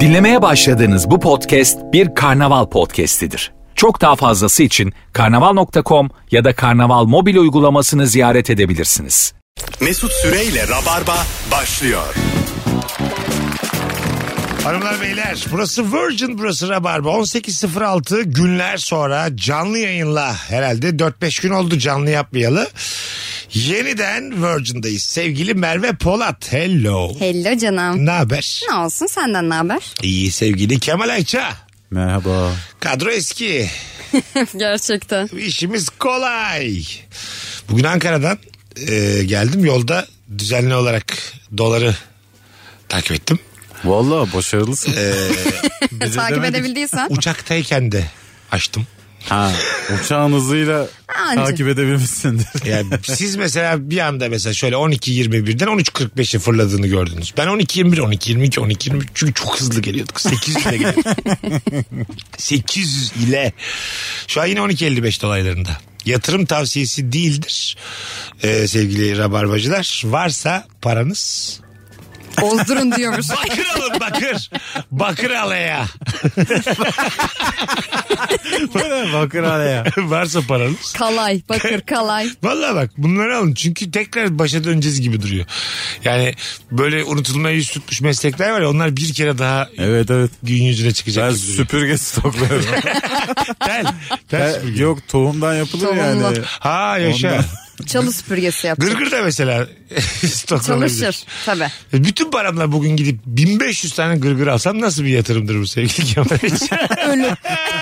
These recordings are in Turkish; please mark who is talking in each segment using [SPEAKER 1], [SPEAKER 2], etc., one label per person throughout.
[SPEAKER 1] Dinlemeye başladığınız bu podcast bir karnaval podcastidir. Çok daha fazlası için karnaval.com ya da karnaval mobil uygulamasını ziyaret edebilirsiniz.
[SPEAKER 2] Mesut Süreyle Rabarba başlıyor.
[SPEAKER 3] Hanımlar beyler burası Virgin burası Rabarba 18.06 günler sonra canlı yayınla herhalde 4-5 gün oldu canlı yapmayalı. Yeniden Virgin'dayız. Sevgili Merve Polat hello.
[SPEAKER 4] Hello canım.
[SPEAKER 3] Ne haber?
[SPEAKER 4] Ne olsun senden ne haber?
[SPEAKER 3] İyi sevgili Kemal Ayça.
[SPEAKER 5] Merhaba.
[SPEAKER 3] Kadro eski.
[SPEAKER 4] Gerçekten.
[SPEAKER 3] İşimiz kolay. Bugün Ankara'dan e, geldim yolda düzenli olarak doları takip ettim.
[SPEAKER 5] Valla başarılısın. Bize
[SPEAKER 4] Takip
[SPEAKER 5] demedik.
[SPEAKER 4] edebildiysen.
[SPEAKER 3] Uçaktayken de açtım.
[SPEAKER 5] Ha, uçağın hızıyla
[SPEAKER 4] Anca.
[SPEAKER 5] takip edebilmişsindir.
[SPEAKER 3] Yani siz mesela bir anda mesela şöyle 12.21'den 13.45'e fırladığını gördünüz. Ben 12.21, 12.22, 12.23 çünkü çok hızlı geliyorduk. 800 ile geliyorduk. 800 ile. Şu an yine 12.55 dolaylarında. Yatırım tavsiyesi değildir ee, sevgili rabarbacılar. Varsa paranız
[SPEAKER 4] Bozdurun diyormuş.
[SPEAKER 3] bakır alın bakır. Bakır alaya.
[SPEAKER 5] Bakın hala ya.
[SPEAKER 3] Varsa paranız
[SPEAKER 4] kalay, bakır kalay.
[SPEAKER 3] Valla bak bunları alın çünkü tekrar başa döneceğiz gibi duruyor. Yani böyle unutulmaya yüz tutmuş meslekler var ya onlar bir kere daha
[SPEAKER 5] Evet evet.
[SPEAKER 3] gün yüzüne çıkacak
[SPEAKER 5] Ben
[SPEAKER 3] gibi duruyor.
[SPEAKER 5] süpürge stokluyorum.
[SPEAKER 3] Tel, tel
[SPEAKER 5] Ben-
[SPEAKER 3] süpürge.
[SPEAKER 5] Yok tohumdan yapılır
[SPEAKER 4] Tohumla.
[SPEAKER 5] yani.
[SPEAKER 3] Ha yaşa.
[SPEAKER 5] Ondan.
[SPEAKER 4] Çalı süpürgesi yaptı.
[SPEAKER 3] Gırgır da mesela stoklanabilir.
[SPEAKER 4] Çalışır tabii.
[SPEAKER 3] Bütün paramla bugün gidip 1500 tane gırgır alsam nasıl bir yatırımdır bu sevgili Kemal Ölüm.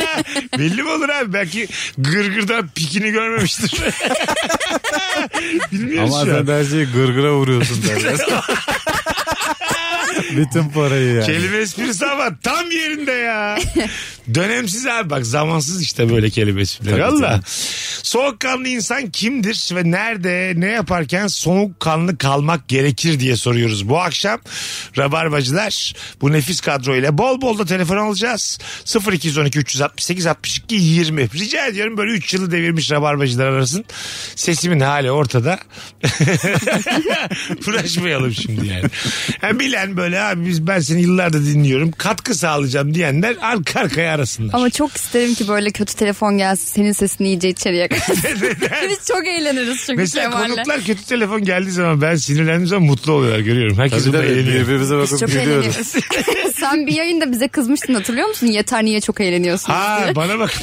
[SPEAKER 3] Belli mi olur abi? Belki gırgırdan pikini görmemiştir. Bilmiyoruz
[SPEAKER 5] Ama
[SPEAKER 3] şu an.
[SPEAKER 5] sen de her şeyi gırgıra vuruyorsun derler. Bütün parayı yani.
[SPEAKER 3] Kelime esprisi ama tam yerinde ya. Dönemsiz abi bak zamansız işte böyle kelime esprileri.
[SPEAKER 5] Tabii,
[SPEAKER 3] Allah. Soğukkanlı insan kimdir ve nerede ne yaparken soğukkanlı kalmak gerekir diye soruyoruz. Bu akşam Rabarbacılar bu nefis kadro ile bol bol da telefon alacağız. 0212 368 62 20. Rica ediyorum böyle 3 yılı devirmiş Rabarbacılar arasın. Sesimin hali ortada. Uğraşmayalım şimdi yani. yani. Bilen böyle abi biz ben seni yıllardır dinliyorum. Katkı sağlayacağım diyenler arka arkaya arasınlar.
[SPEAKER 4] Ama çok isterim ki böyle kötü telefon gelsin senin sesini iyice içeriye kaçsın. Biz çok eğleniriz çünkü
[SPEAKER 3] Mesela
[SPEAKER 4] Kemal'le.
[SPEAKER 3] konuklar kötü telefon geldiği zaman ben sinirlendiğim zaman mutlu oluyorlar görüyorum. Herkes
[SPEAKER 5] Tabii
[SPEAKER 3] burada
[SPEAKER 5] tabii
[SPEAKER 3] eğleniyor.
[SPEAKER 5] birbirimize
[SPEAKER 4] Biz
[SPEAKER 5] bakıp
[SPEAKER 4] çok
[SPEAKER 5] gülüyoruz.
[SPEAKER 4] eğleniyoruz. Sen bir yayında bize kızmıştın hatırlıyor musun? Yeter niye çok eğleniyorsun?
[SPEAKER 3] Ha bana bak.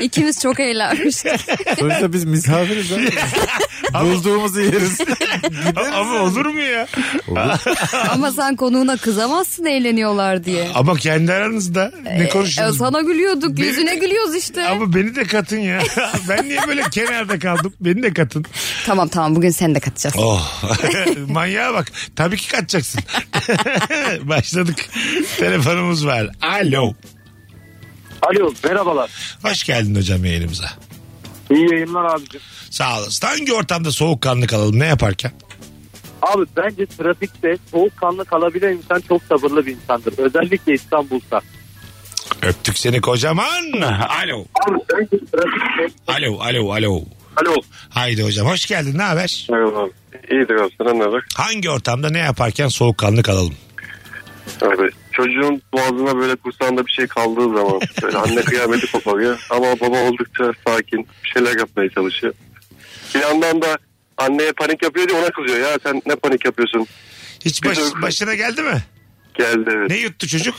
[SPEAKER 4] İkimiz çok eğlenmiştik.
[SPEAKER 5] Sonuçta biz misafiriz abi. Bulduğumuzu yeriz.
[SPEAKER 3] Ama olur mu ya?
[SPEAKER 4] Ama sen konuğuna kızamazsın eğleniyorlar diye.
[SPEAKER 3] Ama kendi aranızda ne
[SPEAKER 4] E,
[SPEAKER 3] konuşuyorsunuz?
[SPEAKER 4] sana gülüyorduk,
[SPEAKER 3] Benim-
[SPEAKER 4] yüzüne gülüyoruz işte.
[SPEAKER 3] Ama beni de katın ya. ben niye böyle kenarda kaldım? Beni de katın.
[SPEAKER 4] Tamam tamam bugün seni de katacağız.
[SPEAKER 3] Oh. Manyağa bak. Tabii ki katacaksın. Başladık. Telefonumuz var. Alo.
[SPEAKER 6] Alo merhabalar.
[SPEAKER 3] Hoş geldin hocam yayınımıza.
[SPEAKER 6] İyi yayınlar abicim.
[SPEAKER 3] Sağ olasın. Hangi ortamda soğukkanlı kalalım ne yaparken?
[SPEAKER 6] Abi bence trafikte soğukkanlı kalabilen insan çok sabırlı bir insandır. Özellikle İstanbul'da.
[SPEAKER 3] Öptük seni kocaman. Alo.
[SPEAKER 6] Abi bence trafikte...
[SPEAKER 3] Alo, alo, alo.
[SPEAKER 6] Alo.
[SPEAKER 3] Haydi hocam hoş geldin ne haber?
[SPEAKER 6] Merhaba abi. İyidir abi sana ne haber?
[SPEAKER 3] Hangi ortamda ne yaparken soğukkanlı kalalım?
[SPEAKER 6] Abi çocuğun boğazına böyle kursağında bir şey kaldığı zaman böyle anne kıyameti koparıyor. Ama baba oldukça sakin bir şeyler yapmaya çalışıyor. Bir yandan da anneye panik yapıyor diye ona kızıyor. Ya sen ne panik yapıyorsun?
[SPEAKER 3] Hiç baş- başına geldi mi?
[SPEAKER 6] Geldi.
[SPEAKER 3] Ne yuttu çocuk?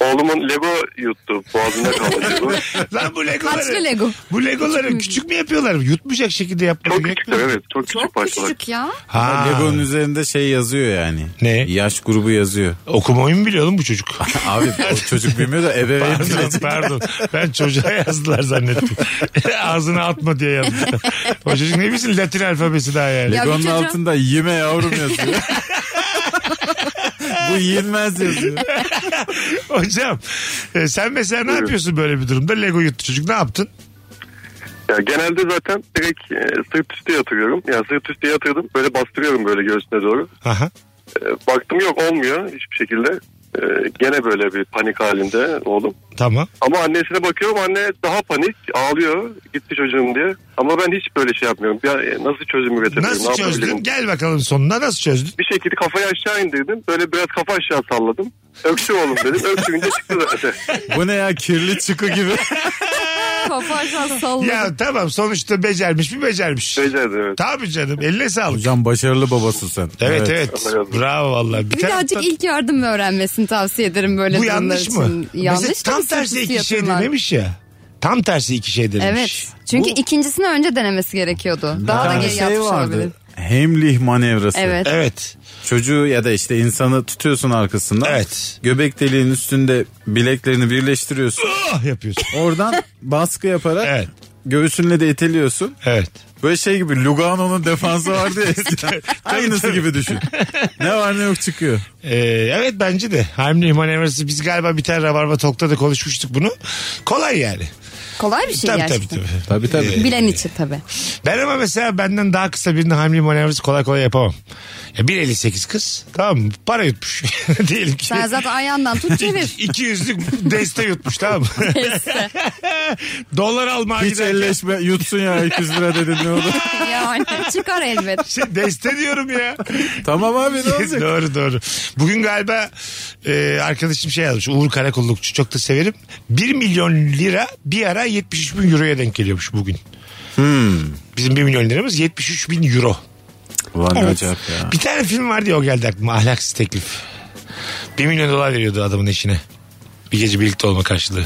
[SPEAKER 6] Oğlumun Lego yuttu. Boğazında kaldı Lego.
[SPEAKER 3] Lan
[SPEAKER 4] Kaçlı
[SPEAKER 3] bu legoları.
[SPEAKER 4] Lego.
[SPEAKER 3] bu legoları küçük mü yapıyorlar? Yutmayacak şekilde yapmaları
[SPEAKER 6] Çok
[SPEAKER 3] gerek
[SPEAKER 6] küçük
[SPEAKER 3] mi?
[SPEAKER 6] evet. Çok küçük
[SPEAKER 4] Çok
[SPEAKER 6] parçalar.
[SPEAKER 4] küçücük ya.
[SPEAKER 3] Ha,
[SPEAKER 5] Lego'nun üzerinde şey yazıyor yani.
[SPEAKER 3] Ne?
[SPEAKER 5] Yaş grubu yazıyor.
[SPEAKER 3] okumayı mı biliyor oğlum bu çocuk?
[SPEAKER 5] Abi o çocuk bilmiyor da ebeveyn
[SPEAKER 3] Pardon,
[SPEAKER 5] bile.
[SPEAKER 3] pardon. Ben çocuğa yazdılar zannettim. Ağzına atma diye yazmışlar. O çocuk ne bilsin Latin alfabesi daha yani.
[SPEAKER 4] Ya bir
[SPEAKER 5] Lego'nun
[SPEAKER 4] çocuğa-
[SPEAKER 5] altında yeme yavrum yazıyor. Bu yenmez yazıyor.
[SPEAKER 3] Hocam e, sen mesela ne yapıyorsun böyle bir durumda? Lego yuttu çocuk ne yaptın?
[SPEAKER 6] Ya genelde zaten direkt e, sırt üstü yatırıyorum. Ya sırt üstü yatırdım. Böyle bastırıyorum böyle göğsüne doğru.
[SPEAKER 3] Aha.
[SPEAKER 6] E, baktım yok olmuyor hiçbir şekilde. Ee, gene böyle bir panik halinde oğlum.
[SPEAKER 3] Tamam.
[SPEAKER 6] Ama annesine bakıyorum anne daha panik ağlıyor gitti çocuğum diye. Ama ben hiç böyle şey yapmıyorum. Ya, e, nasıl çözüm üretebilirim?
[SPEAKER 3] Nasıl
[SPEAKER 6] ne
[SPEAKER 3] çözdün?
[SPEAKER 6] yapabilirim?
[SPEAKER 3] Gel bakalım sonuna nasıl çözdün?
[SPEAKER 6] Bir şekilde kafayı aşağı indirdim. Böyle biraz kafa aşağı salladım. Öksür oğlum dedim. Öksürünce çıktı zaten.
[SPEAKER 5] Bu ne ya kirli çıkı gibi.
[SPEAKER 4] Kafa aşağı salladı.
[SPEAKER 3] Ya tamam sonuçta becermiş mi becermiş.
[SPEAKER 6] Becerdi evet.
[SPEAKER 3] Tabii canım eline sağlık.
[SPEAKER 5] Hocam başarılı babasın sen.
[SPEAKER 3] Evet evet.
[SPEAKER 6] Allah razı olsun.
[SPEAKER 3] Bravo valla.
[SPEAKER 4] Bir Birazcık ilk yardım öğrenmesini tavsiye ederim böyle
[SPEAKER 3] Bu
[SPEAKER 4] durumlar
[SPEAKER 3] yanlış
[SPEAKER 4] için.
[SPEAKER 3] mı?
[SPEAKER 4] Yanlış
[SPEAKER 3] Mesela
[SPEAKER 4] tabii,
[SPEAKER 3] tam tersi
[SPEAKER 4] sırtüstü
[SPEAKER 3] iki şey
[SPEAKER 4] yatırılan.
[SPEAKER 3] dememiş ya. Tam tersi iki şey dememiş.
[SPEAKER 4] Evet. Çünkü
[SPEAKER 3] Bu-
[SPEAKER 4] ikincisini önce denemesi gerekiyordu. Daha da
[SPEAKER 5] Bir
[SPEAKER 4] geri
[SPEAKER 5] şey
[SPEAKER 4] yapmış
[SPEAKER 5] vardı.
[SPEAKER 4] olabilir.
[SPEAKER 5] Hemlih manevrası.
[SPEAKER 4] Evet.
[SPEAKER 3] Evet.
[SPEAKER 5] Çocuğu ya da işte insanı tutuyorsun arkasından.
[SPEAKER 3] Evet.
[SPEAKER 5] Göbek deliğinin üstünde bileklerini birleştiriyorsun.
[SPEAKER 3] Ah yapıyorsun.
[SPEAKER 5] Oradan baskı yaparak
[SPEAKER 3] Evet.
[SPEAKER 5] göğsünle de iteliyorsun.
[SPEAKER 3] Evet.
[SPEAKER 5] Böyle şey gibi Lugano'nun defansı vardı ya. eskiden. Aynısı
[SPEAKER 3] tabii.
[SPEAKER 5] gibi düşün. Ne var ne yok çıkıyor.
[SPEAKER 3] Ee, evet bence de. Hamle manevrası biz galiba bir tane Rabarba Tok'ta da konuşmuştuk bunu. Kolay yani.
[SPEAKER 4] Kolay bir şey
[SPEAKER 3] tabii, tabii
[SPEAKER 4] gerçekten.
[SPEAKER 3] tabii
[SPEAKER 5] Tabii tabii.
[SPEAKER 4] Bilen için tabii.
[SPEAKER 3] Ben ama mesela benden daha kısa birinin hamle manevrası kolay kolay yapamam. Ya 1.58 kız tamam mı? Para yutmuş. Diyelim ki.
[SPEAKER 4] Sen zaten ayağından tut çevir.
[SPEAKER 3] İki, iki yüzlük deste yutmuş tamam mı? Dolar almaya
[SPEAKER 5] Hiç
[SPEAKER 3] giderken-
[SPEAKER 5] elleşme yutsun ya 200 lira dedin ne oldu?
[SPEAKER 4] yani çıkar elbet.
[SPEAKER 3] Şey, deste diyorum ya.
[SPEAKER 5] tamam abi ne olacak?
[SPEAKER 3] doğru doğru. Bugün galiba e, arkadaşım şey yazmış. Uğur Karakollukçu çok da severim. 1 milyon lira bir ara 73 bin euroya denk geliyormuş bugün.
[SPEAKER 5] Hmm.
[SPEAKER 3] Bizim 1 milyon liramız 73 bin euro.
[SPEAKER 5] Ulan ne
[SPEAKER 4] Evet.
[SPEAKER 5] acayip ya.
[SPEAKER 3] Bir tane film vardı ya o geldi aklıma. Ahlaksız teklif. 1 milyon dolar veriyordu adamın eşine. Bir gece birlikte olma karşılığı.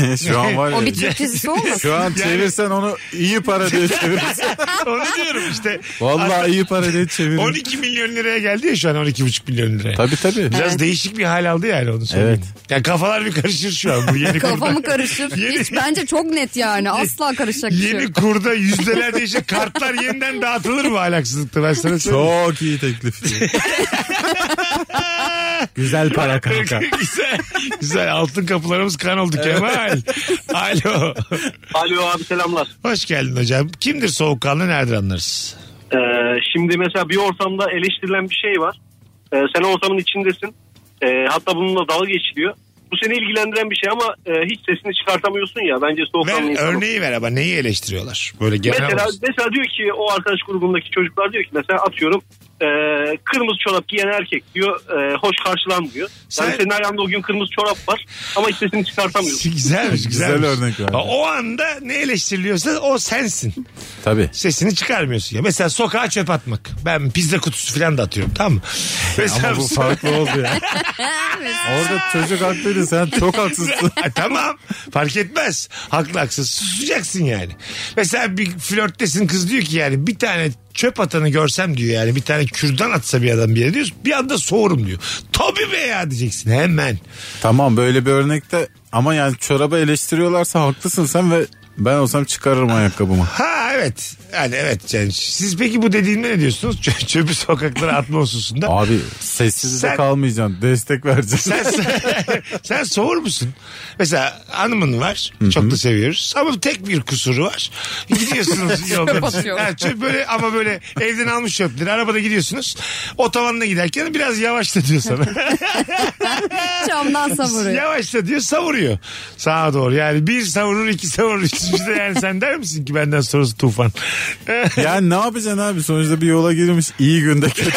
[SPEAKER 5] Şu an var ya.
[SPEAKER 4] O bir Türk dizisi olmasın?
[SPEAKER 5] Şu an çevirsen onu iyi para diye çevirirsin.
[SPEAKER 3] Onu diyorum işte.
[SPEAKER 5] Vallahi iyi para diye çevirir.
[SPEAKER 3] 12 milyon liraya geldi ya şu an 12,5 milyon liraya.
[SPEAKER 5] Tabii tabii.
[SPEAKER 3] Biraz değişik bir hal aldı yani onu söyleyeyim. Ya kafalar bir karışır şu an bu yeni
[SPEAKER 4] Kafamı
[SPEAKER 3] kurda.
[SPEAKER 4] karışır.
[SPEAKER 3] Yeni-
[SPEAKER 4] Hiç bence çok net yani. Asla karışacak bir şey yok.
[SPEAKER 3] Yeni kurda yüzdeler değişik kartlar yeniden dağıtılır mı alaksızlıkta ben sana söyleyeyim.
[SPEAKER 5] Çok iyi teklif. Güzel para kanka.
[SPEAKER 3] güzel, güzel altın kapılarımız kan oldu Kemal. Alo.
[SPEAKER 7] Alo abi selamlar.
[SPEAKER 3] Hoş geldin hocam. Kimdir soğukkanlı nereden anlarız?
[SPEAKER 7] Ee, şimdi mesela bir ortamda eleştirilen bir şey var. Ee, sen o ortamın içindesin. Ee, hatta bununla dalga geçiliyor. Bu seni ilgilendiren bir şey ama e, hiç sesini çıkartamıyorsun ya. Bence
[SPEAKER 3] Ver,
[SPEAKER 7] soğukkanlı insan.
[SPEAKER 3] örneği ver ama neyi eleştiriyorlar? Böyle genel
[SPEAKER 7] Mesela,
[SPEAKER 3] olsun.
[SPEAKER 7] mesela diyor ki o arkadaş grubundaki çocuklar diyor ki mesela atıyorum e, kırmızı çorap giyen erkek diyor e, hoş karşılanmıyor. Yani
[SPEAKER 3] Sen-
[SPEAKER 7] senin ayağında o gün kırmızı çorap var ama hiç sesini çıkartamıyorsun.
[SPEAKER 3] Güzelmiş, güzelmiş.
[SPEAKER 5] örnek verdin.
[SPEAKER 3] O anda ne eleştiriliyorsa o sensin.
[SPEAKER 5] Tabii.
[SPEAKER 3] sesini çıkarmıyorsun ya. Mesela sokağa çöp atmak. Ben pizza kutusu falan da atıyorum tamam mı? Mesela
[SPEAKER 5] Ama bu farklı oldu ya. Orada çocuk haklıydı sen çok haksızsın.
[SPEAKER 3] Ha, tamam fark etmez. Haklı haksız susacaksın yani. Mesela bir flörttesin kız diyor ki yani bir tane çöp atanı görsem diyor yani bir tane kürdan atsa bir adam bir yere diyor bir anda soğurum diyor. Tabii be ya diyeceksin hemen.
[SPEAKER 5] Tamam böyle bir örnekte ama yani çoraba eleştiriyorlarsa haklısın sen ve ben olsam çıkarırım ayakkabımı.
[SPEAKER 3] Ha evet yani evet yani siz peki bu dediğimde ne diyorsunuz? Çö- Çöpü sokaklara atma hususunda.
[SPEAKER 5] Abi sessiz de
[SPEAKER 3] Sen-
[SPEAKER 5] kalmayacaksın destek vereceksin.
[SPEAKER 3] sen, sen, sen soğur musun? Mesela hanımın var. Çok da seviyoruz. Ama tek bir kusuru var. Gidiyorsunuz yolda.
[SPEAKER 4] atıyor.
[SPEAKER 3] Ha, çöp böyle ama böyle evden almış çöpleri. Arabada gidiyorsunuz. Otobanla giderken biraz yavaşla diyor sana.
[SPEAKER 4] Camdan savuruyor.
[SPEAKER 3] yavaşla diyor savuruyor. Sağa doğru. Yani bir savurur iki savurur. Üçüncü de yani sen der misin ki benden sonrası tufan?
[SPEAKER 5] Yani ne yapacaksın abi sonuçta bir yola girmiş iyi günde kötü.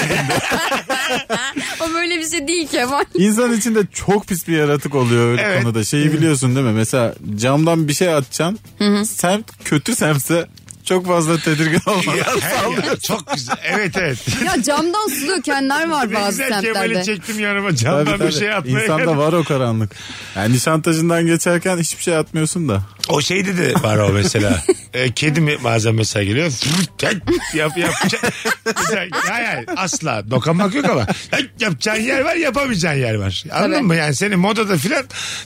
[SPEAKER 4] O böyle bir şey değil Kemal.
[SPEAKER 5] İnsan içinde çok pis bir yaratık oluyor öyle
[SPEAKER 3] Evet.
[SPEAKER 5] konuda. Şeyi biliyorsun değil mi? Mesela camdan bir şey atacaksın. Sen kötü semse çok fazla tedirgin olmadan
[SPEAKER 3] Sallıyor. Çok güzel. Evet evet.
[SPEAKER 4] Ya camdan su dökenler var
[SPEAKER 3] Ne
[SPEAKER 4] bazı
[SPEAKER 3] güzel Kemal'i
[SPEAKER 4] semtlerde.
[SPEAKER 3] çektim yanıma
[SPEAKER 5] Tabii,
[SPEAKER 3] camdan bir
[SPEAKER 5] tabii.
[SPEAKER 3] şey atmaya.
[SPEAKER 5] İnsanda var o karanlık. Yani Nişantaşı'ndan geçerken hiçbir şey atmıyorsun da.
[SPEAKER 3] O şeyde de var o mesela. e, kedi mi bazen mesela geliyor. Yap, yapacak. Mesela, hayır, hayır, asla. Dokunmak yok ama. Yapacağın yer var yapamayacağın yer var. Anladın
[SPEAKER 4] Tabii.
[SPEAKER 3] mı? Yani seni modada filan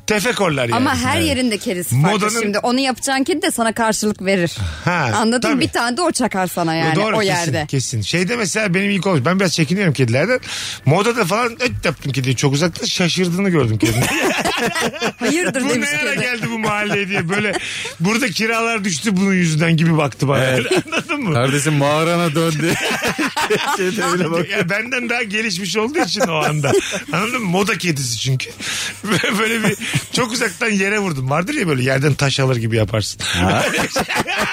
[SPEAKER 3] tefekorlar yani.
[SPEAKER 4] Ama her
[SPEAKER 3] Yani.
[SPEAKER 4] yerinde kedisi farklı
[SPEAKER 3] Modanın-
[SPEAKER 4] şimdi. Onu yapacağın kedi de sana karşılık verir.
[SPEAKER 3] Ha,
[SPEAKER 4] Anladın mı?
[SPEAKER 3] tabii.
[SPEAKER 4] Bir tane de o çakar sana yani
[SPEAKER 3] E, Doğru,
[SPEAKER 4] o
[SPEAKER 3] kesin,
[SPEAKER 4] yerde.
[SPEAKER 3] Kesin. Şeyde mesela benim ilk olmuş. Ben biraz çekiniyorum kedilerden. Modada falan öt yaptım kediyi çok uzakta. Şaşırdığını gördüm kedinin.
[SPEAKER 4] Hayırdır
[SPEAKER 3] bu
[SPEAKER 4] demiş
[SPEAKER 3] ne ara
[SPEAKER 4] kedi.
[SPEAKER 3] geldi bu mahalleye diye böyle. Burada kiralar düştü bunun yüzünden gibi baktı bana.
[SPEAKER 5] Evet.
[SPEAKER 3] Anladın mı?
[SPEAKER 5] Kardeşim mağarana döndü.
[SPEAKER 3] Abi, ya benden daha gelişmiş olduğu için o anda. Anladın mı? Moda kedisi çünkü. böyle bir çok uzaktan yere vurdum. Vardır ya böyle yerden taş alır gibi yaparsın.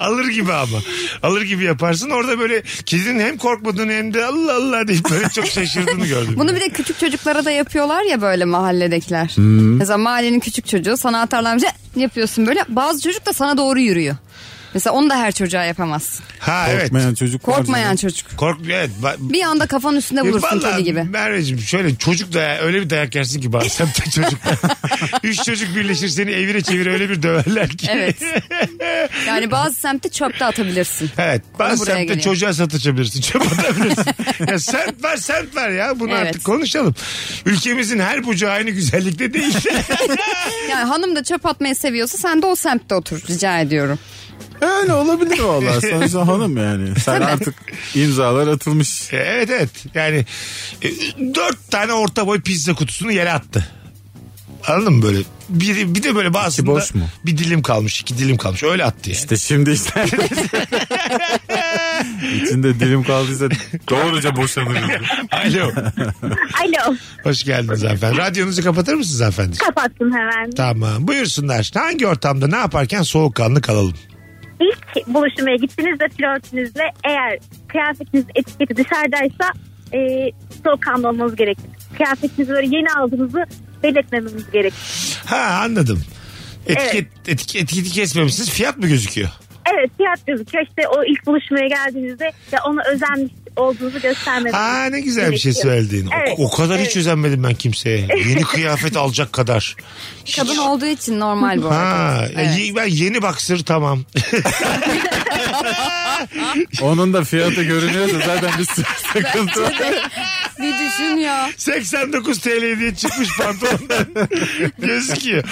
[SPEAKER 3] alır gibi ama. Alır gibi yaparsın. Orada böyle kedinin hem korkmadığını hem de Allah Allah deyip böyle çok şaşırdığını gördüm.
[SPEAKER 4] Bunu bir de küçük çocuklara da yapıyorlar ya böyle mahalledekiler. Mesela mahallenin küçük çocuğu sana atarlarmış yapıyorsun böyle. Bazı çocuk da sana doğru yürüyor. Mesela onu da her çocuğa yapamazsın.
[SPEAKER 3] Ha evet.
[SPEAKER 5] Korkmayan çocuk var
[SPEAKER 4] Korkmayan
[SPEAKER 5] canım.
[SPEAKER 4] çocuk.
[SPEAKER 3] Kork evet. Ba-
[SPEAKER 4] Bir anda kafanın üstüne
[SPEAKER 3] Ya
[SPEAKER 4] vurursun
[SPEAKER 3] E, vallahi
[SPEAKER 4] kedi gibi.
[SPEAKER 3] Merveciğim şöyle çocuk da öyle bir dayak yersin ki bazen de çocuk. Üç çocuk birleşir seni evire çevire öyle bir döverler ki.
[SPEAKER 4] Evet. Yani bazı semtte çöpte atabilirsin.
[SPEAKER 3] Evet. Ben
[SPEAKER 4] buraya
[SPEAKER 3] semtte
[SPEAKER 4] geliyor.
[SPEAKER 3] çocuğa satışabilirsin. Çöp atabilirsin. ya semt var semt var ya. Bunu
[SPEAKER 4] Evet.
[SPEAKER 3] artık konuşalım. Ülkemizin her bucağı aynı güzellikte değil.
[SPEAKER 4] Yani hanım da çöp atmayı seviyorsa sen de o semtte otur rica ediyorum.
[SPEAKER 5] Yani olabilir valla. Sonuçta hanım yani. Sen artık imzalar atılmış.
[SPEAKER 3] evet evet. Yani e, dört tane orta boy pizza kutusunu yere attı. Anladın mı böyle? Bir, bir de böyle bazısında
[SPEAKER 5] boş mu?
[SPEAKER 3] bir dilim kalmış, iki dilim kalmış. Öyle attı yani.
[SPEAKER 5] İşte şimdi işte. İçinde dilim kaldıysa doğruca boşanırım.
[SPEAKER 3] Alo.
[SPEAKER 8] Alo.
[SPEAKER 3] Hoş geldiniz efendim. Radyonuzu kapatır mısınız efendim?
[SPEAKER 8] Kapattım hemen.
[SPEAKER 3] Tamam. Buyursunlar. Hangi ortamda ne yaparken soğukkanlı kalalım?
[SPEAKER 8] İlk buluşmaya gittiğinizde flörtünüzle eğer kıyafetiniz etiketi dışarıdaysa e, soğukkanlı olmanız gerekir. Kıyafetinizi böyle yeni aldığınızı belirtmemeniz gerekir.
[SPEAKER 3] Ha anladım. Etiket,
[SPEAKER 8] Evet.
[SPEAKER 3] etik- etiketi kesmemişsiniz. Fiyat mı gözüküyor?
[SPEAKER 8] Evet fiyat gözüküyor işte o ilk buluşmaya geldiğinizde ya ona özenmiş olduğunuzu göstermeniz
[SPEAKER 3] Ha ne güzel bir şey
[SPEAKER 8] gerekiyor.
[SPEAKER 3] söyledin. O-
[SPEAKER 8] Evet,
[SPEAKER 3] O, kadar
[SPEAKER 8] evet.
[SPEAKER 3] hiç özenmedim ben kimseye. Yeni kıyafet alacak kadar.
[SPEAKER 4] Kadın olduğu için normal bu arada.
[SPEAKER 3] Ha, e,
[SPEAKER 4] Evet.
[SPEAKER 3] ye- ben yeni baksır tamam.
[SPEAKER 5] Onun da fiyatı görünüyorsa zaten bir sürü sıkıntı var.
[SPEAKER 4] Bir düşün ya.
[SPEAKER 3] 89 TL diye çıkmış pantolondan. Gözüküyor.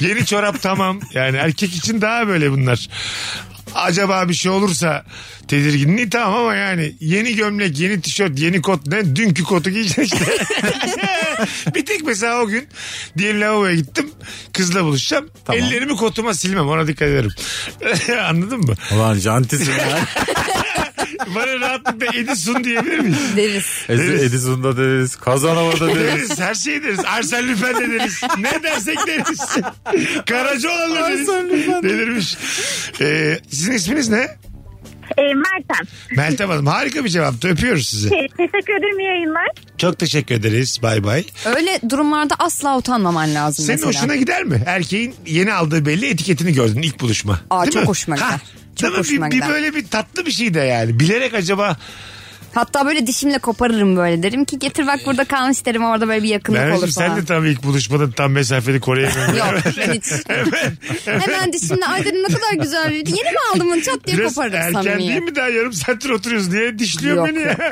[SPEAKER 3] Yeni çorap tamam. Yani erkek için daha böyle bunlar. Acaba bir şey olursa tedirginliği tamam ama yani yeni gömlek, yeni tişört, yeni kot ne? Dünkü kotu giyeceksin işte. bir tek mesela o gün diyelim lavaboya gittim. Kızla buluşacağım. Ellerimi kotuma silmem ona dikkat ederim. Anladın mı?
[SPEAKER 5] Ulan jantisin ya.
[SPEAKER 3] Bana rahatlıkla Edison diyebilir miyiz?
[SPEAKER 4] Deriz.
[SPEAKER 5] Edi- Edison'da deriz. Kazanova'da deriz.
[SPEAKER 3] deriz. Her şeyi deriz. Arsene Lüpen de deriz. Ne dersek deriz. Karacaoğlan da deriz.
[SPEAKER 5] Arsene Lüpen.
[SPEAKER 3] Delirmiş. Ee, sizin isminiz ne?
[SPEAKER 8] E, Mertem.
[SPEAKER 3] Meltem Hanım. Harika bir cevaptı. Öpüyoruz sizi.
[SPEAKER 8] Te- teşekkür ederim iyi yayınlar.
[SPEAKER 3] Çok teşekkür ederiz. Bay bay.
[SPEAKER 4] Öyle durumlarda asla utanmaman lazım
[SPEAKER 3] Senin
[SPEAKER 4] mesela.
[SPEAKER 3] hoşuna gider mi? Erkeğin yeni aldığı belli etiketini gördün ilk buluşma.
[SPEAKER 4] Aa, çok
[SPEAKER 3] mi?
[SPEAKER 4] hoşuma gider.
[SPEAKER 3] Ha,
[SPEAKER 4] Çok
[SPEAKER 3] değil mi? Bir-
[SPEAKER 4] hoşuma
[SPEAKER 3] bir,
[SPEAKER 4] gider.
[SPEAKER 3] böyle bir tatlı bir şey de yani. Bilerek acaba
[SPEAKER 4] Hatta böyle dişimle koparırım böyle derim ki getir bak burada kalmış derim orada böyle bir yakınlık
[SPEAKER 3] Merveciğim
[SPEAKER 4] olur
[SPEAKER 3] sen
[SPEAKER 4] falan.
[SPEAKER 3] de tam ilk buluşmada tam mesafeli koruyamıyorsun.
[SPEAKER 4] Yok ben hiç.
[SPEAKER 3] Hemen,
[SPEAKER 4] Hemen dişimle ay dedim ne kadar güzel bir yeni mi aldım bunu çat diye
[SPEAKER 3] Biraz
[SPEAKER 4] koparırım
[SPEAKER 3] erken değil
[SPEAKER 4] samimi.
[SPEAKER 3] mi daha yarım saattir oturuyoruz diye dişliyor
[SPEAKER 4] Yok,
[SPEAKER 3] beni ya.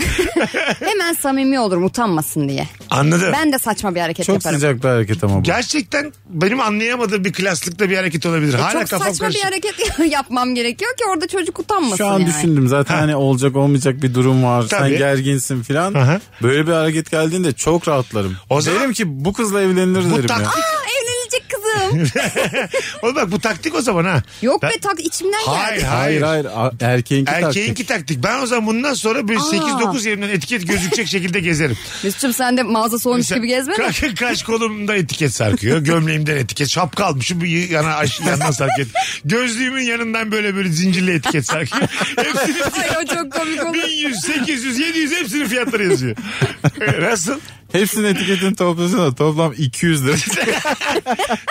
[SPEAKER 4] Hemen samimi olurum utanmasın diye.
[SPEAKER 3] Anladım.
[SPEAKER 4] Ben de saçma bir hareket
[SPEAKER 5] Çok
[SPEAKER 4] yaparım.
[SPEAKER 5] sıcak bir hareket ama bu.
[SPEAKER 3] Gerçekten benim anlayamadığım bir klaslıkta bir hareket olabilir. Hala
[SPEAKER 4] E, Çok
[SPEAKER 3] kafam
[SPEAKER 4] saçma bir
[SPEAKER 3] karışık.
[SPEAKER 4] hareket yapmam gerekiyor ki orada çocuk utanmasın
[SPEAKER 5] Şu an
[SPEAKER 4] yani.
[SPEAKER 5] düşündüm zaten hani olacak olmayacak bir durum var.
[SPEAKER 3] Tabii.
[SPEAKER 5] Sen gerginsin filan.
[SPEAKER 3] Aha.
[SPEAKER 5] Böyle bir hareket geldiğinde çok rahatlarım.
[SPEAKER 3] O zaman-
[SPEAKER 5] Derim ki bu kızla evlenilir
[SPEAKER 3] Bu
[SPEAKER 5] derim ya.
[SPEAKER 3] taktik.
[SPEAKER 4] Aa, evlenecek kızım.
[SPEAKER 3] Oğlum bak bu taktik o zaman ha.
[SPEAKER 4] Yok
[SPEAKER 3] Ben-
[SPEAKER 4] be tak içimden
[SPEAKER 3] Hayır
[SPEAKER 4] geldi.
[SPEAKER 5] Hayır
[SPEAKER 3] hayır.
[SPEAKER 5] hayır a- erkeğinki
[SPEAKER 3] Erkeğinki
[SPEAKER 5] taktik.
[SPEAKER 3] taktik. Ben o zaman bundan sonra bir 8-9 yerimden etiket gözükecek şekilde gezerim.
[SPEAKER 4] Mesut'cum sen de mağaza soğumuş gibi gezme de.
[SPEAKER 3] Ka- kaş kolumda etiket sarkıyor. Gömleğimden etiket. Şapka almışım bu yana aşağı yandan sarkıyor. Gözlüğümün yanından böyle böyle zincirli etiket sarkıyor. Hepsini
[SPEAKER 4] Ay o çok komik olur.
[SPEAKER 3] 1100, 800, 700 hepsinin fiyatları yazıyor. Ee, Nasıl?
[SPEAKER 5] Hepsinin etiketini toplasana toplam 200 lira.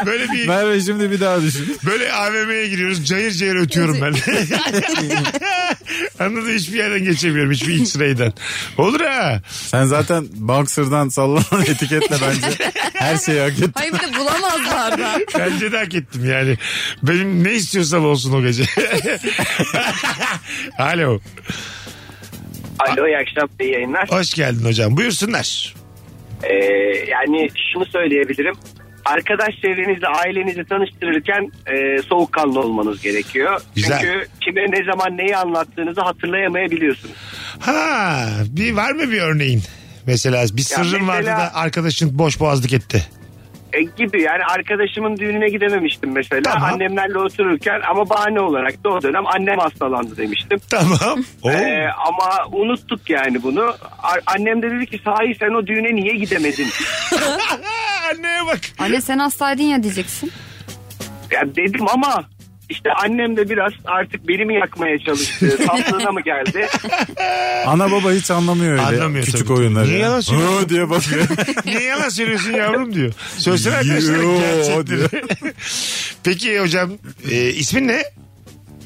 [SPEAKER 3] Böyle bir
[SPEAKER 5] Merve şimdi bir daha düşün.
[SPEAKER 3] Böyle AVM'ye giriyoruz cayır cayır ötüyorum ben. Anladın mı? hiçbir yerden geçemiyorum hiçbir X-ray'den. Olur ha.
[SPEAKER 5] Sen zaten boxer'dan sallanan etiketle bence her şeyi hak ettin.
[SPEAKER 4] Hayır bir de bulamazlar da.
[SPEAKER 3] Bence de hak ettim yani. Benim ne istiyorsam olsun o gece. Alo.
[SPEAKER 9] Alo iyi akşam iyi yayınlar.
[SPEAKER 3] Hoş geldin hocam. Buyursunlar.
[SPEAKER 9] Ee, yani şunu söyleyebilirim. Arkadaş çevrenizle ailenizi tanıştırırken e, soğukkanlı olmanız gerekiyor.
[SPEAKER 3] Güzel.
[SPEAKER 9] Çünkü kime ne zaman neyi anlattığınızı hatırlayamayabiliyorsunuz.
[SPEAKER 3] Ha, bir var mı bir örneğin? Mesela bir sırrın
[SPEAKER 9] mesela-
[SPEAKER 3] vardı da arkadaşın boş boğazlık etti.
[SPEAKER 9] E, gibi yani arkadaşımın düğününe gidememiştim mesela.
[SPEAKER 3] Tamam.
[SPEAKER 9] Annemlerle otururken ama bahane olarak da o dönem annem hastalandı demiştim.
[SPEAKER 3] Tamam. Oo.
[SPEAKER 9] Ee, ama unuttuk yani bunu. A- Annem de dedi ki sahi sen o düğüne niye gidemedin?
[SPEAKER 3] Anneye bak.
[SPEAKER 4] Anne sen hastaydın ya diyeceksin.
[SPEAKER 9] ya dedim ama işte annem de biraz artık beni mi yakmaya çalıştı? Saflığına mı geldi?
[SPEAKER 5] Ana baba hiç anlamıyor öyle
[SPEAKER 3] Anlamıyor
[SPEAKER 5] küçük
[SPEAKER 3] tabii.
[SPEAKER 5] oyunları.
[SPEAKER 3] Niye
[SPEAKER 5] ya.
[SPEAKER 3] yalan söylüyorsun?
[SPEAKER 5] Hı diye bakıyor.
[SPEAKER 3] Niye yalan söylüyorsun yavrum diyor. Söylesene arkadaşlar
[SPEAKER 5] Yo,
[SPEAKER 3] gerçekleri. Peki hocam e, ismin ne?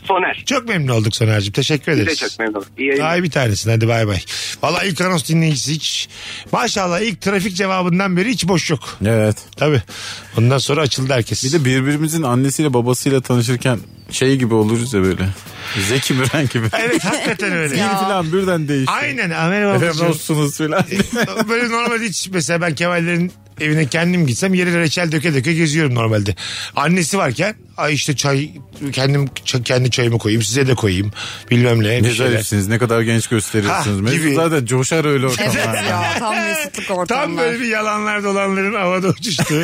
[SPEAKER 9] Soner.
[SPEAKER 3] Çok memnun olduk Soner'cim. Teşekkür
[SPEAKER 9] Bir de
[SPEAKER 3] ederiz.
[SPEAKER 9] çok memnunum. İyi yayınlar.
[SPEAKER 3] Ay bir tanesin hadi bay bay. Valla ilk anons dinleyicisi hiç. Maşallah ilk trafik cevabından beri hiç boş yok.
[SPEAKER 5] evet.
[SPEAKER 3] Tabii. Ondan sonra açıldı herkes.
[SPEAKER 5] Bir de birbirimizin annesiyle babasıyla tanışırken şey gibi oluruz ya böyle. Zeki Müren gibi.
[SPEAKER 3] Evet hakikaten öyle.
[SPEAKER 5] Bir falan birden değişiyor.
[SPEAKER 3] Aynen. Merhaba
[SPEAKER 5] Efendim
[SPEAKER 3] babacığım.
[SPEAKER 5] dostunuz falan.
[SPEAKER 3] Böyle normal hiç mesela ben Kemal'lerin evine kendim gitsem yere reçel döke döke geziyorum normalde. Annesi varken ay işte çay kendim ç- kendi çayımı koyayım size de koyayım bilmem ne bir
[SPEAKER 5] Ne
[SPEAKER 3] şeyler.
[SPEAKER 5] zarifsiniz ne kadar genç gösteriyorsunuz.
[SPEAKER 3] Ha,
[SPEAKER 5] Mesut
[SPEAKER 3] gibi.
[SPEAKER 5] zaten coşar öyle
[SPEAKER 4] Evet
[SPEAKER 5] ortamlarda.
[SPEAKER 4] ya tam mesutluk ortamlar.
[SPEAKER 3] Tam böyle bir yalanlar dolanların havada uçuştu.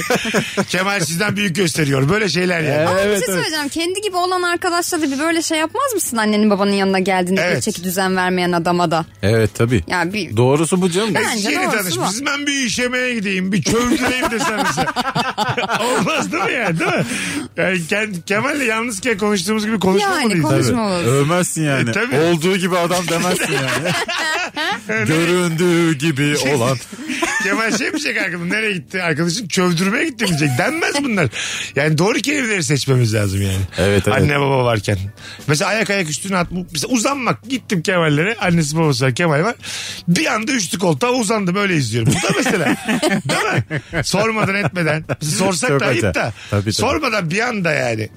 [SPEAKER 3] Kemal sizden büyük gösteriyor. Böyle şeyler yani.
[SPEAKER 4] Ama
[SPEAKER 5] Evet,
[SPEAKER 4] bir şey
[SPEAKER 5] evet.
[SPEAKER 4] söyleyeceğim. Kendi gibi olan arkadaşla da bir böyle şey yapmaz mısın annenin babanın yanına geldiğinde
[SPEAKER 3] Evet.
[SPEAKER 4] evet. düzen vermeyen adama da?
[SPEAKER 5] Evet tabii.
[SPEAKER 4] Ya bir
[SPEAKER 5] Doğrusu bu canım.
[SPEAKER 4] Bence de
[SPEAKER 3] Yeni
[SPEAKER 4] orası
[SPEAKER 3] tanışmışız. Ben bir işemeye gideyim. Bir çöldüreyim de sana. Olmaz değil mi yani? Değil mi? Yani Ke- Kemal'le yalnızken konuştuğumuz gibi konuşmamalıyız.
[SPEAKER 4] Yani
[SPEAKER 5] Tabii.
[SPEAKER 4] Konuşmamız.
[SPEAKER 5] Övmezsin yani.
[SPEAKER 3] E, tabii.
[SPEAKER 5] Olduğu gibi adam demezsin yani. Göründüğü gibi olan.
[SPEAKER 3] Kemal şey mi diyecek arkadaşım? Nereye gitti? Arkadaşın çövdürmeye gitti mi diyecek. Denmez bunlar. Yani doğru kelimeleri seçmemiz lazım yani.
[SPEAKER 5] Evet, evet.
[SPEAKER 3] Anne baba varken. Mesela ayak ayak üstüne at. Mesela uzanmak. Gittim Kemal'lere. Annesi babası var. Kemal var. Bir anda üçlü koltuğa uzandım. Öyle izliyorum. Bu da mesela. Değil mi? Sormadan etmeden. Sorsak
[SPEAKER 5] Çok
[SPEAKER 3] da ayıp
[SPEAKER 5] acayip.
[SPEAKER 3] da.
[SPEAKER 5] Tabii, tabii.
[SPEAKER 3] Sormadan bir anda yani.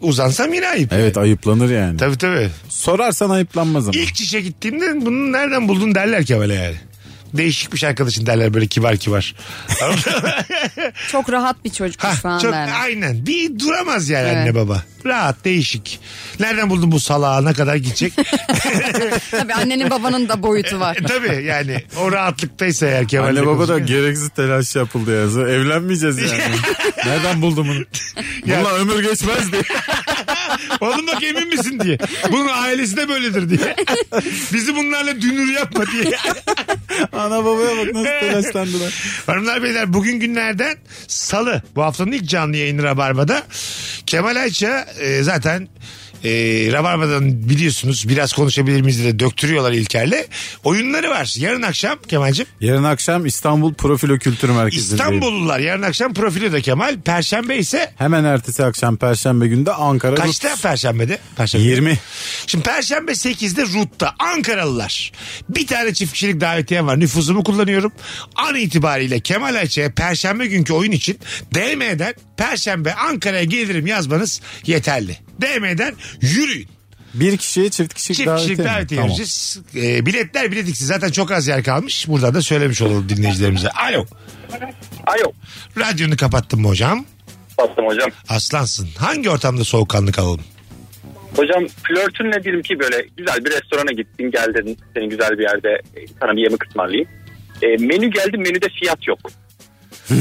[SPEAKER 3] Uzansam yine ayıp.
[SPEAKER 5] Evet ayıplanır yani.
[SPEAKER 3] Tabii tabii.
[SPEAKER 5] Sorarsan ayıplanmaz ama.
[SPEAKER 3] İlk çişe gittiğimde bunu nereden buldun derler Kemal'e yani. Değişikmiş arkadaşın derler böyle kibar kibar.
[SPEAKER 4] Çok rahat bir çocukmuş
[SPEAKER 3] Hah,
[SPEAKER 4] falan
[SPEAKER 3] çok,
[SPEAKER 4] derler.
[SPEAKER 3] aynen. Bir duramaz yani
[SPEAKER 4] Evet.
[SPEAKER 3] anne baba. Rahat değişik. Nereden buldun bu salağa ne kadar gidecek?
[SPEAKER 4] Tabii annenin babanın da boyutu var.
[SPEAKER 3] E, Tabii yani o rahatlıktaysa eğer Kemal'le
[SPEAKER 5] Anne baba da
[SPEAKER 3] konuşurken.
[SPEAKER 5] gereksiz telaş yapıldı yani. Evlenmeyeceğiz yani. Nereden buldum bunu?
[SPEAKER 3] Ya-
[SPEAKER 5] Bununla ömür geçmez diye.
[SPEAKER 3] Oğlum bak emin misin diye. Bunun ailesi de böyledir diye. Bizi bunlarla dünür yapma diye.
[SPEAKER 5] Ana babaya bak nasıl telaşlandılar.
[SPEAKER 3] Hanımlar beyler bugün günlerden salı. Bu haftanın ilk canlı yayını Rabarba'da. Kemal Ayça e, zaten e, Rabarba'dan biliyorsunuz biraz konuşabilir miyiz diye de döktürüyorlar İlker'le. Oyunları var. Yarın akşam Kemal'cim
[SPEAKER 5] Yarın akşam İstanbul Profilo Kültür Merkezi'ndeyim.
[SPEAKER 3] İstanbullular yarın akşam profili de Kemal. Perşembe ise
[SPEAKER 5] Hemen ertesi akşam Perşembe günü de Ankara.
[SPEAKER 3] kaçta Perşembe'de? Perşembe.
[SPEAKER 5] 20.
[SPEAKER 3] Şimdi Perşembe 8'de Rut'ta Ankaralılar. Bir tane çift kişilik davetiyem var. Nüfuzumu kullanıyorum. An itibariyle Kemal Ayça'ya Perşembe günkü oyun için DM'den Perşembe Ankara'ya gelirim yazmanız yeterli. DM'den yürüyün.
[SPEAKER 5] Bir kişiye çift kişilik
[SPEAKER 3] Çift
[SPEAKER 5] davetiye
[SPEAKER 3] kişilik
[SPEAKER 5] mi?
[SPEAKER 3] davetiye
[SPEAKER 5] Tamam.
[SPEAKER 3] vereceğiz. Ee, biletler biletiksi zaten çok az yer kalmış. Buradan da söylemiş olalım dinleyicilerimize. Alo.
[SPEAKER 6] Alo.
[SPEAKER 3] Radyonu kapattın mı hocam?
[SPEAKER 6] Bastım hocam.
[SPEAKER 3] Aslansın. Hangi ortamda soğukkanlı kalalım?
[SPEAKER 6] Hocam flörtünle diyelim ki böyle güzel bir restorana gittin gel dedin seni güzel bir yerde e, sana bir yemek ısmarlayayım. E, menü geldi menüde fiyat yok.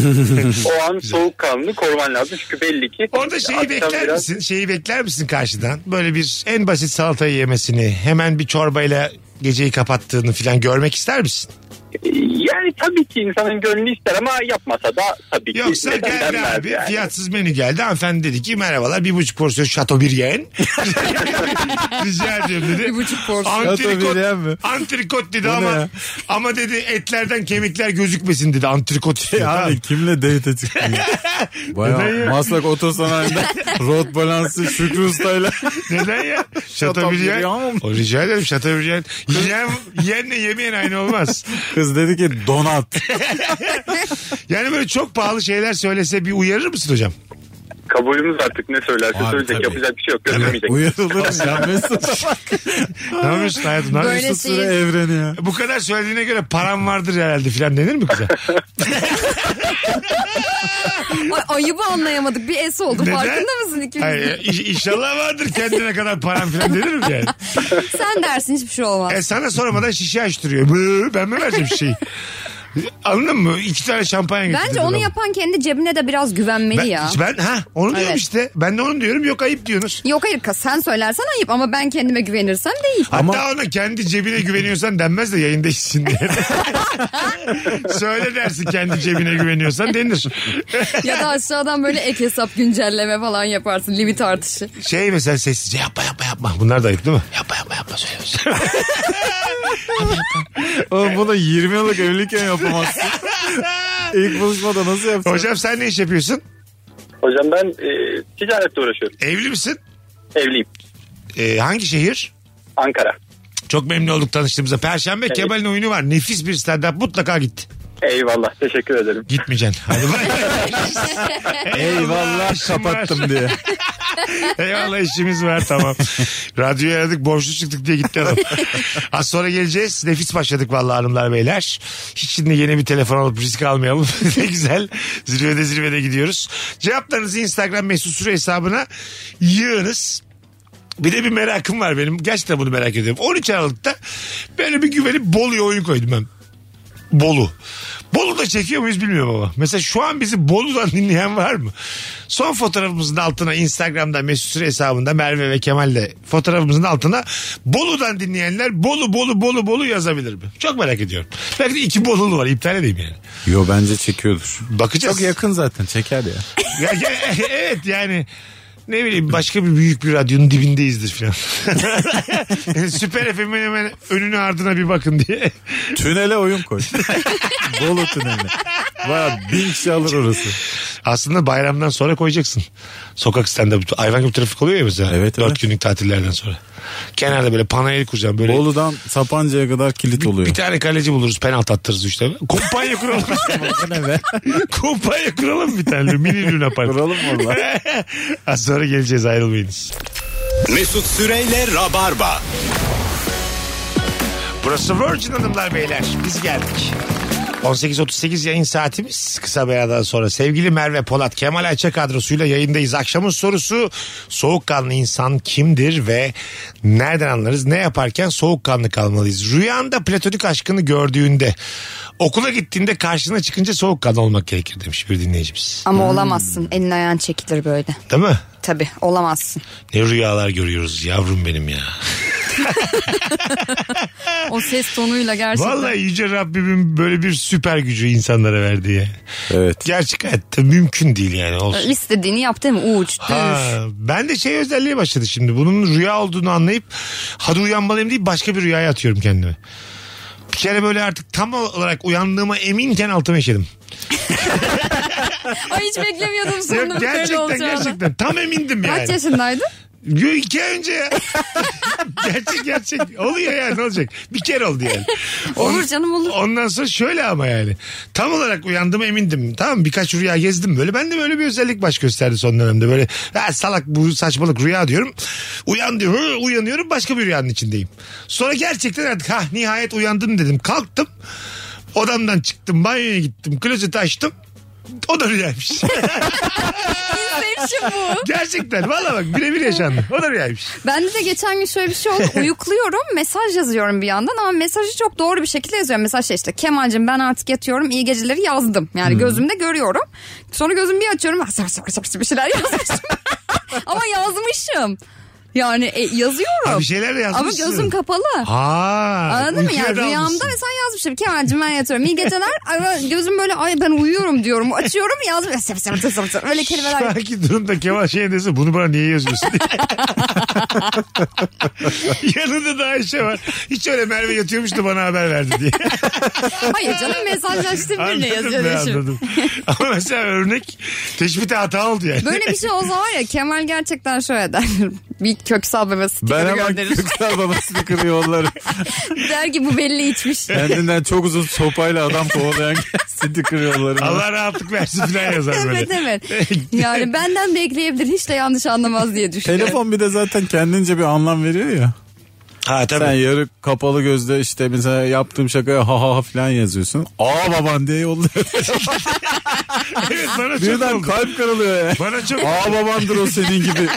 [SPEAKER 6] o an soğukkanlı koruman lazım çünkü belli ki.
[SPEAKER 3] Orada şeyi
[SPEAKER 6] akşam
[SPEAKER 3] bekler
[SPEAKER 6] biraz-
[SPEAKER 3] misin? Şeyi bekler misin karşıdan? Böyle bir en basit salatayı yemesini, hemen bir çorbayla geceyi kapattığını falan görmek ister misin?
[SPEAKER 6] E, Yani tabii ki insanın gönlü ister ama yapmasa da tabii ki.
[SPEAKER 3] Yoksa
[SPEAKER 6] neden
[SPEAKER 3] geldi
[SPEAKER 6] denmez
[SPEAKER 3] abi
[SPEAKER 6] yani.
[SPEAKER 3] fiyatsız menü geldi. Hanımefendi dedi ki merhabalar bir buçuk porsiyon şato bir yeğen. Rica ediyorum dedi.
[SPEAKER 4] Bir buçuk porsiyon.
[SPEAKER 5] Şato
[SPEAKER 3] Antrikot,
[SPEAKER 5] bir yeğen mi?
[SPEAKER 3] antrikot dedi
[SPEAKER 5] ne
[SPEAKER 3] ama
[SPEAKER 5] ya?
[SPEAKER 3] ama dedi etlerden kemikler gözükmesin dedi antrikot. istiyor.
[SPEAKER 5] Ya
[SPEAKER 3] Tamam.
[SPEAKER 5] E abi kimle date çıktın? ya?
[SPEAKER 3] Neden ya?
[SPEAKER 5] Bayağı Maslak Otosanay'ında Rod Balansı Şükrü Usta'yla.
[SPEAKER 3] Neden ya? Şato bir yeğen.
[SPEAKER 5] Şatabiryen.
[SPEAKER 3] O rica ederim şato bir yeğen. Yiyen, yiyenle yemeyen aynı olmaz.
[SPEAKER 5] Kız dedi ki donat.
[SPEAKER 3] Yani böyle çok pahalı şeyler söylese bir uyarır mısın hocam?
[SPEAKER 6] Kabulümüz artık ne söylerse
[SPEAKER 3] Abi
[SPEAKER 6] söyleyecek
[SPEAKER 3] tabii.
[SPEAKER 6] yapacak bir şey yok. Götürmeyecek.
[SPEAKER 5] Uyarılır ya Mesut.
[SPEAKER 3] Ne yapıyorsun hayatım? Ne yapıyorsun?
[SPEAKER 4] Böyle
[SPEAKER 5] Mesut Süre
[SPEAKER 4] değil.
[SPEAKER 5] evreni ya.
[SPEAKER 3] Bu kadar söylediğine göre param vardır herhalde filan denir mi kıza?
[SPEAKER 4] Ay, ayıbı anlayamadık. Bir es oldu.
[SPEAKER 3] Neden?
[SPEAKER 4] Farkında mısın ikimiz?
[SPEAKER 3] Hayır, iş- inşallah vardır kendine kadar param filan denir mi yani?
[SPEAKER 4] Sen dersin hiçbir şey olmaz.
[SPEAKER 3] E sana sormadan şişe açtırıyor. Bıı, Ben mi vereceğim şişeyi? Anladın mı? İki tane şampanya getirdim.
[SPEAKER 4] Bence onu yapan kendi cebine de biraz güvenmeli
[SPEAKER 3] ben,
[SPEAKER 4] ya.
[SPEAKER 3] Ben ha onu diyorum
[SPEAKER 4] Evet.
[SPEAKER 3] işte. Ben de onu diyorum. Yok ayıp diyorsunuz.
[SPEAKER 4] Yok hayır kız, sen söylersen ayıp ama ben kendime güvenirsem değil.
[SPEAKER 3] Hatta ona kendi cebine güveniyorsan denmez de yayında işsin diye. Söyle dersin kendi cebine güveniyorsan denir.
[SPEAKER 4] ya da aşağıdan böyle ek hesap güncelleme falan yaparsın limit artışı.
[SPEAKER 3] Şey mesela sessizce yapma yapma yapma. Bunlar da ayıp değil mi? Yapma yapma yapma söylüyorsun.
[SPEAKER 5] Oğlum bunu 20 yıllık evlilikken yapamazsın. İlk buluşmada nasıl yapacaksın?
[SPEAKER 3] Hocam sen ne iş yapıyorsun?
[SPEAKER 6] Hocam ben e, ticaretle uğraşıyorum.
[SPEAKER 3] Evli misin?
[SPEAKER 6] Evliyim.
[SPEAKER 3] Ee, hangi şehir?
[SPEAKER 6] Ankara.
[SPEAKER 3] Çok memnun olduk tanıştığımıza. Perşembe Kemal'in oyunu var. Nefis bir stand-up. Mutlaka git.
[SPEAKER 6] Eyvallah teşekkür ederim.
[SPEAKER 3] Gitmeyeceksin. Hadi bay bay.
[SPEAKER 5] Eyvallah
[SPEAKER 3] işim var.
[SPEAKER 5] kapattım diye.
[SPEAKER 3] Eyvallah işimiz var tamam. Radyoyu aradık borçlu çıktık diye gitti adam. Az sonra geleceğiz. Nefis başladık vallahi hanımlar beyler. Hiç şimdi yeni bir telefon alıp risk almayalım. ne güzel. Zirvede zirvede gidiyoruz. Cevaplarınızı Instagram mesut süre hesabına yığınız. Bir de bir merakım var benim. Gerçekten bunu merak ediyorum. 13 Aralık'ta böyle bir güvenip Bolu'ya oyun koydum ben. Bolu. Bolu'da çekiyor muyuz bilmiyorum ama. Mesela şu an bizi Bolu'dan dinleyen var mı? Son fotoğrafımızın altına Instagram'da Mesut Süre hesabında Merve ve Kemal de fotoğrafımızın altına Bolu'dan dinleyenler Bolu Bolu Bolu Bolu yazabilir mi? Çok merak ediyorum. Belki de iki Bolulu var iptal edeyim yani.
[SPEAKER 5] Yo bence çekiyordur.
[SPEAKER 3] Bakacağız.
[SPEAKER 5] Çok yakın zaten çeker ya.
[SPEAKER 3] Ya- ya- evet yani ne bileyim başka bir büyük bir radyonun dibindeyizdir filan. Süper FM'in hemen önüne ardına bir bakın diye.
[SPEAKER 5] Tünele oyun koy. Bolu tüneli. Baya bin kişi alır orası.
[SPEAKER 3] Aslında bayramdan sonra koyacaksın. Sokak stand Hayvan gibi trafik oluyor ya mesela.
[SPEAKER 5] Evet,
[SPEAKER 3] Dört
[SPEAKER 5] evet.
[SPEAKER 3] günlük tatillerden sonra. Kenarda böyle panayır kuracağım. Böyle
[SPEAKER 5] Bolu'dan Sapanca'ya kadar kilit
[SPEAKER 3] bir,
[SPEAKER 5] oluyor.
[SPEAKER 3] bir tane kaleci buluruz. Penaltı attırırız işte. Kumpanya kuralım. Kumpanya kuralım bir tane. Mini Luna Park.
[SPEAKER 5] Kuralım valla.
[SPEAKER 3] Az sonra geleceğiz ayrılmayınız.
[SPEAKER 2] Mesut Süreyle Rabarba.
[SPEAKER 3] Burası Virgin Hanımlar Beyler. Biz geldik. 18.38 yayın saatimiz. Kısa bir aradan sonra sevgili Merve Polat Kemal Ayça kadrosuyla yayındayız. Akşamın sorusu soğukkanlı insan kimdir ve nereden anlarız? Ne yaparken soğukkanlı kalmalıyız? Rüyanda platonik aşkını gördüğünde okula gittiğinde karşına çıkınca soğukkanlı olmak gerekir demiş bir dinleyicimiz.
[SPEAKER 4] Ama olamazsın elin ayağın çekilir böyle.
[SPEAKER 3] Değil mi?
[SPEAKER 4] Tabi olamazsın.
[SPEAKER 3] Ne rüyalar görüyoruz yavrum benim ya.
[SPEAKER 4] O ses tonuyla gerçekten.
[SPEAKER 3] Vallahi yüce Rabbimin böyle bir süper gücü insanlara verdi ya.
[SPEAKER 5] Evet.
[SPEAKER 3] Gerçek hayatta mümkün değil yani olsun.
[SPEAKER 4] İstediğini yap değil mi? Uç, düş.
[SPEAKER 3] Ha, ben de şey özelliği başladı şimdi. Bunun rüya olduğunu anlayıp hadi uyanmalıyım deyip başka bir rüyaya atıyorum kendimi. Bir kere böyle artık tam olarak uyandığıma eminken altıma işedim.
[SPEAKER 4] Ay hiç beklemiyordum
[SPEAKER 3] Ya
[SPEAKER 4] sonunda böyle
[SPEAKER 3] gerçekten
[SPEAKER 4] olacağını.
[SPEAKER 3] gerçekten tam emindim yani.
[SPEAKER 4] Kaç yaşındaydın?
[SPEAKER 3] Yo, iki ay önce ya. gerçek gerçek. Oluyor yani ne olacak. Bir kere oldu yani.
[SPEAKER 4] Olur canım, olur.
[SPEAKER 3] Ondan sonra şöyle ama yani. Tam olarak uyandım emindim. Tamam birkaç rüya gezdim böyle. Ben de böyle bir özellik baş gösterdi son dönemde. Böyle ha, salak bu saçmalık rüya diyorum. Uyan diyor. hı, Uyanıyorum başka bir rüyanın içindeyim. Sonra gerçekten artık ha nihayet uyandım dedim. Kalktım. Odamdan çıktım banyoya gittim. Klozeti açtım. O da rüyaymış.
[SPEAKER 4] Sevişim bu.
[SPEAKER 3] Gerçekten valla bak birebir yaşandı. O da rüyaymış.
[SPEAKER 4] Bende de geçen gün şöyle bir şey oldu. Uyukluyorum mesaj yazıyorum bir yandan ama mesajı çok doğru bir şekilde yazıyorum. Mesaj şey işte Kemal'cim ben artık yatıyorum iyi geceleri yazdım. Yani
[SPEAKER 3] Hmm.
[SPEAKER 4] gözümde görüyorum. Sonra gözümü bir açıyorum. "Ah, sar, sar, sar, sar," Bir şeyler yazmışım. ama yazmışım. Yani e, yazıyorum.
[SPEAKER 3] Ha, bir şeyler de
[SPEAKER 4] ama
[SPEAKER 3] şey yazmışsın.
[SPEAKER 4] gözüm kapalı.
[SPEAKER 3] Ha,
[SPEAKER 4] Anladın mı?
[SPEAKER 3] uykuya
[SPEAKER 4] Yani
[SPEAKER 3] dalmışsın.
[SPEAKER 4] rüyamda mesela yazmışım. Kemal'cim ben yatıyorum. İyi geceler. Ama gözüm böyle ay ben uyuyorum diyorum. Açıyorum yazmış. Sap, sap, sap, sap. Böyle kelimeler.
[SPEAKER 3] Belki durumda Kemal şey desin bunu bana niye yazıyorsun Yanında da Ayşe var. Hiç öyle Merve yatıyormuş da bana haber verdi diye.
[SPEAKER 4] Hayır canım mesajlaştım birine yazıyor.
[SPEAKER 3] ben
[SPEAKER 4] demişim.
[SPEAKER 3] anladım. Ama mesela örnek teşbite hata oldu yani.
[SPEAKER 4] Böyle bir şey olsa var ya Kemal gerçekten şöyle der. Bir köksal bebe
[SPEAKER 5] Ben
[SPEAKER 4] stikeri
[SPEAKER 5] hemen
[SPEAKER 4] gönderir.
[SPEAKER 5] Köksal babasını kırıyor onları.
[SPEAKER 4] Der ki bu belli içmiş.
[SPEAKER 5] Kendinden çok uzun sopayla adam kovalayan seni kırıyorlar.
[SPEAKER 3] Allah rahatlık versin filan yazar böyle.
[SPEAKER 4] evet evet. Yani benden bekleyebilir hiç de yanlış anlamaz diye düşünüyorum.
[SPEAKER 5] Telefon bir de zaten kendince bir anlam veriyor ya.
[SPEAKER 3] Ha tabii.
[SPEAKER 5] Sen yarı kapalı gözle işte mesela yaptığım şakaya ha ha ha falan yazıyorsun. Aa baban diye yolluyor.
[SPEAKER 3] Evet, bana çok
[SPEAKER 5] Birden
[SPEAKER 3] oldu.
[SPEAKER 5] kalp kırılıyor ya.
[SPEAKER 3] Bana çok,
[SPEAKER 5] Aa babandır o senin gibi.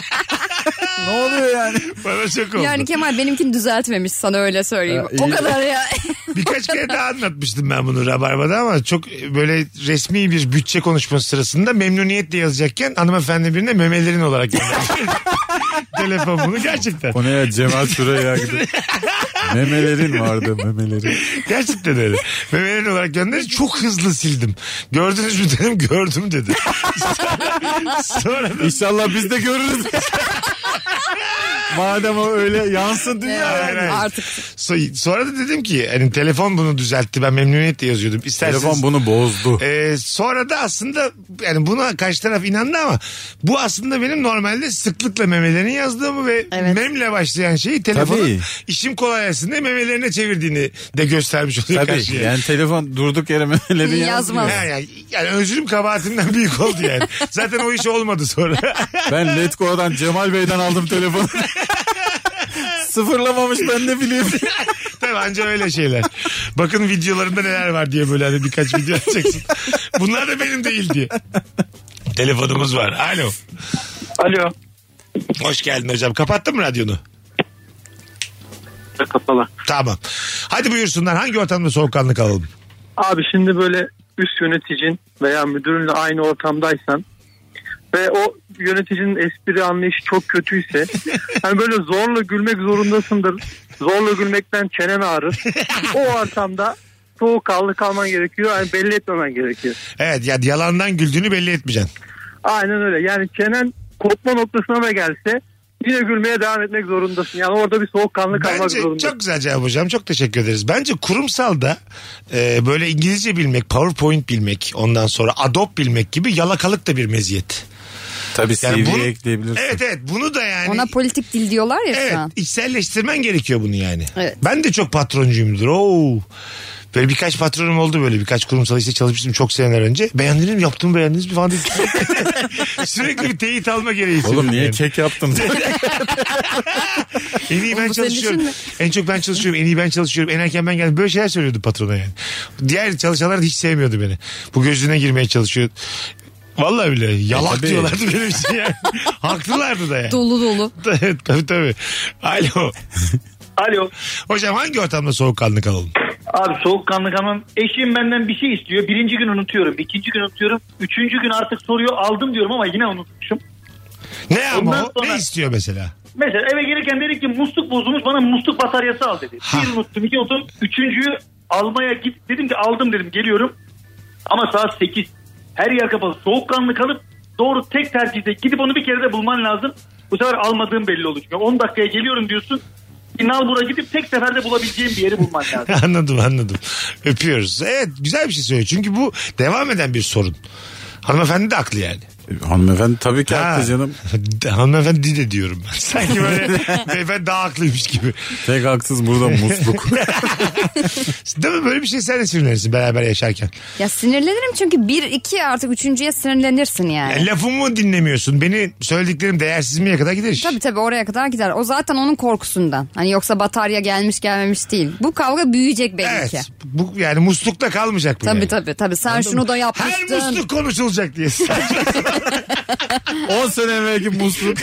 [SPEAKER 5] ne oluyor yani?
[SPEAKER 3] bana çok oldu.
[SPEAKER 4] Yani Kemal benimkini düzeltmemiş sana öyle söyleyeyim.
[SPEAKER 5] Ya,
[SPEAKER 4] o
[SPEAKER 5] iyi.
[SPEAKER 4] kadar ya.
[SPEAKER 3] Birkaç kere daha anlatmıştım ben bunu Rabarba'da ama çok böyle resmi bir bütçe konuşması sırasında memnuniyetle yazacakken hanımefendi birine memelerin olarak gönderdim. Telefon bunu gerçekten.
[SPEAKER 5] Konuya Cemal Süreyya gidip. memelerin vardı memelerin.
[SPEAKER 3] Gerçekten öyle. Memelerin olarak gönderdi. Çok hızlı sildim. Gördünüz mü dedim. Gördüm dedi. Sonra- Sonra da
[SPEAKER 5] İnşallah biz de görürüz. Madem o öyle yansın dünya.
[SPEAKER 3] Hayır, hayır.
[SPEAKER 4] Artık
[SPEAKER 3] So- Sonra da dedim ki hani telefon bunu düzeltti. Ben memnuniyetle yazıyordum. İsterseniz
[SPEAKER 5] Telefon bunu bozdu.
[SPEAKER 3] Ee, sonra da aslında yani buna karşı taraf inandı ama bu aslında benim normalde sıklıkla memelerini yazdığımı ve
[SPEAKER 4] Evet.
[SPEAKER 3] memle başlayan şeyi telefonun
[SPEAKER 5] Tabii.
[SPEAKER 3] işim kolay gelsin diye memelerine çevirdiğini de göstermiş oluyor
[SPEAKER 5] Tabii
[SPEAKER 3] karşıya.
[SPEAKER 5] yani telefon durduk yere memelerin
[SPEAKER 4] Yazmaz.
[SPEAKER 5] yazmaz.
[SPEAKER 3] Ha, yani, yani özrüm kabahatimden büyük oldu yani. Zaten o iş olmadı sonra.
[SPEAKER 5] Ben Letgo'dan Cemal Bey'den aldım telefonu. Sıfırlamamış ben ne bileyim.
[SPEAKER 3] Tabii anca öyle şeyler. Bakın videolarında neler var diye böyle hani birkaç video açacaksın. Bunlar da benim değil diye. Telefonumuz var. Alo.
[SPEAKER 7] Alo.
[SPEAKER 3] Hoş geldin hocam. Kapattın mı radyonu?
[SPEAKER 7] Kapalı.
[SPEAKER 3] Tamam. Hadi buyursunlar. Hangi ortamda soğukkanlı kalalım?
[SPEAKER 7] Abi şimdi böyle üst yöneticin veya müdürünle aynı ortamdaysan ve o yöneticinin espri anlayışı çok kötüyse hani böyle zorla gülmek zorundasındır. Zorla gülmekten çenen ağrır. O ortamda soğukkanlı kalman gerekiyor. Yani belli etmemen gerekiyor.
[SPEAKER 3] Evet ya yalandan güldüğünü belli etmeyeceksin.
[SPEAKER 7] Aynen öyle. Yani çenen kopma noktasına da gelse yine gülmeye devam etmek zorundasın. Yani orada bir soğukkanlı kalmak
[SPEAKER 3] Bence
[SPEAKER 7] zorundasın.
[SPEAKER 3] çok güzel cevap hocam. Çok teşekkür ederiz. Bence kurumsalda e, böyle İngilizce bilmek, PowerPoint bilmek, ondan sonra Adobe bilmek gibi yalakalık da bir meziyet.
[SPEAKER 5] Tabii
[SPEAKER 3] Yani bunu-
[SPEAKER 5] CV'ye ekleyebilirsin.
[SPEAKER 3] Evet evet bunu da yani
[SPEAKER 4] ona politik dil diyorlar ya
[SPEAKER 3] Hani- Evet
[SPEAKER 4] şu an.
[SPEAKER 3] içselleştirmen gerekiyor bunu yani.
[SPEAKER 4] Evet.
[SPEAKER 3] Ben de çok patroncuyumdur. Oo. Böyle birkaç patronum oldu böyle birkaç kurumsal işte çalışmıştım çok seneler önce. Beğendiniz mi yaptım beğendiniz mi falan diye sürekli- sürekli bir teyit alma gereği
[SPEAKER 5] Oğlum
[SPEAKER 3] hissediyorum
[SPEAKER 5] niye
[SPEAKER 3] yani.
[SPEAKER 5] kek E, yaptım?
[SPEAKER 3] En iyi ben
[SPEAKER 4] Oğlum bu senin
[SPEAKER 3] çalışıyorum.
[SPEAKER 4] işin mi?
[SPEAKER 3] En çok ben çalışıyorum. En iyi ben çalışıyorum. En erken ben geldim. Böyle şeyler söylüyordu patrona yani. Diğer çalışanlar hiç sevmiyordu beni. Bu gözüne girmeye çalışıyor. Vallahi bile
[SPEAKER 7] E
[SPEAKER 3] yalak
[SPEAKER 5] tabii.
[SPEAKER 3] diyorlardı benim için yani. Haklılardı da yani.
[SPEAKER 4] Dolu dolu.
[SPEAKER 3] Evet, tabii tabii. Alo.
[SPEAKER 7] Alo.
[SPEAKER 3] Hocam hangi ortamda soğukkanlı kalalım?
[SPEAKER 7] Abi soğukkanlı kalmam. Eşim benden bir şey istiyor. Birinci gün unutuyorum. ikinci gün unutuyorum. Üçüncü gün artık soruyor. Aldım diyorum ama yine unutmuşum.
[SPEAKER 3] Ne ama
[SPEAKER 7] Ondan
[SPEAKER 3] o?
[SPEAKER 7] sonra-
[SPEAKER 3] Ne istiyor mesela?
[SPEAKER 7] Mesela eve gelirken dedi ki musluk bozulmuş bana musluk bataryası al dedi.
[SPEAKER 3] Ha.
[SPEAKER 7] Bir unuttum iki unuttum. Üçüncüyü almaya git dedim ki aldım dedim geliyorum. Ama saat 8 her yer kapalı soğukkanlı kalıp doğru tek tercihte gidip onu bir kere de bulman lazım. Bu sefer almadığın belli olacak. 10 dakikaya geliyorum diyorsun. Nalbur'a gidip tek seferde bulabileceğim bir yeri bulman lazım.
[SPEAKER 3] anladım anladım. Öpüyoruz. Evet güzel bir şey söylüyor. Çünkü bu devam eden bir sorun. Hanımefendi de haklı yani.
[SPEAKER 5] Hanımefendi tabii ki
[SPEAKER 3] Ha.
[SPEAKER 5] haklı canım.
[SPEAKER 3] Hanımefendi de diyorum ben. Sanki böyle beyefendi daha haklıymış gibi.
[SPEAKER 5] Tek haksız burada musluk.
[SPEAKER 3] Değil mi? Böyle bir şey sen de sinirlenirsin beraber yaşarken.
[SPEAKER 4] Ya sinirlenirim çünkü bir iki artık üçüncüye sinirlenirsin yani.
[SPEAKER 3] Yani E, lafımı dinlemiyorsun. Beni söylediklerim değersiz miye kadar gider iş.
[SPEAKER 4] Tabii tabii oraya kadar gider. O zaten onun korkusundan. Hani yoksa batarya gelmiş gelmemiş değil. Bu kavga büyüyecek belli
[SPEAKER 3] Evet.
[SPEAKER 4] ki.
[SPEAKER 3] Bu yani muslukta kalmayacak bu.
[SPEAKER 4] Tabii
[SPEAKER 3] yani.
[SPEAKER 4] tabii tabii. Sen şunu da
[SPEAKER 3] Her
[SPEAKER 4] yapmıştın.
[SPEAKER 3] musluk konuşulacak diye.
[SPEAKER 5] 10 sene evvelki musluk.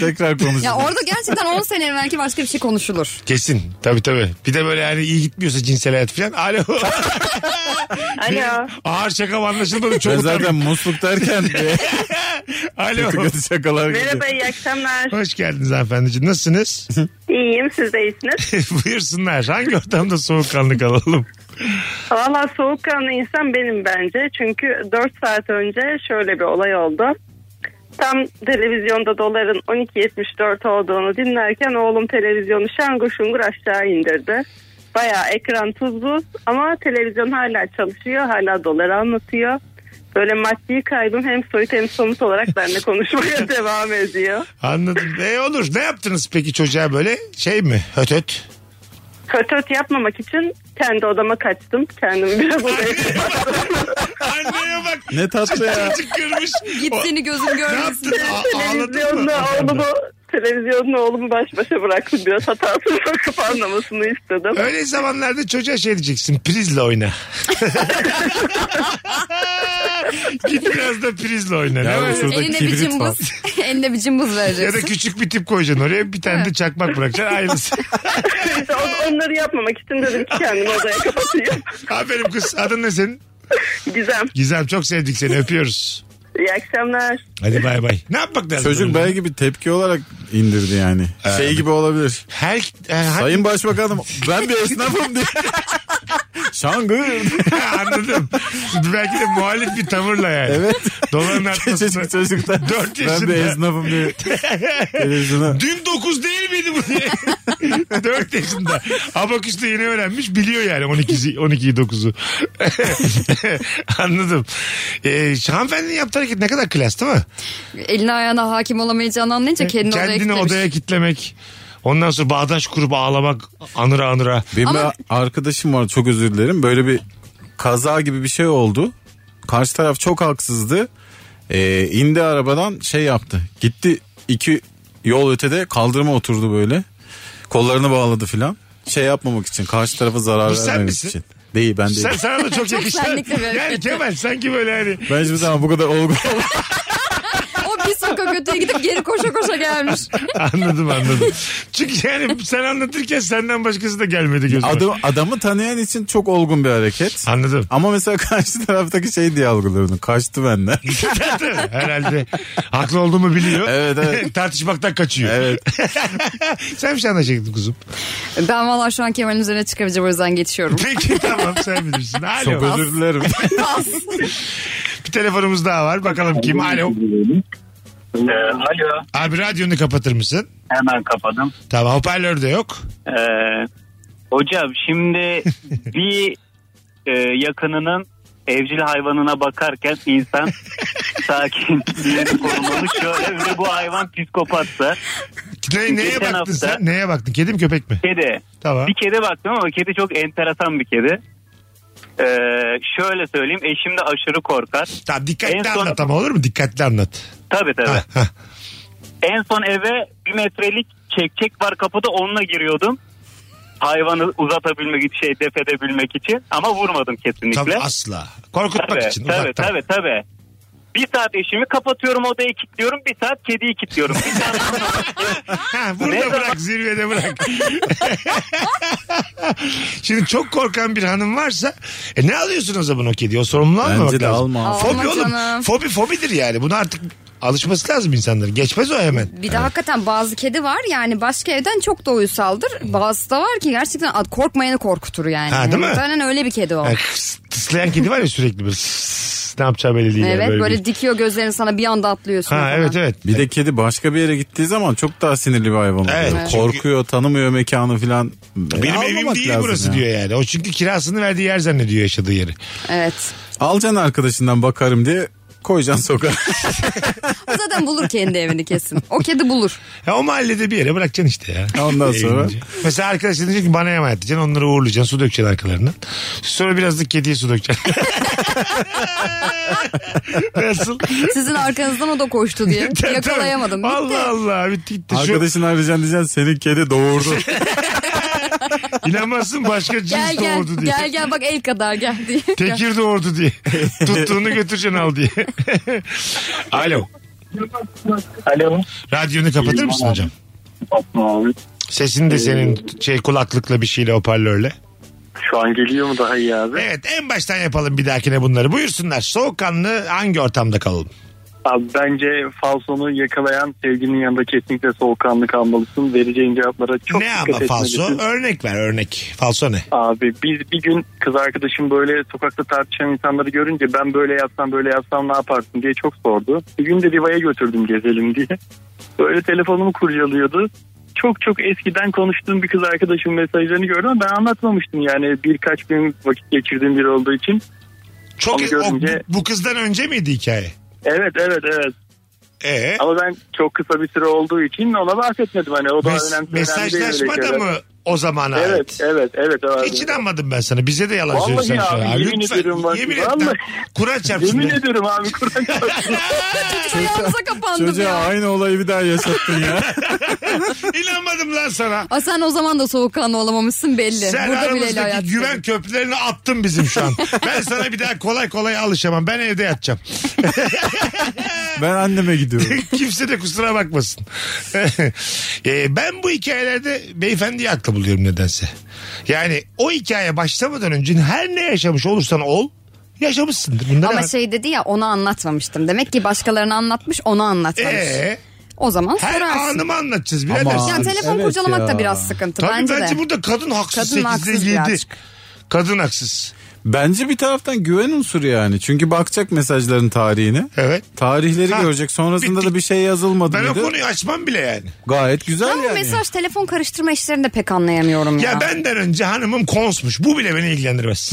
[SPEAKER 5] Tekrar
[SPEAKER 4] Ya
[SPEAKER 5] konuşalım.
[SPEAKER 4] orada gerçekten 10 sene evvelki başka bir şey konuşulur.
[SPEAKER 3] Kesin. Tabii tabii. Bir de böyle yani iyi gitmiyorsa cinsel hayat falan. Alo.
[SPEAKER 8] Alo.
[SPEAKER 3] Ağır şakam anlaşılmadı. Çok
[SPEAKER 5] Ben
[SPEAKER 3] utandım.
[SPEAKER 5] zaten musluk derken de
[SPEAKER 3] Alo.
[SPEAKER 5] kötü kötü şakalar geliyor.
[SPEAKER 8] Merhaba iyi akşamlar.
[SPEAKER 3] Hoş geldiniz hanımefendiciğim. Nasılsınız?
[SPEAKER 8] İyiyim siz de iyisiniz.
[SPEAKER 3] Buyursunlar. Hangi ortamda soğukkanlı kalalım?
[SPEAKER 8] Valla soğukkanlı insan benim bence. Çünkü 4 saat önce şöyle bir olay oldu. Tam televizyonda doların 12.74 olduğunu dinlerken oğlum televizyonu şangır şungur aşağı indirdi. Baya ekran tuz buz ama televizyon hala çalışıyor hala doları anlatıyor. Böyle maddi kaybım hem soyut hem somut olarak benimle konuşmaya devam ediyor.
[SPEAKER 3] Anladım. E olur. Ne yaptınız peki çocuğa böyle? Şey mi? Höt höt.
[SPEAKER 8] Kötü öt yapmamak için kendi odama kaçtım. Kendimi biraz odaya
[SPEAKER 3] Anneye bak.
[SPEAKER 5] Ne tatlı ya.
[SPEAKER 3] Çocuk görmüş.
[SPEAKER 4] Git
[SPEAKER 3] O-
[SPEAKER 4] seni gözüm
[SPEAKER 3] Ne
[SPEAKER 4] görmesin.
[SPEAKER 3] yaptın? A- ağladın mı?
[SPEAKER 8] televizyonla oğlumu televizyonla oğlumu baş başa bıraktım biraz hatasını bakıp anlamasını istedim.
[SPEAKER 3] Öyle zamanlarda çocuğa şey diyeceksin. Prizle oyna. Git biraz da prizle oyna. Ne
[SPEAKER 5] Ya
[SPEAKER 3] var?
[SPEAKER 5] şurada
[SPEAKER 4] Eline bir
[SPEAKER 5] kibrit var.
[SPEAKER 4] cımbız. Eline bir cımbız
[SPEAKER 3] Ya da
[SPEAKER 4] vereceksin.
[SPEAKER 3] küçük bir tip koyacaksın oraya bir tane de çakmak bırakacaksın aynısı.
[SPEAKER 8] İşte on- onları yapmamak için dedim ki kendimi odaya kapatayım.
[SPEAKER 3] Aferin kız adın ne senin?
[SPEAKER 8] Gizem.
[SPEAKER 3] Gizem çok sevdik seni öpüyoruz.
[SPEAKER 8] İyi akşamlar.
[SPEAKER 3] Hadi bay bay. Ne yapmak lazım?
[SPEAKER 5] Çocuk
[SPEAKER 3] böyle?
[SPEAKER 5] belki bir tepki olarak indirdi yani. Şey gibi olabilir.
[SPEAKER 3] Her, e, her-
[SPEAKER 5] Sayın Başbakanım ben bir esnafım diye. Şangır.
[SPEAKER 3] anladım. Belki de muhalif bir tavırla yani.
[SPEAKER 5] Evet.
[SPEAKER 3] Doların artmasına.
[SPEAKER 5] Küçücük çocuktan.
[SPEAKER 3] Dört
[SPEAKER 5] Ben
[SPEAKER 3] yaşında.
[SPEAKER 5] bir esnafım diye. Televizyona.
[SPEAKER 3] Dün 9 değil miydi bu diye. 4 yaşında. Abaküs'te yeni öğrenmiş biliyor yani 12'si 12'yi 9'u. Anladım. Ee, hanımefendinin yaptığı hareket ne kadar klas değil mi?
[SPEAKER 4] Eline ayağına hakim olamayacağını anlayınca kendini, odaya
[SPEAKER 3] E, Kendini
[SPEAKER 4] kilitlemiş.
[SPEAKER 3] odaya kitlemek. Ondan sonra bağdaş kurup ağlamak anıra anıra.
[SPEAKER 5] Benim
[SPEAKER 4] Ama-
[SPEAKER 5] bir arkadaşım var çok özür dilerim. Böyle bir kaza gibi bir şey oldu. Karşı taraf çok haksızdı. Ee, indi arabadan şey yaptı. Gitti iki yol ötede kaldırıma oturdu böyle. Kollarını bağladı filan. Şey yapmamak için karşı tarafa zarar
[SPEAKER 3] Bu sen
[SPEAKER 5] vermemek
[SPEAKER 3] misin?
[SPEAKER 5] için. Değil ben değilim.
[SPEAKER 3] Sen, sana da çok
[SPEAKER 4] Çok
[SPEAKER 3] yakışan.
[SPEAKER 4] senlik de bir
[SPEAKER 3] Yani
[SPEAKER 4] hareket.
[SPEAKER 3] Kemal sanki böyle hani
[SPEAKER 5] Ben hiçbir zaman bu kadar olgun
[SPEAKER 4] O bir sokak öteye gidip geri koşa koşa gelmiş.
[SPEAKER 3] anladım anladım. Çünkü yani sen anlatırken senden başkası da gelmedi gözüme.
[SPEAKER 5] Adam, adamı tanıyan için çok olgun bir hareket.
[SPEAKER 3] Anladım.
[SPEAKER 5] Ama mesela karşı taraftaki şey diye algılarını kaçtı benden.
[SPEAKER 3] Herhalde haklı olduğumu biliyor.
[SPEAKER 5] Evet, evet.
[SPEAKER 3] Tartışmaktan kaçıyor.
[SPEAKER 5] Evet.
[SPEAKER 3] sen bir şey anlaşacaktın kuzum.
[SPEAKER 4] Ben valla şu an Kemal'in üzerine çıkabileceğim o yüzden geçiyorum.
[SPEAKER 3] Peki tamam sen bilirsin.
[SPEAKER 5] Çok
[SPEAKER 3] Alo.
[SPEAKER 5] özür dilerim.
[SPEAKER 3] Bir telefonumuz daha var. Bakalım kim? Alo.
[SPEAKER 2] Ee, alo.
[SPEAKER 3] Abi radyonu kapatır mısın?
[SPEAKER 2] Hemen kapadım.
[SPEAKER 3] Tamam hoparlör de yok.
[SPEAKER 2] Ee, hocam şimdi bir e, yakınının evcil hayvanına bakarken insan sakinliğini korumalı. Şöyle bir de bu hayvan psikopatsa.
[SPEAKER 3] Ne, neye
[SPEAKER 2] Geçen
[SPEAKER 3] baktın
[SPEAKER 2] hafta-
[SPEAKER 3] sen? Neye baktın? Kedi mi köpek mi?
[SPEAKER 2] Kedi.
[SPEAKER 3] Tamam.
[SPEAKER 2] Bir kedi baktım ama kedi çok enteresan bir kedi. Ee, şöyle söyleyeyim eşim de aşırı korkar.
[SPEAKER 3] Tamam
[SPEAKER 2] En
[SPEAKER 3] dikkatli
[SPEAKER 2] son-
[SPEAKER 3] anlat ama olur mu? Dikkatli anlat.
[SPEAKER 2] Tabii tabii.
[SPEAKER 3] Ha, ha.
[SPEAKER 2] En son eve bir metrelik çekçek var kapıda onunla giriyordum. Hayvanı uzatabilmek için, şey def edebilmek için. Ama vurmadım kesinlikle.
[SPEAKER 3] Tabii asla. Korkutmak
[SPEAKER 2] tabii,
[SPEAKER 3] için.
[SPEAKER 2] tabii,
[SPEAKER 3] uzaktan.
[SPEAKER 2] tabii, tabii. Bir saat eşimi kapatıyorum odayı kilitliyorum. Bir saat kediyi kilitliyorum. Bir saat
[SPEAKER 3] Ha, burada
[SPEAKER 2] Ne zaman-
[SPEAKER 3] bırak zirvede bırak. Şimdi çok korkan bir hanım varsa e ne alıyorsun o zaman o kediyi? O sorumluluğu almamak
[SPEAKER 5] Bence de
[SPEAKER 3] lazım.
[SPEAKER 5] alma.
[SPEAKER 4] Aa.
[SPEAKER 3] Fobi
[SPEAKER 4] Alma
[SPEAKER 3] oğlum.
[SPEAKER 4] canım.
[SPEAKER 3] Fobi fobidir yani. Bunu artık alışması lazım insanların. Geçmez o hemen.
[SPEAKER 4] Bir de hakikaten bazı kedi var yani başka evden çok da uysaldır. Bazısı da var ki gerçekten ad- korkmayanı korkutur yani.
[SPEAKER 3] Ha, değil mi? E,
[SPEAKER 4] Muhtemelen öyle bir kedi o.
[SPEAKER 3] Yani kıs- tıslayan kedi var ya sürekli böyle "Sss" ne yapacağı belli değil. yani,
[SPEAKER 4] Evet böyle,
[SPEAKER 3] bir-
[SPEAKER 4] dikiyor gözlerini sana bir anda atlıyorsun.
[SPEAKER 3] Ha
[SPEAKER 4] falan.
[SPEAKER 3] evet evet.
[SPEAKER 5] Bir de kedi başka bir yere gittiği zaman çok daha sinirli bir hayvan oluyor.
[SPEAKER 3] Evet, çünkü-
[SPEAKER 5] Korkuyor, tanımıyor mekanı filan.
[SPEAKER 3] Benim
[SPEAKER 5] Almamak
[SPEAKER 3] evim değil
[SPEAKER 5] lazım
[SPEAKER 3] burası
[SPEAKER 5] ya.
[SPEAKER 3] diyor yani. O çünkü kirasını verdiği yer zannediyor yaşadığı yeri.
[SPEAKER 4] Evet.
[SPEAKER 5] Alacaksın arkadaşından bakarım diye koyacaksın sokağa.
[SPEAKER 4] O zaten bulur kendi evini kesin. O kedi bulur.
[SPEAKER 3] Ya o mahallede bir yere bırakacaksın işte ya.
[SPEAKER 5] Ondan sonra-
[SPEAKER 3] Eğlenince. Mesela arkadaşın diyecek ki bana emanet edeceksin. Onları uğurlayacaksın. Su dökeceksin arkalarından. Sonra biraz da kediye su dökeceksin. Nasıl?
[SPEAKER 4] Sizin arkanızdan o da koştu diye. Yakalayamadım. Bitti.
[SPEAKER 3] Allah Allah bitti gitti. Şu,
[SPEAKER 5] Arkadaşını arayacaksın diyeceksin senin kedi doğurdu.
[SPEAKER 3] inanmazsın başka cins
[SPEAKER 4] Gel gel
[SPEAKER 3] doğurdu diye.
[SPEAKER 4] gel gel bak el kadar gel diye.
[SPEAKER 3] Tekir doğurdu diye. Tuttuğunu götüreceksin al diye. Alo.
[SPEAKER 2] Alo.
[SPEAKER 3] Radyonu kapatır mısın hocam?
[SPEAKER 10] Abi,
[SPEAKER 3] Sesini de senin şey kulaklıkla bir şeyle hoparlörle.
[SPEAKER 10] şu an geliyor mu daha iyi abi?
[SPEAKER 3] Evet en baştan yapalım bir dahakine bunları. Buyursunlar. Soğukkanlı hangi ortamda kalalım?
[SPEAKER 10] Abi bence falsonu yakalayan sevginin yanında kesinlikle soğukkanlı kalmalısın. Vereceğin cevaplara çok
[SPEAKER 3] ne
[SPEAKER 10] dikkat
[SPEAKER 3] ama falso?
[SPEAKER 10] etmelisin.
[SPEAKER 3] Örnek ver örnek. Falso ne?
[SPEAKER 10] Abi biz bir gün kız arkadaşım böyle sokakta tartışan insanları görünce ben böyle yapsam böyle yapsam ne yaparsın diye çok sordu. Bir gün de Riva'ya götürdüm gezelim diye. Böyle telefonumu kurcalıyordu. Çok çok eskiden konuştuğum bir kız arkadaşım mesajlarını gördüm ama ben anlatmamıştım yani birkaç gün vakit geçirdiğim biri olduğu için.
[SPEAKER 3] Çok
[SPEAKER 10] Onu
[SPEAKER 3] o-
[SPEAKER 10] görünce-
[SPEAKER 3] bu, bu kızdan önce miydi hikaye?
[SPEAKER 10] Evet evet evet
[SPEAKER 3] Ee,
[SPEAKER 10] ama ben çok kısa bir süre olduğu için ona bahsetmedim hani o da
[SPEAKER 3] mes-
[SPEAKER 10] önemli önemli değil öyle
[SPEAKER 3] mesajlaşma da
[SPEAKER 10] şeyler.
[SPEAKER 3] mı o zamana
[SPEAKER 6] Evet
[SPEAKER 3] ait.
[SPEAKER 6] evet evet abi.
[SPEAKER 3] Hiç inanmadım ben sana. Bize de yalan
[SPEAKER 6] Vallahi
[SPEAKER 3] söylüyorsun şu an.
[SPEAKER 6] abi,
[SPEAKER 3] Ha,
[SPEAKER 6] yemin
[SPEAKER 3] Lütfen.
[SPEAKER 6] ediyorum bak,
[SPEAKER 3] Yemin
[SPEAKER 6] vallahi.
[SPEAKER 3] et lan. Kura çarpsın.
[SPEAKER 6] Yemin
[SPEAKER 3] de.
[SPEAKER 6] ediyorum abi Kur'an çarpsın.
[SPEAKER 4] Çocuk ayağımıza kapandı
[SPEAKER 5] Çocuğa
[SPEAKER 4] ya.
[SPEAKER 5] aynı olayı bir daha yaşattın ya.
[SPEAKER 3] İnanmadım lan sana.
[SPEAKER 4] Aa, sen o zaman da soğukkanlı olamamışsın belli.
[SPEAKER 3] Sen
[SPEAKER 4] Burada bile el hayat.
[SPEAKER 3] aramızdaki güven köprülerini attın bizim şu an. ben sana bir daha kolay kolay alışamam. Ben evde yatacağım.
[SPEAKER 5] Ben anneme gidiyorum.
[SPEAKER 3] Kimse de kusura bakmasın. Ee, ben bu hikayelerde beyefendiyi haklı buluyorum nedense. Yani o hikaye başlamadan önce her ne yaşamış olursan ol yaşamışsındır. Bunlar
[SPEAKER 4] Ama şey dedi ya onu anlatmamıştım. Demek ki başkalarına anlatmış onu anlatmamış.
[SPEAKER 3] Ee,
[SPEAKER 4] o zaman
[SPEAKER 3] her
[SPEAKER 4] sorarsın.
[SPEAKER 3] anımı anlatacağız birader.
[SPEAKER 5] Ama-
[SPEAKER 4] Yani telefon
[SPEAKER 5] Evet
[SPEAKER 4] kurcalamak
[SPEAKER 5] ya.
[SPEAKER 4] da biraz sıkıntı
[SPEAKER 3] Tabii
[SPEAKER 4] bence,
[SPEAKER 3] bence,
[SPEAKER 4] de.
[SPEAKER 3] burada kadın haksız
[SPEAKER 4] Kadın
[SPEAKER 3] 8'de
[SPEAKER 4] haksız
[SPEAKER 3] 7.
[SPEAKER 4] birazcık.
[SPEAKER 3] Kadın haksız.
[SPEAKER 5] Bence bir taraftan güven unsuru yani. Çünkü bakacak mesajların tarihine.
[SPEAKER 3] Evet.
[SPEAKER 5] Tarihleri
[SPEAKER 3] Ha,
[SPEAKER 5] görecek. Sonrasında
[SPEAKER 3] bitti.
[SPEAKER 5] da bir şey yazılmadı
[SPEAKER 3] Ben o
[SPEAKER 5] dedi.
[SPEAKER 3] konuyu açmam bile yani.
[SPEAKER 5] Gayet güzel
[SPEAKER 4] Ben bu
[SPEAKER 5] yani.
[SPEAKER 4] mesaj telefon karıştırma işlerini de pek anlayamıyorum ya.
[SPEAKER 3] Ya benden önce hanımım konsmuş. Bu bile beni ilgilendirmez.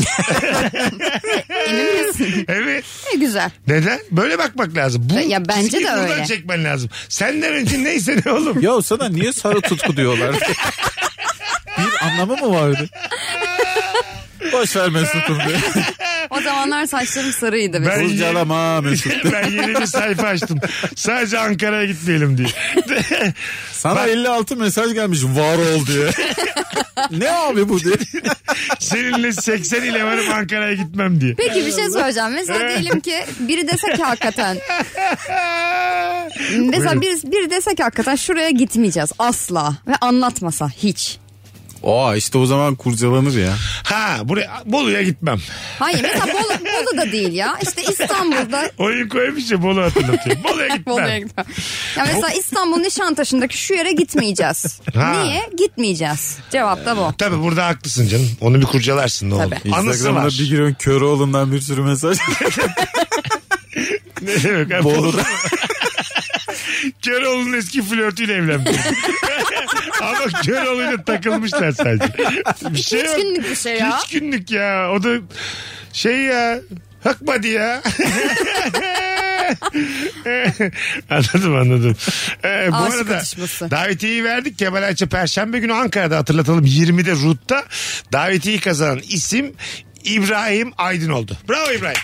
[SPEAKER 4] Emin misin?
[SPEAKER 3] evet.
[SPEAKER 4] ne güzel.
[SPEAKER 3] Neden? Böyle bakmak lazım. Bu
[SPEAKER 4] Ya bence
[SPEAKER 3] çizgiyi
[SPEAKER 4] de
[SPEAKER 3] buradan
[SPEAKER 4] öyle.
[SPEAKER 3] çekmen lazım. Senden önce neyse ne oğlum.
[SPEAKER 5] Ya sana niye sarı tutku diyorlar? bir anlamı mı vardı? Boş ver Mesut'um diye.
[SPEAKER 4] O zamanlar saçlarım sarıydı.
[SPEAKER 3] Ben-
[SPEAKER 4] Ben...
[SPEAKER 5] Kurcalama Mesut.
[SPEAKER 3] ben yeni bir sayfa açtım. Sadece Ankara'ya gitmeyelim diye.
[SPEAKER 5] Sana 56 mesaj gelmiş var ol diye. ne abi bu diye.
[SPEAKER 3] Seninle 80 ile varım Ankara'ya gitmem diye.
[SPEAKER 4] Peki bir şey söyleyeceğim. Mesela diyelim ki biri dese ki hakikaten. Mesela biri, biri dese ki hakikaten şuraya gitmeyeceğiz asla. Ve anlatmasa hiç.
[SPEAKER 5] Aa işte o zaman kurcalanır ya.
[SPEAKER 3] Ha buraya Bolu'ya gitmem.
[SPEAKER 4] Hayır mesela Bolu, Bolu da değil ya. İşte İstanbul'da
[SPEAKER 3] Oyun koymuş ya Bolu hatırlatıyor. Bolu'ya
[SPEAKER 4] Bolu'ya
[SPEAKER 3] gitmem.
[SPEAKER 4] gidiyorum. Ya mesela İstanbul Nişantaşı'ndaki şu yere gitmeyeceğiz.
[SPEAKER 3] Ha.
[SPEAKER 4] Niye? Gitmeyeceğiz. Cevap da bu.
[SPEAKER 3] Tabii burada haklısın canım. Onu bir kurcalarsın ne olur.
[SPEAKER 4] Tabii.
[SPEAKER 3] Anısı
[SPEAKER 5] Instagram'da
[SPEAKER 3] var.
[SPEAKER 5] bir giriyorsun Köroğlu'ndan bir sürü mesaj.
[SPEAKER 3] Ne demek abi?
[SPEAKER 5] Bolu'da.
[SPEAKER 3] Köroğlu'nun eski flörtüyle evlenmiş. Ama Köroğlu'yla takılmışlar sadece. Bir şey
[SPEAKER 4] Hiç
[SPEAKER 3] yok.
[SPEAKER 4] günlük bir şey ya.
[SPEAKER 3] Üç günlük ya. O da şey ya. Hakmadı ya. anladım anladım. Ee, bu
[SPEAKER 4] Aşık
[SPEAKER 3] arada
[SPEAKER 4] atışması.
[SPEAKER 3] davetiyeyi verdik. Kemal Ayça Perşembe günü Ankara'da hatırlatalım 20'de Rut'ta davetiyeyi kazanan isim İbrahim Aydın oldu. Bravo İbrahim.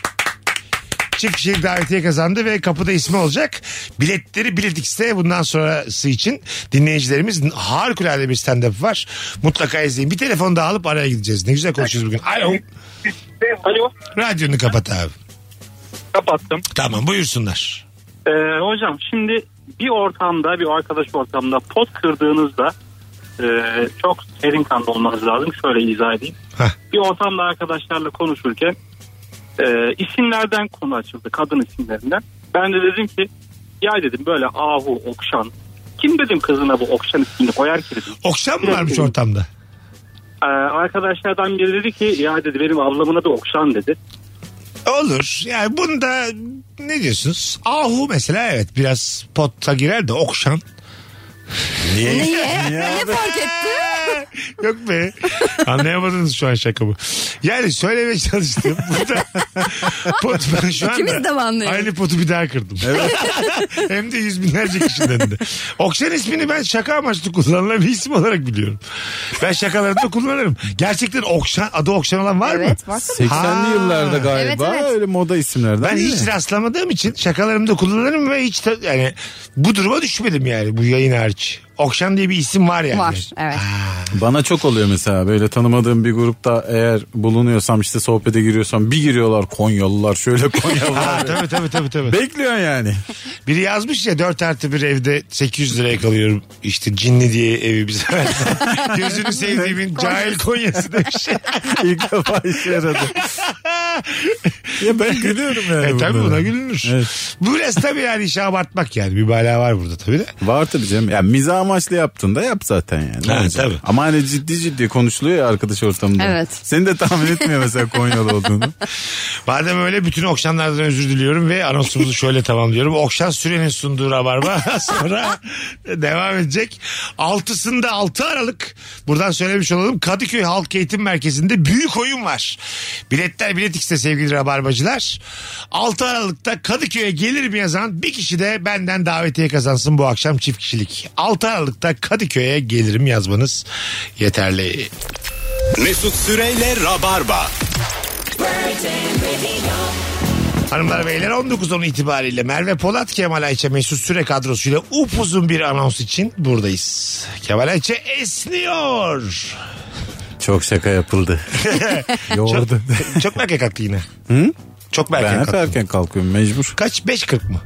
[SPEAKER 3] Çift kişilik davetiye kazandı ve kapıda ismi olacak. Biletleri Bilet X'te bundan sonrası için dinleyicilerimiz harikulade bir stand-up var. Mutlaka izleyin. Bir telefon daha alıp araya gideceğiz. Ne güzel konuşuyoruz bugün. Alo.
[SPEAKER 9] Alo.
[SPEAKER 3] Radyonu kapat abi.
[SPEAKER 9] Kapattım.
[SPEAKER 3] Tamam buyursunlar.
[SPEAKER 9] Ee, hocam şimdi bir ortamda bir arkadaş ortamında pot kırdığınızda e, çok serin kanlı olmanız lazım. Şöyle izah edeyim.
[SPEAKER 3] Hah.
[SPEAKER 9] Bir ortamda arkadaşlarla konuşurken e, isimlerden konu açıldı. Kadın isimlerinden. Ben de dedim ki ya dedim böyle Ahu, Okşan. Kim dedim kızına bu Okşan ismini koyar ki dedim.
[SPEAKER 3] Okşan mı varmış ortamda?
[SPEAKER 9] Ee, arkadaşlardan biri dedi ki ya dedi benim ablamın adı Okşan dedi.
[SPEAKER 3] Olur. Yani bunda ne diyorsunuz? Ahu mesela evet biraz potta girer de okşan.
[SPEAKER 4] Niye? Ne fark etti?
[SPEAKER 3] Yok be. Anlayamadınız şu an şakamı. Yani söylemeye çalıştım. Burada pot ben şu anda
[SPEAKER 4] İkimiz de mi anlıyoruz?
[SPEAKER 3] aynı potu bir daha kırdım. Hem de yüz binlerce kişiden de. Okşan ismini ben şaka amaçlı kullanılan bir isim olarak biliyorum. Ben şakalarda kullanırım. Gerçekten Okşan adı Okşan olan var mı?
[SPEAKER 4] Evet var.
[SPEAKER 5] 80'li yıllarda galiba
[SPEAKER 4] Evet, evet.
[SPEAKER 5] öyle moda isimlerden.
[SPEAKER 3] Ben
[SPEAKER 5] değil
[SPEAKER 3] hiç
[SPEAKER 5] mi?
[SPEAKER 3] rastlamadığım için şakalarımda kullanırım ve hiç ta- yani bu duruma düşmedim yani bu yayın hariç. Okşan diye bir isim var yani.
[SPEAKER 4] Var evet.
[SPEAKER 5] Bana çok oluyor mesela böyle tanımadığım bir grupta eğer bulunuyorsam işte sohbete giriyorsam bir giriyorlar Konyalılar şöyle
[SPEAKER 3] Ha,
[SPEAKER 5] Konyalılar.
[SPEAKER 3] tabii tabii tabii. tabii.
[SPEAKER 5] Bekliyorsun yani.
[SPEAKER 3] Biri yazmış ya 4 artı bir evde 800 liraya kalıyorum. İşte cinli diye evi bize verdi. Gözünü sevdiğimin cahil Konya'sı demiş.
[SPEAKER 5] İlk defa işe yaradı. ya ben gülüyorum yani.
[SPEAKER 3] e tabii
[SPEAKER 5] bunlara.
[SPEAKER 3] buna gülünür. Bu biraz tabii yani işe abartmak yani. Bir bala var burada tabii de.
[SPEAKER 5] Var tabii canım. Ya miza amaçlı yaptın da yap zaten yani. Ne
[SPEAKER 3] Ha,
[SPEAKER 5] olacak?
[SPEAKER 3] tabii.
[SPEAKER 5] Ama hani ciddi ciddi konuşuluyor ya arkadaş ortamında.
[SPEAKER 4] Evet.
[SPEAKER 5] Seni de tahmin etmiyor mesela Konyalı olduğunu.
[SPEAKER 3] Madem öyle bütün okşanlardan özür diliyorum ve anonsumuzu şöyle tamamlıyorum. Okşan Süren'in sunduğu Rabarba sonra devam edecek. Altısında 6 Aralık buradan söylemiş olalım. Kadıköy Halk Eğitim Merkezi'nde büyük oyun var. Biletler Bilet X'te sevgili Rabarbacılar. Rabarbacılar. 6 Aralık'ta Kadıköy'e gelir mi yazan bir kişi de benden davetiye kazansın bu akşam çift kişilik. 6 Aralık'ta Kadıköy'e gelirim yazmanız yeterli.
[SPEAKER 2] Mesut Süreyle Rabarba.
[SPEAKER 3] Hanımlar beyler 19.10 itibariyle Merve Polat, Kemal Ayça, Mesut Süre kadrosuyla upuzun bir anons için buradayız. Kemal Ayça esniyor.
[SPEAKER 5] Çok şaka yapıldı.
[SPEAKER 3] Çok,
[SPEAKER 5] Yoğurdu.
[SPEAKER 3] çok mu erken kalktı yine. Çok mu erken
[SPEAKER 5] Ben hep
[SPEAKER 3] kalktı?
[SPEAKER 5] erken kalkıyorum mecbur.
[SPEAKER 3] Kaç? 5.40 mı?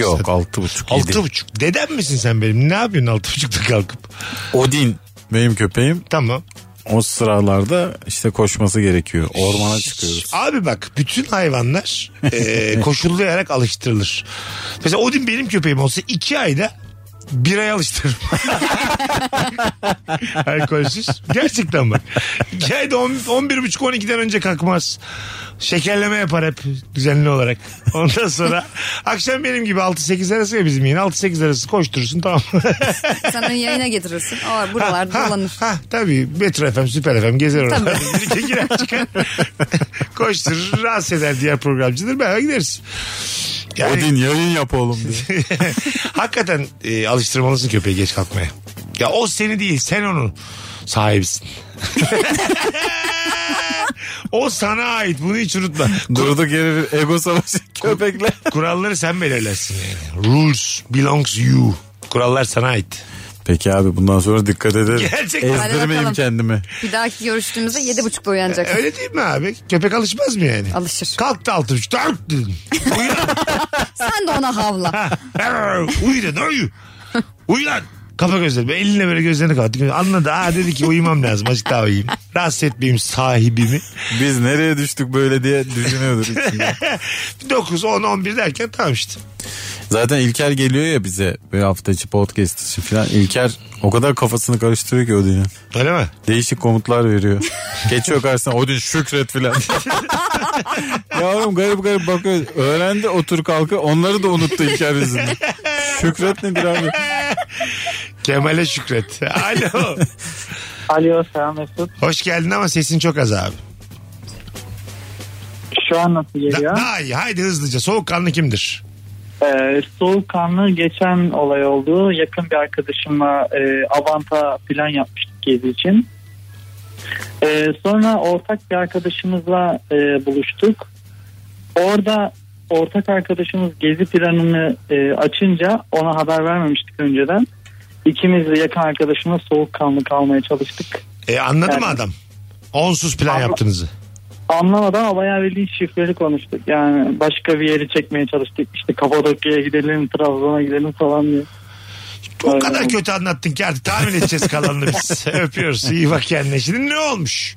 [SPEAKER 5] Yok altı buçuk yedi.
[SPEAKER 3] 6.30. Dedem misin sen benim? Ne yapıyorsun 6.30'da kalkıp?
[SPEAKER 5] Odin benim köpeğim
[SPEAKER 3] Tamam.
[SPEAKER 5] o sıralarda işte koşması gerekiyor. Ormana çıkıyoruz.
[SPEAKER 3] Abi bak bütün hayvanlar e, koşullayarak alıştırılır. Mesela Odin benim köpeğim olsa iki ayda bir ay alıştırırım. Alkolsüz. Gerçekten bak. İki ayda on, on bir buçuk on ikiden önce kalkmaz. Şekerleme yapar hep düzenli olarak. Ondan sonra akşam benim gibi 6-8 arası ya bizim yine. 6-8 arası koşturursun tamam
[SPEAKER 4] Sen onu yayına getirirsin. O buralar
[SPEAKER 3] Ha,
[SPEAKER 4] dolanır.
[SPEAKER 3] Ha, tabii Metro FM, Süper FM gezer oralarda.
[SPEAKER 4] Tabii.
[SPEAKER 3] Bir iki girer çıkar. Koşturur, rahatsız eder diğer programcıdır. Beraber gideriz. Yani,
[SPEAKER 5] Odin yayın yap oğlum diye.
[SPEAKER 3] hakikaten e, alıştırmalısın köpeği geç kalkmaya. Ya o seni değil sen onun sahibisin. o sana ait bunu hiç unutma.
[SPEAKER 5] Durdu geri bir ego savaşı köpekle.
[SPEAKER 3] Kuralları sen belirlersin yani. Rules belongs you. Kurallar sana ait.
[SPEAKER 5] Peki abi bundan sonra dikkat ederim.
[SPEAKER 3] Gerçekten.
[SPEAKER 4] Hadi
[SPEAKER 5] Ezdirmeyeyim
[SPEAKER 4] bakalım.
[SPEAKER 5] kendimi.
[SPEAKER 4] Bir dahaki görüştüğümüzde yedi buçukta uyanacaksın.
[SPEAKER 3] Öyle değil mi abi? Köpek alışmaz mı yani?
[SPEAKER 4] Alışır.
[SPEAKER 3] Kalktı altı üç dört dedim.
[SPEAKER 4] Sen de ona havla.
[SPEAKER 3] uyu dedi uyu. Uyu lan. Kafa gözleri. Eline böyle gözlerini kapattı. Anladı. Ha dedi ki uyumam lazım. Azıcık daha uyuyayım. Rahatsız etmeyeyim sahibimi.
[SPEAKER 5] Biz nereye düştük böyle diye düşünüyordur içinde.
[SPEAKER 3] 9, 10, 11 derken tamam işte.
[SPEAKER 5] Zaten İlker geliyor ya bize bir hafta içi podcast için falan. İlker o kadar kafasını karıştırıyor ki Odin'in.
[SPEAKER 3] Öyle mi?
[SPEAKER 5] Değişik komutlar veriyor. Geçiyor karşısına Odin şükret filan. Yavrum garip garip bakıyor. Öğrendi otur kalkı onları da unuttu İlker yüzünden. Şükret nedir abi?
[SPEAKER 3] Kemal'e şükret. Alo.
[SPEAKER 9] Alo selam Mesut.
[SPEAKER 3] Hoş geldin ama sesin çok az abi.
[SPEAKER 9] Şu an nasıl
[SPEAKER 3] Da-
[SPEAKER 9] geliyor?
[SPEAKER 3] daha iyi. Haydi hızlıca. Soğukkanlı kimdir?
[SPEAKER 9] Ee, soğukkanlı geçen olay oldu. Yakın bir arkadaşımla e, Avanta plan yapmıştık gezi için. Ee, sonra ortak bir arkadaşımızla e, buluştuk. Orada ortak arkadaşımız gezi planını e, açınca ona haber vermemiştik önceden. İkimiz de yakın arkadaşımla soğukkanlı kalmaya çalıştık.
[SPEAKER 3] E, anladı mı
[SPEAKER 9] Yani-
[SPEAKER 3] adam? Onsuz plan
[SPEAKER 9] Anla-
[SPEAKER 3] yaptığınızı.
[SPEAKER 9] Anlamadan ama bayağı bildiğin şifreli konuştuk. Yani başka bir yeri çekmeye çalıştık. İşte Kapadokya'ya gidelim, Trabzon'a gidelim falan diye.
[SPEAKER 3] O
[SPEAKER 9] Aynen.
[SPEAKER 3] kadar kötü anlattın ki artık tahmin edeceğiz kalanını biz. Öpüyoruz. İyi bak kendine. Şimdi ne olmuş?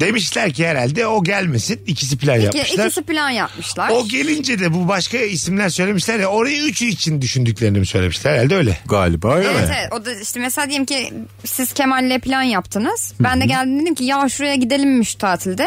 [SPEAKER 3] Demişler ki herhalde o gelmesin. İkisi plan
[SPEAKER 4] Ya
[SPEAKER 3] yapmışlar.
[SPEAKER 4] ikisi plan yapmışlar.
[SPEAKER 3] O gelince de bu başka isimler söylemişler ya orayı üçü için düşündüklerini mi söylemişler herhalde öyle.
[SPEAKER 5] Galiba öyle.
[SPEAKER 4] Evet, evet o da işte mesela diyelim ki siz Kemal'le plan yaptınız. Ben de geldim dedim ki ya şuraya gidelim mi şu tatilde.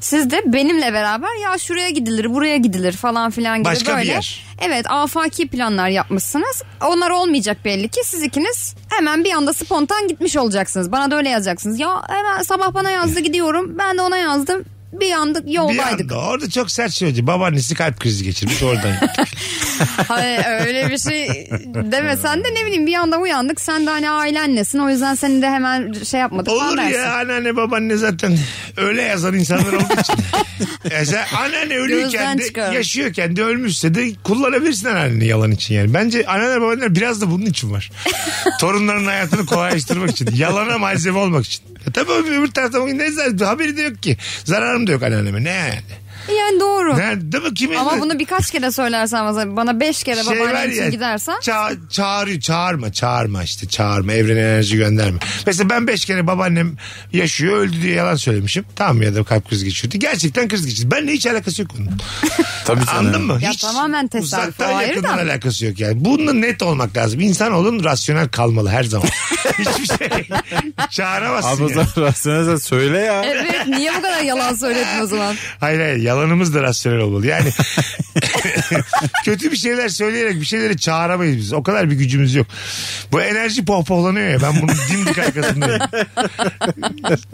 [SPEAKER 4] Siz de benimle beraber ya şuraya gidilir buraya gidilir falan filan gibi
[SPEAKER 3] Başka bir
[SPEAKER 4] böyle.
[SPEAKER 3] yer.
[SPEAKER 4] Evet afaki planlar yapmışsınız. Onlar olmayacak belli ki siz ikiniz hemen bir anda spontan gitmiş olacaksınız. Bana da öyle yazacaksınız. Ya hemen sabah bana yazdı gidiyorum ben de ona yazdım. Bir anda
[SPEAKER 3] Bir
[SPEAKER 4] yoldaydık.
[SPEAKER 3] anda orada çok sert söyledi. Babaannesi kalp krizi geçirmiş oradan.
[SPEAKER 4] Hayır e, öyle bir şey demesen de ne bileyim bir anda uyandık. Sen de hani ailenlesin o yüzden seni de hemen şey yapmadık falan
[SPEAKER 3] Olur
[SPEAKER 4] dersin.
[SPEAKER 3] ya anneanne babaanne zaten öyle yazan insanlar olduğu için. Mesela anneanne ölüyken
[SPEAKER 4] Gözden
[SPEAKER 3] de
[SPEAKER 4] çıkar.
[SPEAKER 3] yaşıyorken de ölmüşse de kullanabilirsin anneanneni yalan için yani. Bence anneanne babaanneler biraz da bunun için var. Torunların hayatını kolaylaştırmak için. Yalana malzeme olmak için. E tabii öbür tarafta ne zarar- haberi de yok ki. Zararım da yok anneanneme ne yani.
[SPEAKER 4] Yani doğru.
[SPEAKER 3] Ne, değil mi? Kimin
[SPEAKER 4] Ama bunu birkaç kere söylersen mesela bana beş kere
[SPEAKER 3] Şey var
[SPEAKER 4] babaannem
[SPEAKER 3] ya,
[SPEAKER 4] için gidersen.
[SPEAKER 3] ça- çağır, çağırma çağırma işte çağırma evrene enerji gönderme. Mesela ben beş kere babaannem yaşıyor öldü diye yalan söylemişim. Tamam ya da kalp krizi geçirdi. Gerçekten kriz geçirdi. Benimle hiç alakası yok onun.
[SPEAKER 5] Tabii canım.
[SPEAKER 3] Anladın mı?
[SPEAKER 4] Ya
[SPEAKER 3] hiç
[SPEAKER 4] tamamen tesadüf, o
[SPEAKER 3] Uzaktan
[SPEAKER 4] ayrı
[SPEAKER 3] yakından
[SPEAKER 4] da.
[SPEAKER 3] alakası yok yani. Bununla net olmak lazım. İnsanoğlunun rasyonel kalmalı her zaman. Hiçbir şey çağıramazsın.
[SPEAKER 5] Abi o
[SPEAKER 3] yani.
[SPEAKER 5] zaman rasyonel sen söyle ya.
[SPEAKER 4] Evet niye bu kadar yalan söyledin o zaman?
[SPEAKER 3] Hayır hayır yalanımız da rasyonel olmalı. Yani kötü bir şeyler söyleyerek bir şeyleri çağıramayız biz. O kadar bir gücümüz yok. Bu enerji pohpohlanıyor ya ben bunun dimdik arkasındayım.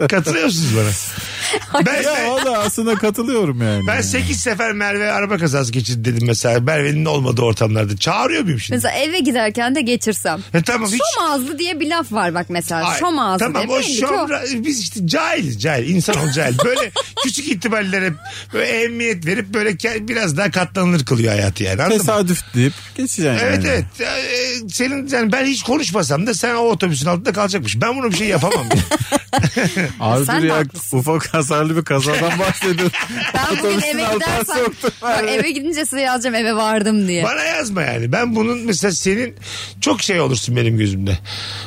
[SPEAKER 3] Katılıyor musunuz bana? Ben,
[SPEAKER 5] Ya valla aslında katılıyorum yani.
[SPEAKER 3] ben 8 sefer Merve araba kazası geçirdi dedim mesela. Merve'nin olmadığı ortamlarda. Çağırıyor muyum şimdi?
[SPEAKER 4] Mesela eve giderken de geçirsem.
[SPEAKER 3] E tamam hiç.
[SPEAKER 4] Şom ağızlı diye bir laf var bak mesela.
[SPEAKER 3] Ay,
[SPEAKER 4] şom ağzı
[SPEAKER 3] Tamam
[SPEAKER 4] diye.
[SPEAKER 3] o
[SPEAKER 4] Belli ki
[SPEAKER 3] şom biz işte cahiliz cahil. İnsan ol cahil. Böyle küçük ihtimallere böyle ehemmiyet verip böyle ke- biraz daha katlanılır kılıyor hayatı yani. Anladın mı?
[SPEAKER 5] Tesadüf deyip geçeceksin
[SPEAKER 3] Evet
[SPEAKER 5] yani.
[SPEAKER 3] evet. Ee, senin yani ben hiç konuşmasam da sen o otobüsün altında kalacakmış. Ben bunu bir şey yapamam.
[SPEAKER 5] Abi
[SPEAKER 4] E, Sen
[SPEAKER 5] dur ya
[SPEAKER 4] haklısın.
[SPEAKER 5] ufak hasarlı bir kazadan bahsediyorsun.
[SPEAKER 4] Ben bugün
[SPEAKER 5] Otobüsün
[SPEAKER 4] eve
[SPEAKER 5] altına
[SPEAKER 4] gidersem
[SPEAKER 5] soktun
[SPEAKER 4] bak,
[SPEAKER 5] beni.
[SPEAKER 4] eve gidince size yazacağım eve vardım diye.
[SPEAKER 3] Bana yazma yani. Ben bunun mesela senin çok şey olursun benim gözümde.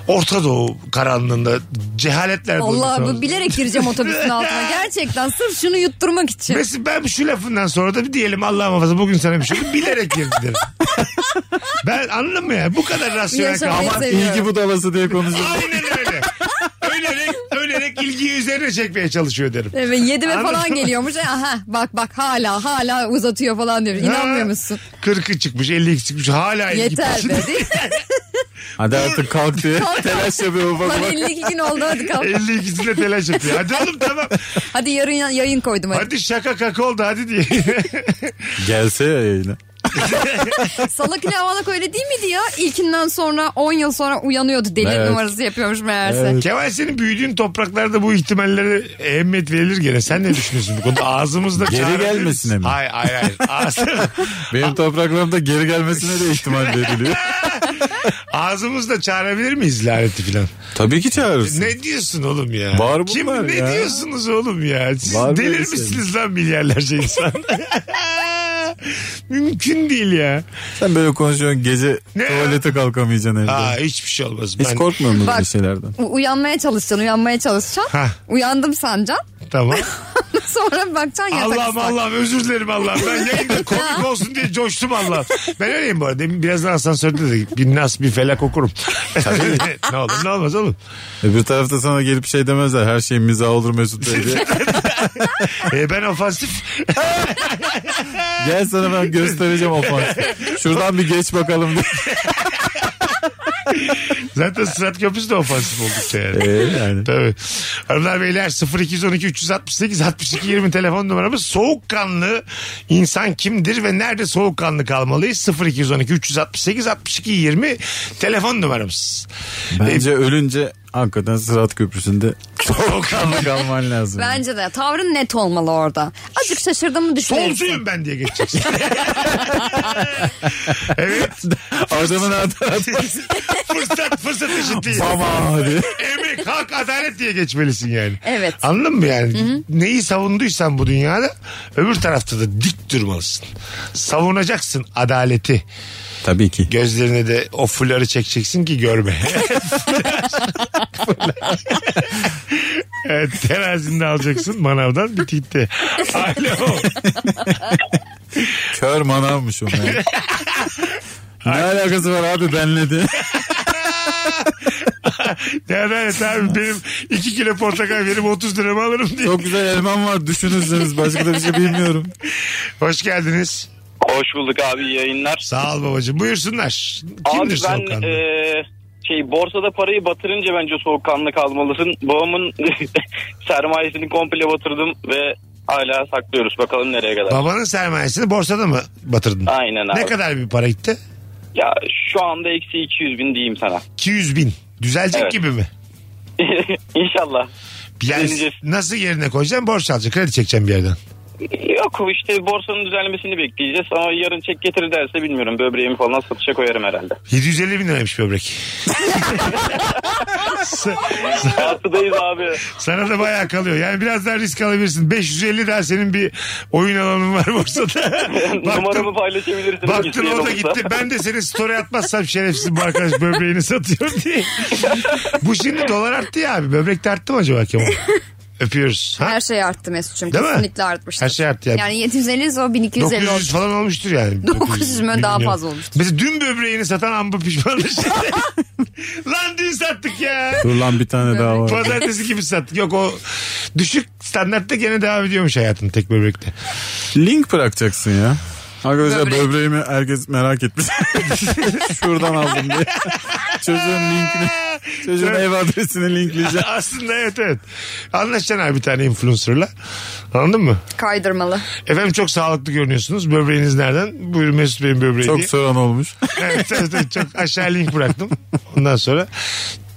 [SPEAKER 3] Orta Doğu karanlığında cehaletler
[SPEAKER 4] Allah
[SPEAKER 3] bulursun.
[SPEAKER 4] bu bilerek gireceğim otobüsün altına. Gerçekten sırf şunu yutturmak için.
[SPEAKER 3] Mesela ben şu lafından sonra da bir diyelim Allah muhafaza bugün sana bir şey oldu bilerek girdi derim. ben anladın mı ya? Bu kadar rasyonel
[SPEAKER 4] Yaşamayı
[SPEAKER 3] kalmak.
[SPEAKER 4] seviyorum.
[SPEAKER 5] İlgi budalası diye konuşuyorsun.
[SPEAKER 3] Aynen öyle. Ölerek, ölerek ilgiyi üzerine çekmeye çalışıyor derim.
[SPEAKER 4] Evet, yedime
[SPEAKER 3] Anladın
[SPEAKER 4] falan
[SPEAKER 3] mı?
[SPEAKER 4] geliyormuş. E, Aha, bak bak hala hala uzatıyor falan diyor. İnanmıyor musun?
[SPEAKER 3] 40'ı çıkmış 50'yi çıkmış hala ilgi
[SPEAKER 4] Yeter
[SPEAKER 3] peşinde.
[SPEAKER 4] be. değil mi?
[SPEAKER 5] Hadi artık kalk diye
[SPEAKER 4] Kalk.
[SPEAKER 5] telaş yapıyor ufak
[SPEAKER 4] Lan
[SPEAKER 5] ufak.
[SPEAKER 4] 52 gün oldu hadi kalk.
[SPEAKER 3] 52'sine telaş yapıyor. Hadi oğlum tamam.
[SPEAKER 4] Hadi yarın yayın koydum hadi.
[SPEAKER 3] Hadi şaka kaka oldu hadi diye.
[SPEAKER 5] Gelse ya yayına.
[SPEAKER 4] Salak ne avalak öyle değil miydi ya? İlkinden sonra 10 yıl sonra uyanıyordu. Deli
[SPEAKER 5] Evet.
[SPEAKER 4] numarası yapıyormuş meğerse.
[SPEAKER 3] Kemal senin büyüdüğün topraklarda bu ihtimallere ehemmiyet verilir gene. Sen ne düşünüyorsun bu konuda? Ağzımızda
[SPEAKER 5] Geri
[SPEAKER 3] çağırabiliriz.
[SPEAKER 5] gelmesine mi?
[SPEAKER 3] Hayır hayır hayır. Ağzı-
[SPEAKER 5] Benim topraklarımda geri gelmesine de ihtimal veriliyor.
[SPEAKER 3] ağzımızda çağırabilir miyiz laneti filan?
[SPEAKER 5] Tabii ki çağırırsın.
[SPEAKER 3] Ne diyorsun oğlum ya?
[SPEAKER 5] Var
[SPEAKER 3] Kim,
[SPEAKER 5] bunlar
[SPEAKER 3] ne
[SPEAKER 5] ya.
[SPEAKER 3] diyorsunuz oğlum ya? Siz
[SPEAKER 5] Var
[SPEAKER 3] delir
[SPEAKER 5] böyle şey.
[SPEAKER 3] misiniz lan milyarlarca insan? Mümkün değil ya.
[SPEAKER 5] Sen böyle konuşuyorsun gece
[SPEAKER 3] Ne?
[SPEAKER 5] tuvalete kalkamayacaksın evde.
[SPEAKER 3] Aa, hiçbir şey olmaz.
[SPEAKER 5] Hiç
[SPEAKER 3] Ben-
[SPEAKER 5] korkmuyor musun
[SPEAKER 4] Bak-
[SPEAKER 5] bir şeylerden?
[SPEAKER 4] U- uyanmaya çalışacaksın, uyanmaya çalışacaksın.
[SPEAKER 3] Hah.
[SPEAKER 4] Uyandım sancan.
[SPEAKER 3] Tamam.
[SPEAKER 4] Sonra bakacaksın yatak
[SPEAKER 3] Allah'ım
[SPEAKER 4] ıslak.
[SPEAKER 3] Allah'ım özür dilerim Allah'ım. Ben yayında komik olsun diye coştum Allah'ım. Ben öyleyim bu arada. Demin birazdan asansörde de bir nas bir felak okurum. ne olur ne olmaz oğlum.
[SPEAKER 5] Öbür tarafta sana gelip şey demezler. Her şey mizah olur Mesut Bey diye.
[SPEAKER 3] E, ben ofansif.
[SPEAKER 5] Gel sana ben göstereceğim ofansı. Şuradan bir geç bakalım diye.
[SPEAKER 3] Zaten Sırat Köprüsü de ofansif oldukça yani.
[SPEAKER 5] Ee, yani.
[SPEAKER 3] Tabii. Hanımlar beyler 0212 368 62 20 telefon numaramız. Soğukkanlı insan kimdir ve nerede soğukkanlı kalmalıyız? 0212 368 62 20 telefon numaramız.
[SPEAKER 5] Bence ölünce hakikaten Sırat Köprüsü'nde soğukkanlı kalman lazım.
[SPEAKER 4] Bence de tavrın net olmalı orada. Azıcık şaşırdığımı düşünüyorum.
[SPEAKER 3] Solcuyum ben diye geçeceksin. evet.
[SPEAKER 5] Adamın adı
[SPEAKER 3] fırsat fırsat eşitliği.
[SPEAKER 5] Baba abi.
[SPEAKER 3] Emek, hak, adalet diye geçmelisin yani.
[SPEAKER 4] Evet.
[SPEAKER 3] Anladın mı yani? Neyi savunduysan bu dünyada öbür tarafta da dik durmalısın. Savunacaksın adaleti.
[SPEAKER 5] Tabii ki.
[SPEAKER 3] Gözlerine de o fuları çekeceksin ki görme. evet, terazini de alacaksın manavdan bir titti. Alo.
[SPEAKER 5] Kör manavmış o. yani. ne alakası var abi benle diye.
[SPEAKER 3] Ne adalet abi benim 2 kilo portakal verip 30 lira mı alırım diye.
[SPEAKER 5] Çok güzel elman var düşünürseniz başka da bir şey bilmiyorum.
[SPEAKER 3] Hoş geldiniz.
[SPEAKER 9] Hoş bulduk abi iyi yayınlar.
[SPEAKER 3] Sağ ol babacığım. Buyursunlar. Kimdir
[SPEAKER 9] abi ben
[SPEAKER 3] soğukkanlı?
[SPEAKER 9] e, şey borsada parayı batırınca bence soğukkanlı kalmalısın. Babamın sermayesini komple batırdım ve hala saklıyoruz. Bakalım nereye kadar.
[SPEAKER 3] Babanın sermayesini borsada mı batırdın?
[SPEAKER 9] Aynen abi.
[SPEAKER 3] Ne kadar bir para gitti?
[SPEAKER 9] Ya şu anda eksi 200 bin diyeyim sana.
[SPEAKER 3] 200 bin. Düzelecek
[SPEAKER 9] Evet.
[SPEAKER 3] gibi mi?
[SPEAKER 9] İnşallah.
[SPEAKER 3] Yani
[SPEAKER 9] Düzelecek.
[SPEAKER 3] nasıl yerine koyacaksın? Borç alacaksın. Kredi çekeceksin bir yerden.
[SPEAKER 9] Yok işte borsanın düzelmesini bekleyeceğiz ama yarın çek getir derse bilmiyorum böbreğimi falan satışa koyarım herhalde.
[SPEAKER 3] 750 bin liraymış böbrek. Sa-
[SPEAKER 9] Artıdayız abi.
[SPEAKER 3] Sana da bayağı kalıyor. Yani biraz daha risk alabilirsin. 550 daha senin bir oyun alanın var borsada.
[SPEAKER 9] Numaramı paylaşabilirsiniz.
[SPEAKER 3] Baktın
[SPEAKER 9] isteyen
[SPEAKER 3] o da
[SPEAKER 9] olursa.
[SPEAKER 3] gitti. Ben de senin story atmazsam şerefsiz bu arkadaş böbreğini satıyor diye. bu şimdi dolar arttı ya abi. Böbrek de arttı mı acaba Kemal? Öpüyoruz. Ha?
[SPEAKER 4] Her şey arttı Mesut'cum.
[SPEAKER 3] Değil mi?
[SPEAKER 4] Kesinlikle artmıştır.
[SPEAKER 3] Her şey arttı ya.
[SPEAKER 4] Yani 750 o 1250 oldu.
[SPEAKER 3] 900 falan olmuştur yani.
[SPEAKER 4] 900 mü? Daha
[SPEAKER 3] Bilmiyorum.
[SPEAKER 4] fazla olmuştur.
[SPEAKER 3] Mesela dün böbreğini satan amba pişmanlığı. Lan dün sattık ya.
[SPEAKER 5] Dur lan bir tane daha var.
[SPEAKER 3] Pazartesi gibi sattık. Yok o düşük standartta gene devam ediyormuş hayatın tek böbrekte.
[SPEAKER 5] Link bırakacaksın ya. Arkadaşlar
[SPEAKER 4] Böbrek.
[SPEAKER 5] böbreğimi herkes merak etmiş. Şuradan aldım diye. Çocuğun linkini.
[SPEAKER 3] Ha,
[SPEAKER 5] Çocuğun
[SPEAKER 3] Evet.
[SPEAKER 5] ev adresini linkleyeceğim.
[SPEAKER 3] Aslında evet evet. Anlaşacaksın abi bir tane influencer'la. Anladın mı?
[SPEAKER 4] Kaydırmalı.
[SPEAKER 3] Efendim çok sağlıklı görünüyorsunuz. Böbreğiniz nereden? Buyurun Mesut Bey'in böbreği
[SPEAKER 5] Çok
[SPEAKER 3] diye.
[SPEAKER 5] soran olmuş.
[SPEAKER 3] evet, evet, evet, çok aşağı link bıraktım. Ondan sonra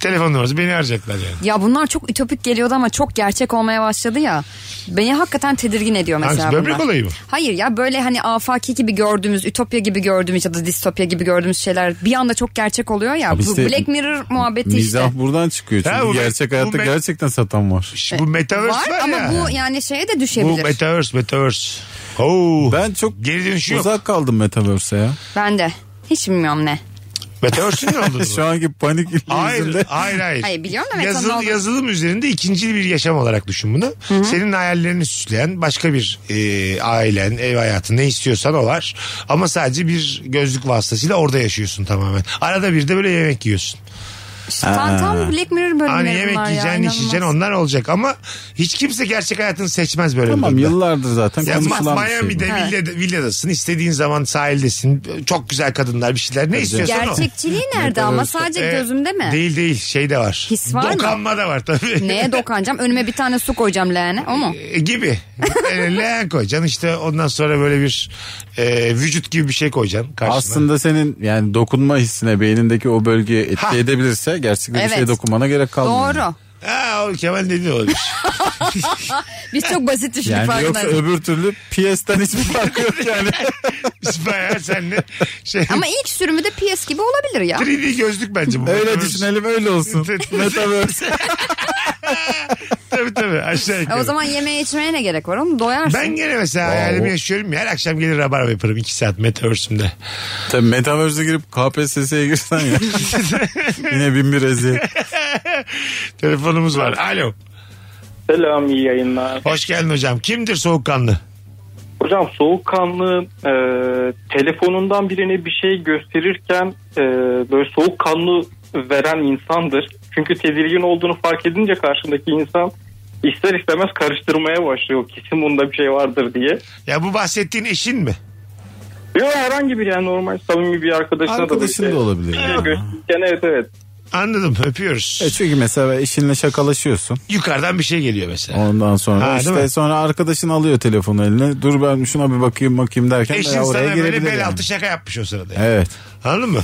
[SPEAKER 3] telefon numarası beni arayacaklar yani.
[SPEAKER 4] Ya bunlar çok ütopik geliyordu ama çok gerçek olmaya başladı ya. Beni hakikaten tedirgin ediyor mesela
[SPEAKER 3] Hangisi? Böbrek
[SPEAKER 4] bunlar.
[SPEAKER 3] olayı mı?
[SPEAKER 4] Hayır ya böyle hani afaki gibi gördüğümüz, ütopya gibi gördüğümüz ya da distopya gibi gördüğümüz şeyler bir anda çok gerçek oluyor ya.
[SPEAKER 5] Abi
[SPEAKER 4] Bu
[SPEAKER 5] işte
[SPEAKER 4] Black Mirror muhabbeti
[SPEAKER 5] Mizah
[SPEAKER 4] işte.
[SPEAKER 5] buradan çıkıyor çünkü
[SPEAKER 3] Ha, bu me-
[SPEAKER 5] gerçek
[SPEAKER 3] bu
[SPEAKER 5] hayatta
[SPEAKER 3] me-
[SPEAKER 5] gerçekten satan var.
[SPEAKER 3] Şu, bu metaverse var,
[SPEAKER 4] E, Var ama
[SPEAKER 3] ya.
[SPEAKER 4] bu yani şeye de düşebilir.
[SPEAKER 3] bu metaverse metaverse. Oo.
[SPEAKER 5] Ben çok
[SPEAKER 3] Geri dönüşü yok.
[SPEAKER 5] uzak kaldım Metaverse'e ya.
[SPEAKER 4] ben de. Hiç bilmiyorum ne.
[SPEAKER 3] Metaverse'ün ne olduğunu?
[SPEAKER 5] Şu anki panik
[SPEAKER 3] Hayır,
[SPEAKER 5] yüzünden
[SPEAKER 3] hayır, hayır.
[SPEAKER 4] Hayır, biliyorum da Meta'nın
[SPEAKER 3] Yazıl,
[SPEAKER 4] olduğunu.
[SPEAKER 3] yazılım üzerinde ikinci bir yaşam olarak düşün bunu. Senin hayallerini süsleyen başka bir e, ailen, ev hayatı ne istiyorsan o var. Ama sadece bir gözlük vasıtasıyla orada yaşıyorsun tamamen. Arada bir de böyle yemek yiyorsun.
[SPEAKER 4] İşte tam, tam Black Mirror bölümleri
[SPEAKER 3] Hani yemek
[SPEAKER 4] bunlar ya,
[SPEAKER 3] yiyeceksin,
[SPEAKER 4] inanılmaz.
[SPEAKER 3] içeceksin onlar olacak ama hiç kimse gerçek hayatını seçmez böyle
[SPEAKER 5] Tamam
[SPEAKER 3] bir durumda.
[SPEAKER 5] yıllardır zaten
[SPEAKER 3] Ya
[SPEAKER 5] konuşulan bir şey. bu.
[SPEAKER 3] Miami'de
[SPEAKER 4] Evet.
[SPEAKER 3] villada- villadasın. istediğin zaman sahildesin. Çok güzel kadınlar bir şeyler. Ne istiyorsan o.
[SPEAKER 4] Gerçekçiliği nerede ama sadece
[SPEAKER 3] Ee,
[SPEAKER 4] gözümde mi?
[SPEAKER 3] Değil değil şey de var.
[SPEAKER 4] His var mı?
[SPEAKER 3] Dokanma da var tabii.
[SPEAKER 4] Neye dokanacağım? Önüme bir tane su koyacağım leğene. O mu?
[SPEAKER 3] E, gibi. E, Leğen koyacaksın işte ondan sonra böyle bir e, vücut gibi bir şey koyacaksın karşına.
[SPEAKER 5] Aslında senin yani dokunma hissine beynindeki o bölgeye etki edebilirse gerçekten
[SPEAKER 4] Evet.
[SPEAKER 5] bir şeye dokunmana gerek kalmıyor.
[SPEAKER 4] Doğru.
[SPEAKER 3] Ha, o Kemal dedi olabilir.
[SPEAKER 4] Biz çok basit düşündük
[SPEAKER 5] Yani yoksa
[SPEAKER 4] farkındayız.
[SPEAKER 5] öbür türlü PS'den hiçbir farkı yok yani.
[SPEAKER 3] Biz bayağı seninle şey...
[SPEAKER 4] Ama ilk sürümü de PS gibi olabilir ya.
[SPEAKER 3] 3D gözlük bence bu.
[SPEAKER 5] öyle düşünelim öyle olsun. Metaverse.
[SPEAKER 3] tabii tabii aşağı
[SPEAKER 4] E
[SPEAKER 3] yukarı.
[SPEAKER 4] o zaman yemeğe içmeye ne gerek var oğlum? Doyarsın.
[SPEAKER 3] Ben gene mesela
[SPEAKER 5] Wow.
[SPEAKER 3] hayalimi yaşıyorum ya. Her akşam gelir rabarba yaparım 2 saat metaverse'ümde.
[SPEAKER 5] Tabii Metaverse'e girip KPSS'ye girsen ya. Yine bin bir eziyet.
[SPEAKER 3] Telefonumuz var. Alo.
[SPEAKER 9] Selam iyi yayınlar.
[SPEAKER 3] Hoş geldin hocam. Kimdir soğukkanlı?
[SPEAKER 9] Hocam soğukkanlı e, telefonundan birine bir şey gösterirken e, böyle soğukkanlı veren insandır. Çünkü tedirgin olduğunu fark edince karşındaki insan ister istemez karıştırmaya başlıyor. Kesin bunda bir şey vardır diye.
[SPEAKER 3] Ya bu bahsettiğin eşin mi?
[SPEAKER 9] Yok herhangi bir yani normal samimi bir arkadaşına da
[SPEAKER 5] Arkadaşın da
[SPEAKER 9] böyle
[SPEAKER 5] olabilir.
[SPEAKER 9] bir şey
[SPEAKER 5] yani.
[SPEAKER 9] gösterirken evet evet.
[SPEAKER 3] Anladım öpüyoruz.
[SPEAKER 5] E çünkü mesela eşinle şakalaşıyorsun.
[SPEAKER 3] Yukarıdan bir şey geliyor mesela.
[SPEAKER 5] Ondan sonra
[SPEAKER 3] Ha, değil
[SPEAKER 5] işte
[SPEAKER 3] mi?
[SPEAKER 5] sonra arkadaşın alıyor telefonu eline. Dur ben şuna bir bakayım bakayım derken
[SPEAKER 3] Eşin
[SPEAKER 5] bayağı oraya
[SPEAKER 3] sana böyle
[SPEAKER 5] girebilir.
[SPEAKER 3] bel
[SPEAKER 5] yani.
[SPEAKER 3] altı şaka yapmış o sırada. yani.
[SPEAKER 5] Evet.
[SPEAKER 3] Anladın mı?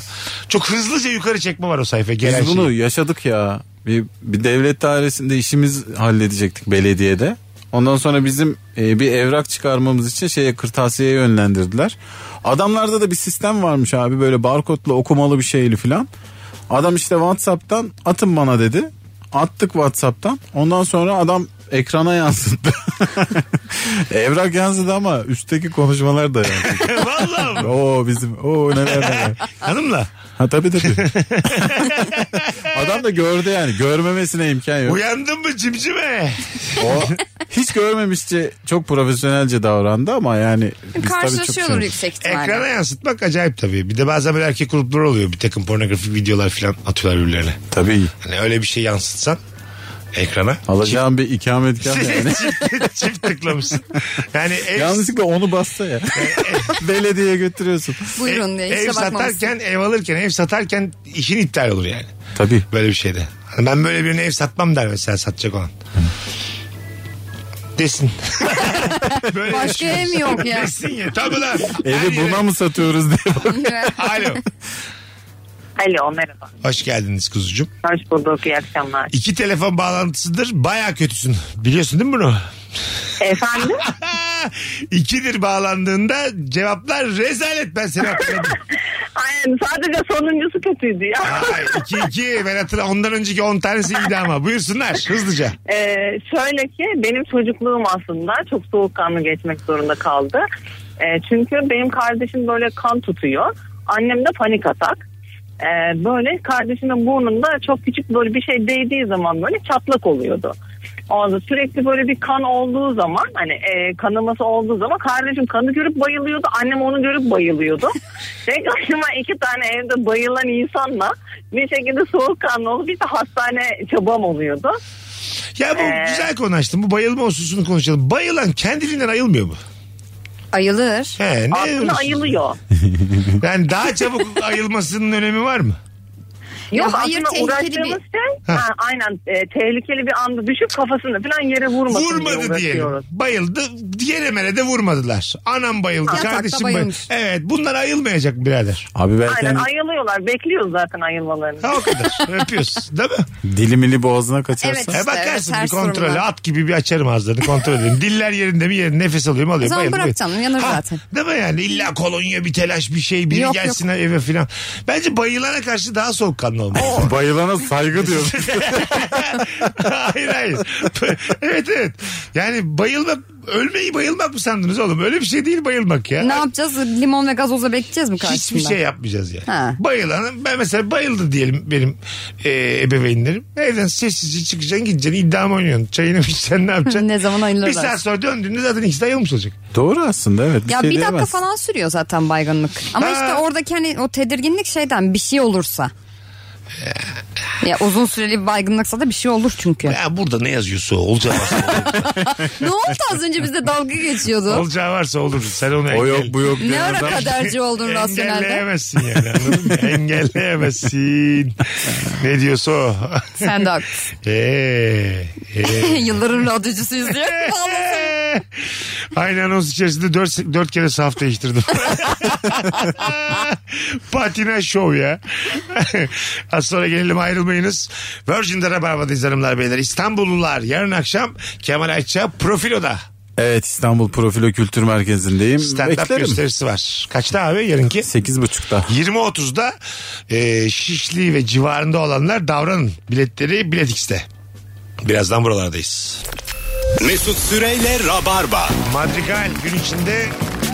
[SPEAKER 3] Çok hızlıca yukarı çekme var o sayfa
[SPEAKER 5] Biz
[SPEAKER 3] gelen
[SPEAKER 5] bunu
[SPEAKER 3] şey.
[SPEAKER 5] yaşadık ya. Bir, bir devlet dairesinde işimiz halledecektik belediyede. Ondan sonra bizim e, bir evrak çıkarmamız için şeye kırtasiyeye yönlendirdiler. Adamlarda da bir sistem varmış abi böyle barkodla okumalı bir şeyli filan. Adam işte WhatsApp'tan atın bana dedi. Attık WhatsApp'tan. Ondan sonra adam ekrana yansıttı. Evrak yansıdı ama üstteki konuşmalar da yansıdı.
[SPEAKER 3] Vallahi mı?
[SPEAKER 5] Oo bizim oo neler neler.
[SPEAKER 3] Hanımla.
[SPEAKER 5] Ha tabii tabii. Adam da gördü yani. Görmemesine imkan yok.
[SPEAKER 3] Uyandın mı cimcime?
[SPEAKER 5] O hiç görmemişçe çok profesyonelce davrandı ama yani biz tabii çok
[SPEAKER 4] Karşılaşıyorlar
[SPEAKER 5] şey-
[SPEAKER 4] yüksek ihtimalle.
[SPEAKER 3] Ekrana yansıtmak acayip tabii. Bir de bazen böyle erkek grupları oluyor. Bir takım pornografik videolar falan atıyorlar birbirlerine.
[SPEAKER 5] Tabii.
[SPEAKER 3] Hani öyle bir şey yansıtsan ekrana.
[SPEAKER 5] Alacağım bir ikametgah yani.
[SPEAKER 3] çift, çift tıklamışsın. Yani ev,
[SPEAKER 5] Yanlışlıkla onu bassa ya. Belediyeye götürüyorsun.
[SPEAKER 4] Buyurun diye.
[SPEAKER 3] ev, e- ev
[SPEAKER 4] Hiç de bakmamışsın.
[SPEAKER 3] satarken, ev alırken, ev satarken işin iptal olur yani.
[SPEAKER 5] Tabii.
[SPEAKER 3] Böyle bir şeyde. Hani ben böyle birine ev satmam der mesela satacak olan. Desin. böyle
[SPEAKER 4] Başka ev yok ya.
[SPEAKER 3] Desin ya. Tabii lan. Her
[SPEAKER 5] Evi
[SPEAKER 3] yere-
[SPEAKER 5] buna mı satıyoruz diye bak.
[SPEAKER 3] Alo.
[SPEAKER 11] Alo merhaba.
[SPEAKER 3] Hoş geldiniz kuzucuğum.
[SPEAKER 11] Hoş bulduk iyi akşamlar.
[SPEAKER 3] İki telefon bağlantısıdır. Baya kötüsün. Biliyorsun değil mi bunu?
[SPEAKER 11] Efendim?
[SPEAKER 3] İkidir bağlandığında cevaplar rezalet ben seni hatırladım.
[SPEAKER 11] Aynen sadece sonuncusu kötüydü ya.
[SPEAKER 3] Ay, iki iki ben hatırla ondan önceki on tanesi iyiydi ama buyursunlar hızlıca.
[SPEAKER 11] Ee, şöyle ki benim çocukluğum aslında çok soğukkanlı geçmek zorunda kaldı. Ee, çünkü benim kardeşim böyle kan tutuyor. Annem de panik atak. Ee, böyle kardeşimin burnunda çok küçük böyle bir şey değdiği zaman böyle çatlak oluyordu. Orada sürekli böyle bir kan olduğu zaman hani e, kanaması olduğu zaman kardeşim kanı görüp bayılıyordu. Annem onu görüp bayılıyordu. Tek başıma iki tane evde bayılan insanla bir şekilde soğukkanlı olup bir de hastane çabam oluyordu.
[SPEAKER 3] Ya bu
[SPEAKER 11] Ee.
[SPEAKER 3] güzel konu açtın. Bu bayılma hususunu konuşalım. Bayılan kendiliğinden ayılmıyor mu?
[SPEAKER 4] Ayılır.
[SPEAKER 3] He, E, ne
[SPEAKER 11] Aslında
[SPEAKER 3] ayılıyorsun?
[SPEAKER 11] ayılıyor.
[SPEAKER 3] Yani daha çabuk ayılmasının önemi var mı?
[SPEAKER 4] Yok
[SPEAKER 11] Yani
[SPEAKER 4] hayır
[SPEAKER 11] aslında
[SPEAKER 4] tehlikeli bir...
[SPEAKER 11] uğraştığımız şey, ha, aynen e, tehlikeli bir anda düşüp kafasını falan yere vurmasın diye
[SPEAKER 3] Vurmadı diyelim.
[SPEAKER 11] uğraşıyoruz.
[SPEAKER 3] Bayıldı. Diğer emele de vurmadılar. Anam bayıldı.
[SPEAKER 4] Yatakta
[SPEAKER 3] kardeşim bayıldı.
[SPEAKER 4] bayılmış.
[SPEAKER 3] Evet bunlar ayılmayacak birader.
[SPEAKER 5] Abi belki
[SPEAKER 11] Aynen
[SPEAKER 5] hani
[SPEAKER 11] ayılıyorlar. Bekliyoruz zaten ayılmalarını.
[SPEAKER 3] Ha o kadar. Öpüyoruz. Değil mi?
[SPEAKER 5] dilimili boğazına kaçarsa.
[SPEAKER 4] Evet.
[SPEAKER 3] E bakarsın
[SPEAKER 4] ters
[SPEAKER 3] bir kontrolü
[SPEAKER 4] durumlar.
[SPEAKER 3] at gibi bir açarım ağzını kontrol edeyim. Diller yerinde mi yerinde nefes alıyorum
[SPEAKER 4] O
[SPEAKER 3] alıyorum.
[SPEAKER 4] zaman
[SPEAKER 3] bayıldım,
[SPEAKER 4] bırak canım yanır
[SPEAKER 3] Ha,
[SPEAKER 4] zaten.
[SPEAKER 3] Değil mi yani? İlla kolonya bir telaş bir şey biri
[SPEAKER 4] Yok,
[SPEAKER 3] gelsin eve filan. Bence bayılana karşı daha soğukkanlı olmalı.
[SPEAKER 5] Bayılana saygı diyorum.
[SPEAKER 3] hayır hayır. evet evet. Yani bayılmak ölmeyi bayılmak mı sandınız oğlum? Öyle bir şey değil bayılmak ya.
[SPEAKER 4] Ne yapacağız? Limon ve gazoza bekleyeceğiz mi karşısında?
[SPEAKER 3] Hiçbir şey yapmayacağız yani.
[SPEAKER 4] Ha.
[SPEAKER 3] Bayılanın ben mesela bayıldı diyelim benim e, ebeveynlerim. Evden sessizce çıkacaksın gideceksin iddiamı oynuyorsun. Çayını mı içeceksin ne yapacaksın?
[SPEAKER 4] Ne zaman ayılırlar.
[SPEAKER 3] Bir saat sonra döndüğünde zaten ikisi de ayılmış olacak.
[SPEAKER 5] Doğru aslında evet.
[SPEAKER 4] Ya
[SPEAKER 5] şey
[SPEAKER 4] bir dakika
[SPEAKER 5] diyemez.
[SPEAKER 4] falan sürüyor zaten baygınlık. Ama
[SPEAKER 3] Ha.
[SPEAKER 4] işte oradaki hani o tedirginlik şeyden bir şey olursa.
[SPEAKER 3] Eh.
[SPEAKER 4] Ya uzun süreli bir baygınlıksa da bir şey olur çünkü.
[SPEAKER 3] Ya burada ne yazıyorsa olacağı varsa,
[SPEAKER 4] ne oldu az önce bizde dalga geçiyordu.
[SPEAKER 3] olacağı varsa olur. Sen onu
[SPEAKER 5] O
[SPEAKER 3] engel-
[SPEAKER 5] yok bu yok.
[SPEAKER 4] ne ara
[SPEAKER 5] diyen adam-
[SPEAKER 4] kaderci oldun rasyonelde.
[SPEAKER 3] Engelleyemezsin yani anladın mı? Engelleyemezsin. ne diyorsa o.
[SPEAKER 4] Sen de haklısın.
[SPEAKER 3] Eee. eee.
[SPEAKER 4] Yılların radyocusuyuz diyor. Vallahi.
[SPEAKER 3] Aynı anons içerisinde dört, dört kere saf değiştirdim. Patina şov ya. Az sonra gelelim ayrılmayınız. Virgin'de Rabarba'dayız hanımlar beyler. İstanbullular yarın akşam Kemal Ayça Profilo'da
[SPEAKER 5] Evet İstanbul Profilo Kültür Merkezi'ndeyim.
[SPEAKER 3] stand-up
[SPEAKER 5] Beklerim.
[SPEAKER 3] gösterisi var. Kaçta abi yarınki?
[SPEAKER 5] 8.30'da.
[SPEAKER 3] 20.30'da e, Şişli ve civarında olanlar davranın. Biletleri Bilet X'te. Birazdan buralardayız.
[SPEAKER 2] Mesut Süreyle Rabarba.
[SPEAKER 3] Madrigal gün içinde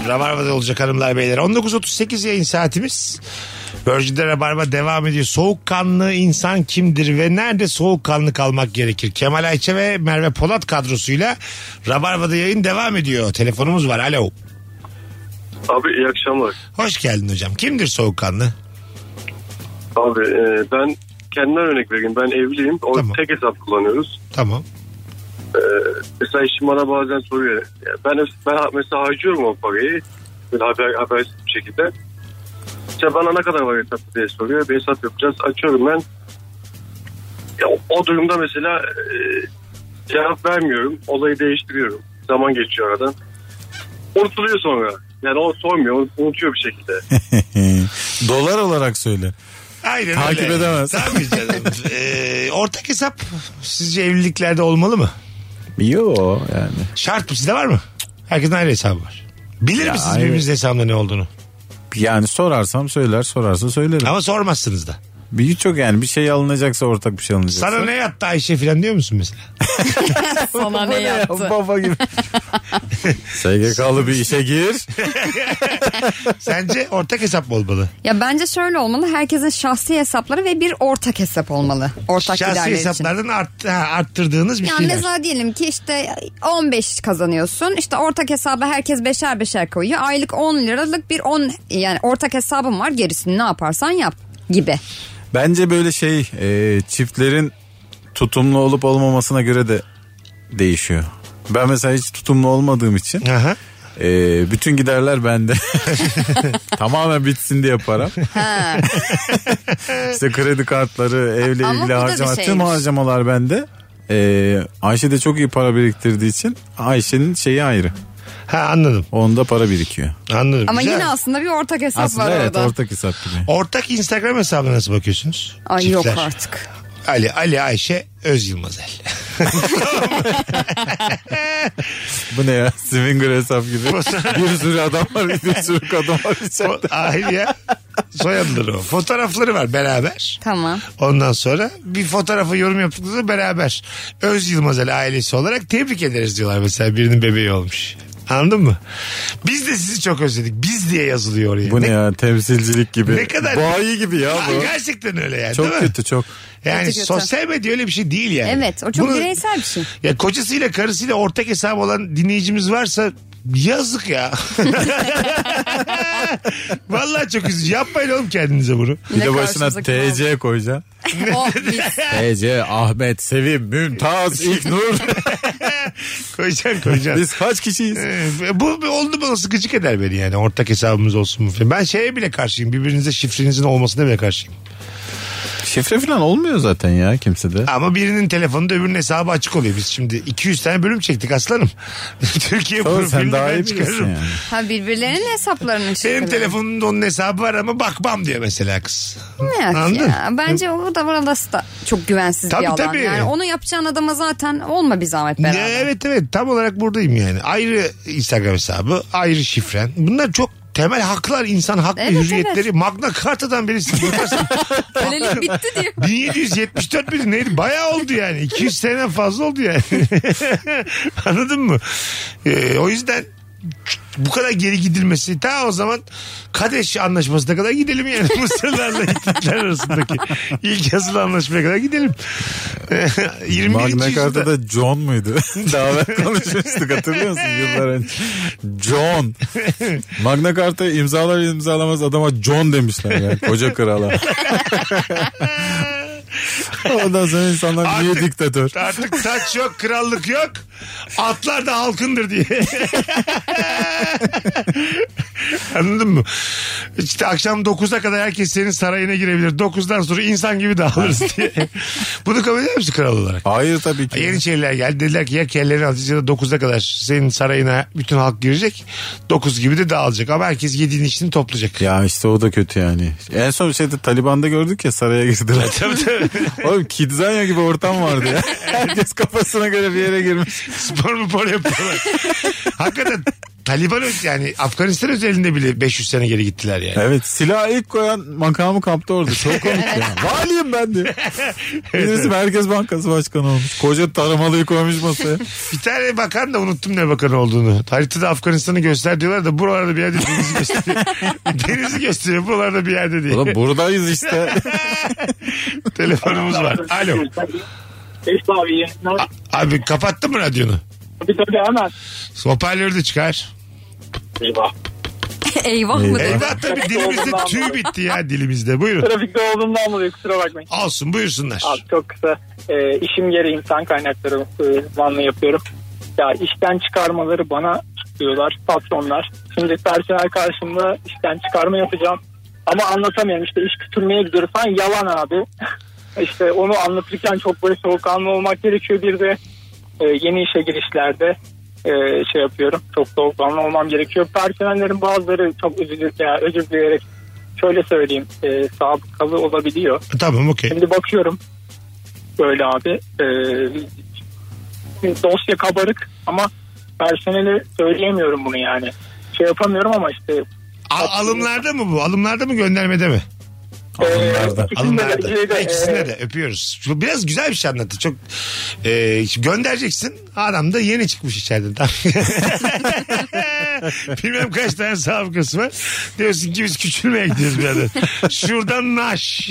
[SPEAKER 3] Rabarba'da olacak hanımlar beyler. 19.38 yayın saatimiz. Virgin'de Rabarba devam ediyor. Soğukkanlı insan kimdir ve nerede soğukkanlı kalmak gerekir? Kemal Ayça ve Merve Polat kadrosuyla Rabarba'da yayın devam ediyor. Telefonumuz var. Alo.
[SPEAKER 6] Abi iyi akşamlar.
[SPEAKER 3] Hoş geldin hocam. Kimdir soğukkanlı?
[SPEAKER 6] Abi e, ben kendimden örnek vereyim. Ben evliyim. O
[SPEAKER 3] Tamam.
[SPEAKER 6] tek hesap kullanıyoruz.
[SPEAKER 3] Tamam.
[SPEAKER 6] Mesela eşim bana bazen soruyor. Ya Ben ben mesela harcıyorum o parayı. Böyle haber, habersiz bir şekilde. İşte bana ne kadar var hesapta diye soruyor. Bir hesap yapacağız. Açıyorum ben. Ya, o, o durumda mesela e, cevap vermiyorum. Olayı değiştiriyorum. Zaman geçiyor aradan. Unutuluyor sonra. Yani o sormuyor. Unutuyor bir şekilde.
[SPEAKER 5] Dolar olarak söyle.
[SPEAKER 3] Aynen
[SPEAKER 5] Takip
[SPEAKER 3] öyle.
[SPEAKER 5] edemez.
[SPEAKER 3] Tabii canım. Ee, ortak hesap sizce evliliklerde olmalı mı?
[SPEAKER 5] Yo yani.
[SPEAKER 3] Şart mı? Sizde var mı? Herkesin ayrı hesabı var. Bilir misiniz
[SPEAKER 5] ayrı.
[SPEAKER 3] birbirinizin hesabında ne olduğunu?
[SPEAKER 5] Yani sorarsam söyler sorarsa söylerim.
[SPEAKER 3] Ama sormazsınız da.
[SPEAKER 5] Birçok yani bir şey alınacaksa ortak bir şey alınacaksa.
[SPEAKER 3] Sana ne yattı Ayşe filan diyor musun mesela?
[SPEAKER 4] Sana ne yaptı?
[SPEAKER 5] Baba gibi. SGK'lı bir işe gir.
[SPEAKER 3] Sence ortak hesap mı olmalı?
[SPEAKER 4] Ya bence şöyle olmalı. Herkesin şahsi hesapları ve bir ortak hesap olmalı. Ortak
[SPEAKER 3] Şahsi
[SPEAKER 4] giderler için.
[SPEAKER 3] hesaplardan art, ha, arttırdığınız bir şey
[SPEAKER 4] Yani
[SPEAKER 3] şeyler.
[SPEAKER 4] mesela diyelim ki işte 15 kazanıyorsun. İşte ortak hesaba herkes beşer beşer koyuyor. Aylık 10 liralık bir 10 yani ortak hesabım var. Gerisini ne yaparsan yap gibi.
[SPEAKER 5] Bence böyle şey e, çiftlerin tutumlu olup olmamasına göre de değişiyor. Ben mesela hiç tutumlu olmadığım için
[SPEAKER 3] Aha.
[SPEAKER 5] e, bütün giderler bende. Tamamen bitsin diye param. işte kredi kartları, evle
[SPEAKER 4] Ama bu
[SPEAKER 5] ilgili
[SPEAKER 4] da bir
[SPEAKER 5] harcama, tüm
[SPEAKER 4] şeymiş.
[SPEAKER 5] harcamalar bende. E, Ayşe de çok iyi para biriktirdiği için Ayşe'nin şeyi ayrı.
[SPEAKER 3] Ha anladım.
[SPEAKER 5] Onda para birikiyor.
[SPEAKER 3] Anladım.
[SPEAKER 4] Ama
[SPEAKER 3] Güzel.
[SPEAKER 4] yine aslında bir ortak hesap var
[SPEAKER 5] Aslında evet
[SPEAKER 4] orada.
[SPEAKER 5] ortak hesap gibi.
[SPEAKER 3] Ortak Instagram hesabına nasıl bakıyorsunuz?
[SPEAKER 4] Ay
[SPEAKER 3] Çiftler.
[SPEAKER 4] yok artık.
[SPEAKER 3] Ali, Ali Ayşe, Öz Yılmazel.
[SPEAKER 5] Bu ne ya? Swinger hesap gibi. bir sürü adam var, bir sürü kadın var
[SPEAKER 3] O-
[SPEAKER 5] içeride.
[SPEAKER 3] Hayır ya. Soyadları o. Fotoğrafları var beraber.
[SPEAKER 4] Tamam.
[SPEAKER 3] Ondan sonra bir fotoğrafa yorum yaptıkları beraber. Öz Yılmazel ailesi olarak tebrik ederiz diyorlar mesela birinin bebeği olmuş. Anladın mı? Biz de sizi çok özledik. Biz diye yazılıyor oraya.
[SPEAKER 5] Bu ne, ya? Temsilcilik gibi.
[SPEAKER 3] Ne kadar-
[SPEAKER 5] Bayi gibi ya
[SPEAKER 3] Ay,
[SPEAKER 5] bu.
[SPEAKER 3] Gerçekten öyle yani değil
[SPEAKER 5] Çok
[SPEAKER 3] mi?
[SPEAKER 5] kötü çok.
[SPEAKER 3] Yani
[SPEAKER 4] Kötü kötü.
[SPEAKER 3] sosyal medya öyle bir şey değil yani.
[SPEAKER 4] Evet o çok
[SPEAKER 3] Bunu-
[SPEAKER 4] bireysel bir şey.
[SPEAKER 3] Ya kocasıyla karısıyla ortak hesabı olan dinleyicimiz varsa yazık ya. Vallahi çok üzücü. Yapmayın oğlum kendinize bunu.
[SPEAKER 5] Bir de
[SPEAKER 4] Yine
[SPEAKER 5] başına
[SPEAKER 4] karşımıza kim
[SPEAKER 5] TC koyacaksın.
[SPEAKER 4] Oh, biz.
[SPEAKER 5] TC, Ahmet, Sevim, Mümtaz, İknur.
[SPEAKER 3] Koyacaksın koyacaksın.
[SPEAKER 5] Biz kaç kişiyiz?
[SPEAKER 3] Ee, Bu bir oldu bana sıkıcık eder beni yani ortak hesabımız olsun mu falan. Ben şeye bile karşıyım birbirinize şifrenizin olmasına bile karşıyım.
[SPEAKER 5] Şifre falan olmuyor zaten ya kimsede.
[SPEAKER 3] Ama birinin telefonu da öbürünün hesabı açık oluyor. Biz şimdi 200 tane bölüm çektik aslanım. Türkiye
[SPEAKER 5] Tamam,
[SPEAKER 3] profilini
[SPEAKER 5] sen daha
[SPEAKER 3] ben
[SPEAKER 5] iyi bilirsin
[SPEAKER 3] çıkarırım.
[SPEAKER 5] yani.
[SPEAKER 4] Ha birbirlerinin hesaplarının
[SPEAKER 3] Benim
[SPEAKER 4] şifreleri.
[SPEAKER 3] telefonumda onun hesabı var ama bakmam diyor mesela kız.
[SPEAKER 4] Yok
[SPEAKER 3] Anladın?
[SPEAKER 4] ya. Bence o da burası da çok güvensiz
[SPEAKER 3] Tabii,
[SPEAKER 4] bir alan.
[SPEAKER 3] tabii.
[SPEAKER 4] Yani onu yapacağın adama zaten olma bir zahmet beraber.
[SPEAKER 3] Ya evet evet tam olarak buradayım yani. Ayrı Instagram hesabı, ayrı şifren. Bunlar çok temel haklar, insan hak ve
[SPEAKER 4] Evet,
[SPEAKER 3] hürriyetleri. Magna Carta'dan beri bakarsın.
[SPEAKER 4] Kölelik bitti diyor.
[SPEAKER 3] 1774 miydi neydi? Bayağı oldu yani. 200 seneden fazla oldu yani. Anladın mı? Ee, o yüzden bu kadar geri gidilmesi ta o zaman Kadeş anlaşmasına kadar gidelim yani Mısırlarla Hititler arasındaki ilk yazılı anlaşmaya kadar gidelim. Ee, 21.
[SPEAKER 5] Magna
[SPEAKER 3] yüzyılda
[SPEAKER 5] Carta'da John muydu? Daha evvel konuşmuştuk hatırlıyor musun yıllar önce? John. Magna Carta imzalar imzalamaz adama John demişler ya. Koca krala. Ondan sonra insanlar niye
[SPEAKER 3] Artık-
[SPEAKER 5] diktatör?
[SPEAKER 3] Artık saç yok, krallık yok. Atlar da halkındır diye. Anladın mı? İşte akşam 9'a kadar herkes senin sarayına girebilir. 9'dan sonra insan gibi dağılırız diye. Bunu kabul ediyor musun kral olarak?
[SPEAKER 5] Hayır tabii ki.
[SPEAKER 3] Yeniçeriler geldi dediler ki ya kellerini atacağız ya da 9'a kadar senin sarayına bütün halk girecek. 9 gibi de dağılacak ama herkes yediğini içini toplayacak.
[SPEAKER 5] Ya işte o da kötü yani. En son şeyde Taliban'da gördük ya saraya girdiler. Oğlum Kidzanya gibi ortam vardı ya. Herkes kafasına göre bir yere girmiş.
[SPEAKER 3] spor mu spor yapıyorlar. Hakikaten Taliban öz- yani Afganistan özelinde bile 500 sene geri gittiler yani.
[SPEAKER 5] Evet silahı ilk koyan makamı kaptı orada. Çok komik ya. Valiyim ben diye. Birisi Merkez Bankası Başkanı olmuş. Koca taramalıyı koymuş masaya.
[SPEAKER 3] Bir tane bakan da unuttum ne bakan olduğunu. Haritada Afganistan'ı göster diyorlar da buralarda bir yerde denizi gösteriyor. denizi gösteriyor buralarda bir yerde diye.
[SPEAKER 5] Oğlum buradayız işte.
[SPEAKER 3] Telefonumuz var. Alo.
[SPEAKER 9] Eşit abi yayınlar.
[SPEAKER 3] Abi kapattın mı radyonu?
[SPEAKER 9] Tabii tabii hemen.
[SPEAKER 3] Hoparlörü de çıkar.
[SPEAKER 9] Eyvah.
[SPEAKER 4] Eyvah mı dedi.
[SPEAKER 3] Eyvah tabii dilimizde tüy bitti ya dilimizde. Buyurun.
[SPEAKER 9] Trafikte olduğumdan dolayı kusura bakmayın.
[SPEAKER 3] Olsun buyursunlar.
[SPEAKER 9] Abi çok kısa. Ee, işim gereği insan kaynakları e, uzmanlığı yapıyorum. Ya işten çıkarmaları bana diyorlar patronlar. Şimdi personel karşımda işten çıkarma yapacağım. Ama anlatamıyorum işte iş kütürmeye gidiyoruz falan yalan abi. işte onu anlatırken çok böyle soğukkanlı olmak gerekiyor. Bir de e, yeni işe girişlerde e, şey yapıyorum. Çok soğukkanlı olmam gerekiyor. Personellerin bazıları çok üzülür ya özür dileyerek şöyle söyleyeyim e, sabıkalı olabiliyor.
[SPEAKER 3] Tamam okey.
[SPEAKER 9] Şimdi bakıyorum böyle abi e, dosya kabarık ama personele söyleyemiyorum bunu yani. Şey yapamıyorum ama işte
[SPEAKER 3] A- alımlarda mı bu? Alımlarda mı göndermede mi?
[SPEAKER 5] Alımlarda.
[SPEAKER 3] Alınlarda.
[SPEAKER 9] ikisinde de,
[SPEAKER 3] İkisine
[SPEAKER 9] e,
[SPEAKER 3] de öpüyoruz. Şu Biraz güzel bir şey anlattı. Çok e, şimdi göndereceksin. Adam da yeni çıkmış içeriden. Tam. Bilmem kaç tane sabıkası var. Diyorsun ki biz küçülmeye gidiyoruz birader. Şuradan naş.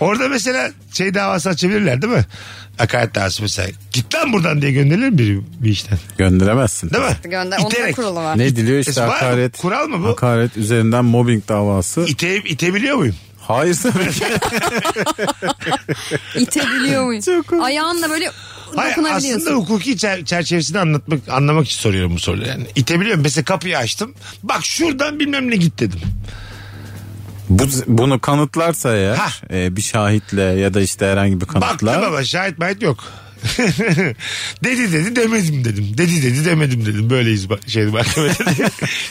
[SPEAKER 3] Orada mesela şey davası açabilirler değil mi? Hakaret davası mesela. Git lan buradan diye gönderilir mi biri bir işten?
[SPEAKER 5] Gönderemezsin.
[SPEAKER 3] Değil mi?
[SPEAKER 4] Gönder. Onun da
[SPEAKER 3] İterek.
[SPEAKER 4] kurulu var.
[SPEAKER 5] Ne diliyor işte
[SPEAKER 3] Var mı?
[SPEAKER 5] hakaret.
[SPEAKER 3] Kural mı bu?
[SPEAKER 5] Hakaret üzerinden mobbing davası.
[SPEAKER 3] İte, itebiliyor muyum?
[SPEAKER 5] Hayır tabii ki.
[SPEAKER 4] İtebiliyor muyum? Ayağınla böyle
[SPEAKER 3] Hayır, aslında
[SPEAKER 4] dokunabiliyorsun.
[SPEAKER 3] hukuki çer- çerçevesini anlatmak anlamak için soruyorum bu soruyu yani. İtebiliyorum. Mesela kapıyı açtım. Bak şuradan bilmem ne git dedim.
[SPEAKER 5] Bu, bunu kanıtlarsa eğer
[SPEAKER 3] Hah.
[SPEAKER 5] e, bir şahitle ya da işte herhangi bir
[SPEAKER 3] Baktım
[SPEAKER 5] kanıtla.
[SPEAKER 3] ama şahit mahit yok. dedi dedi demedim dedim. Dedi dedi demedim dedim. Böyleyiz ba- şey mahkemede.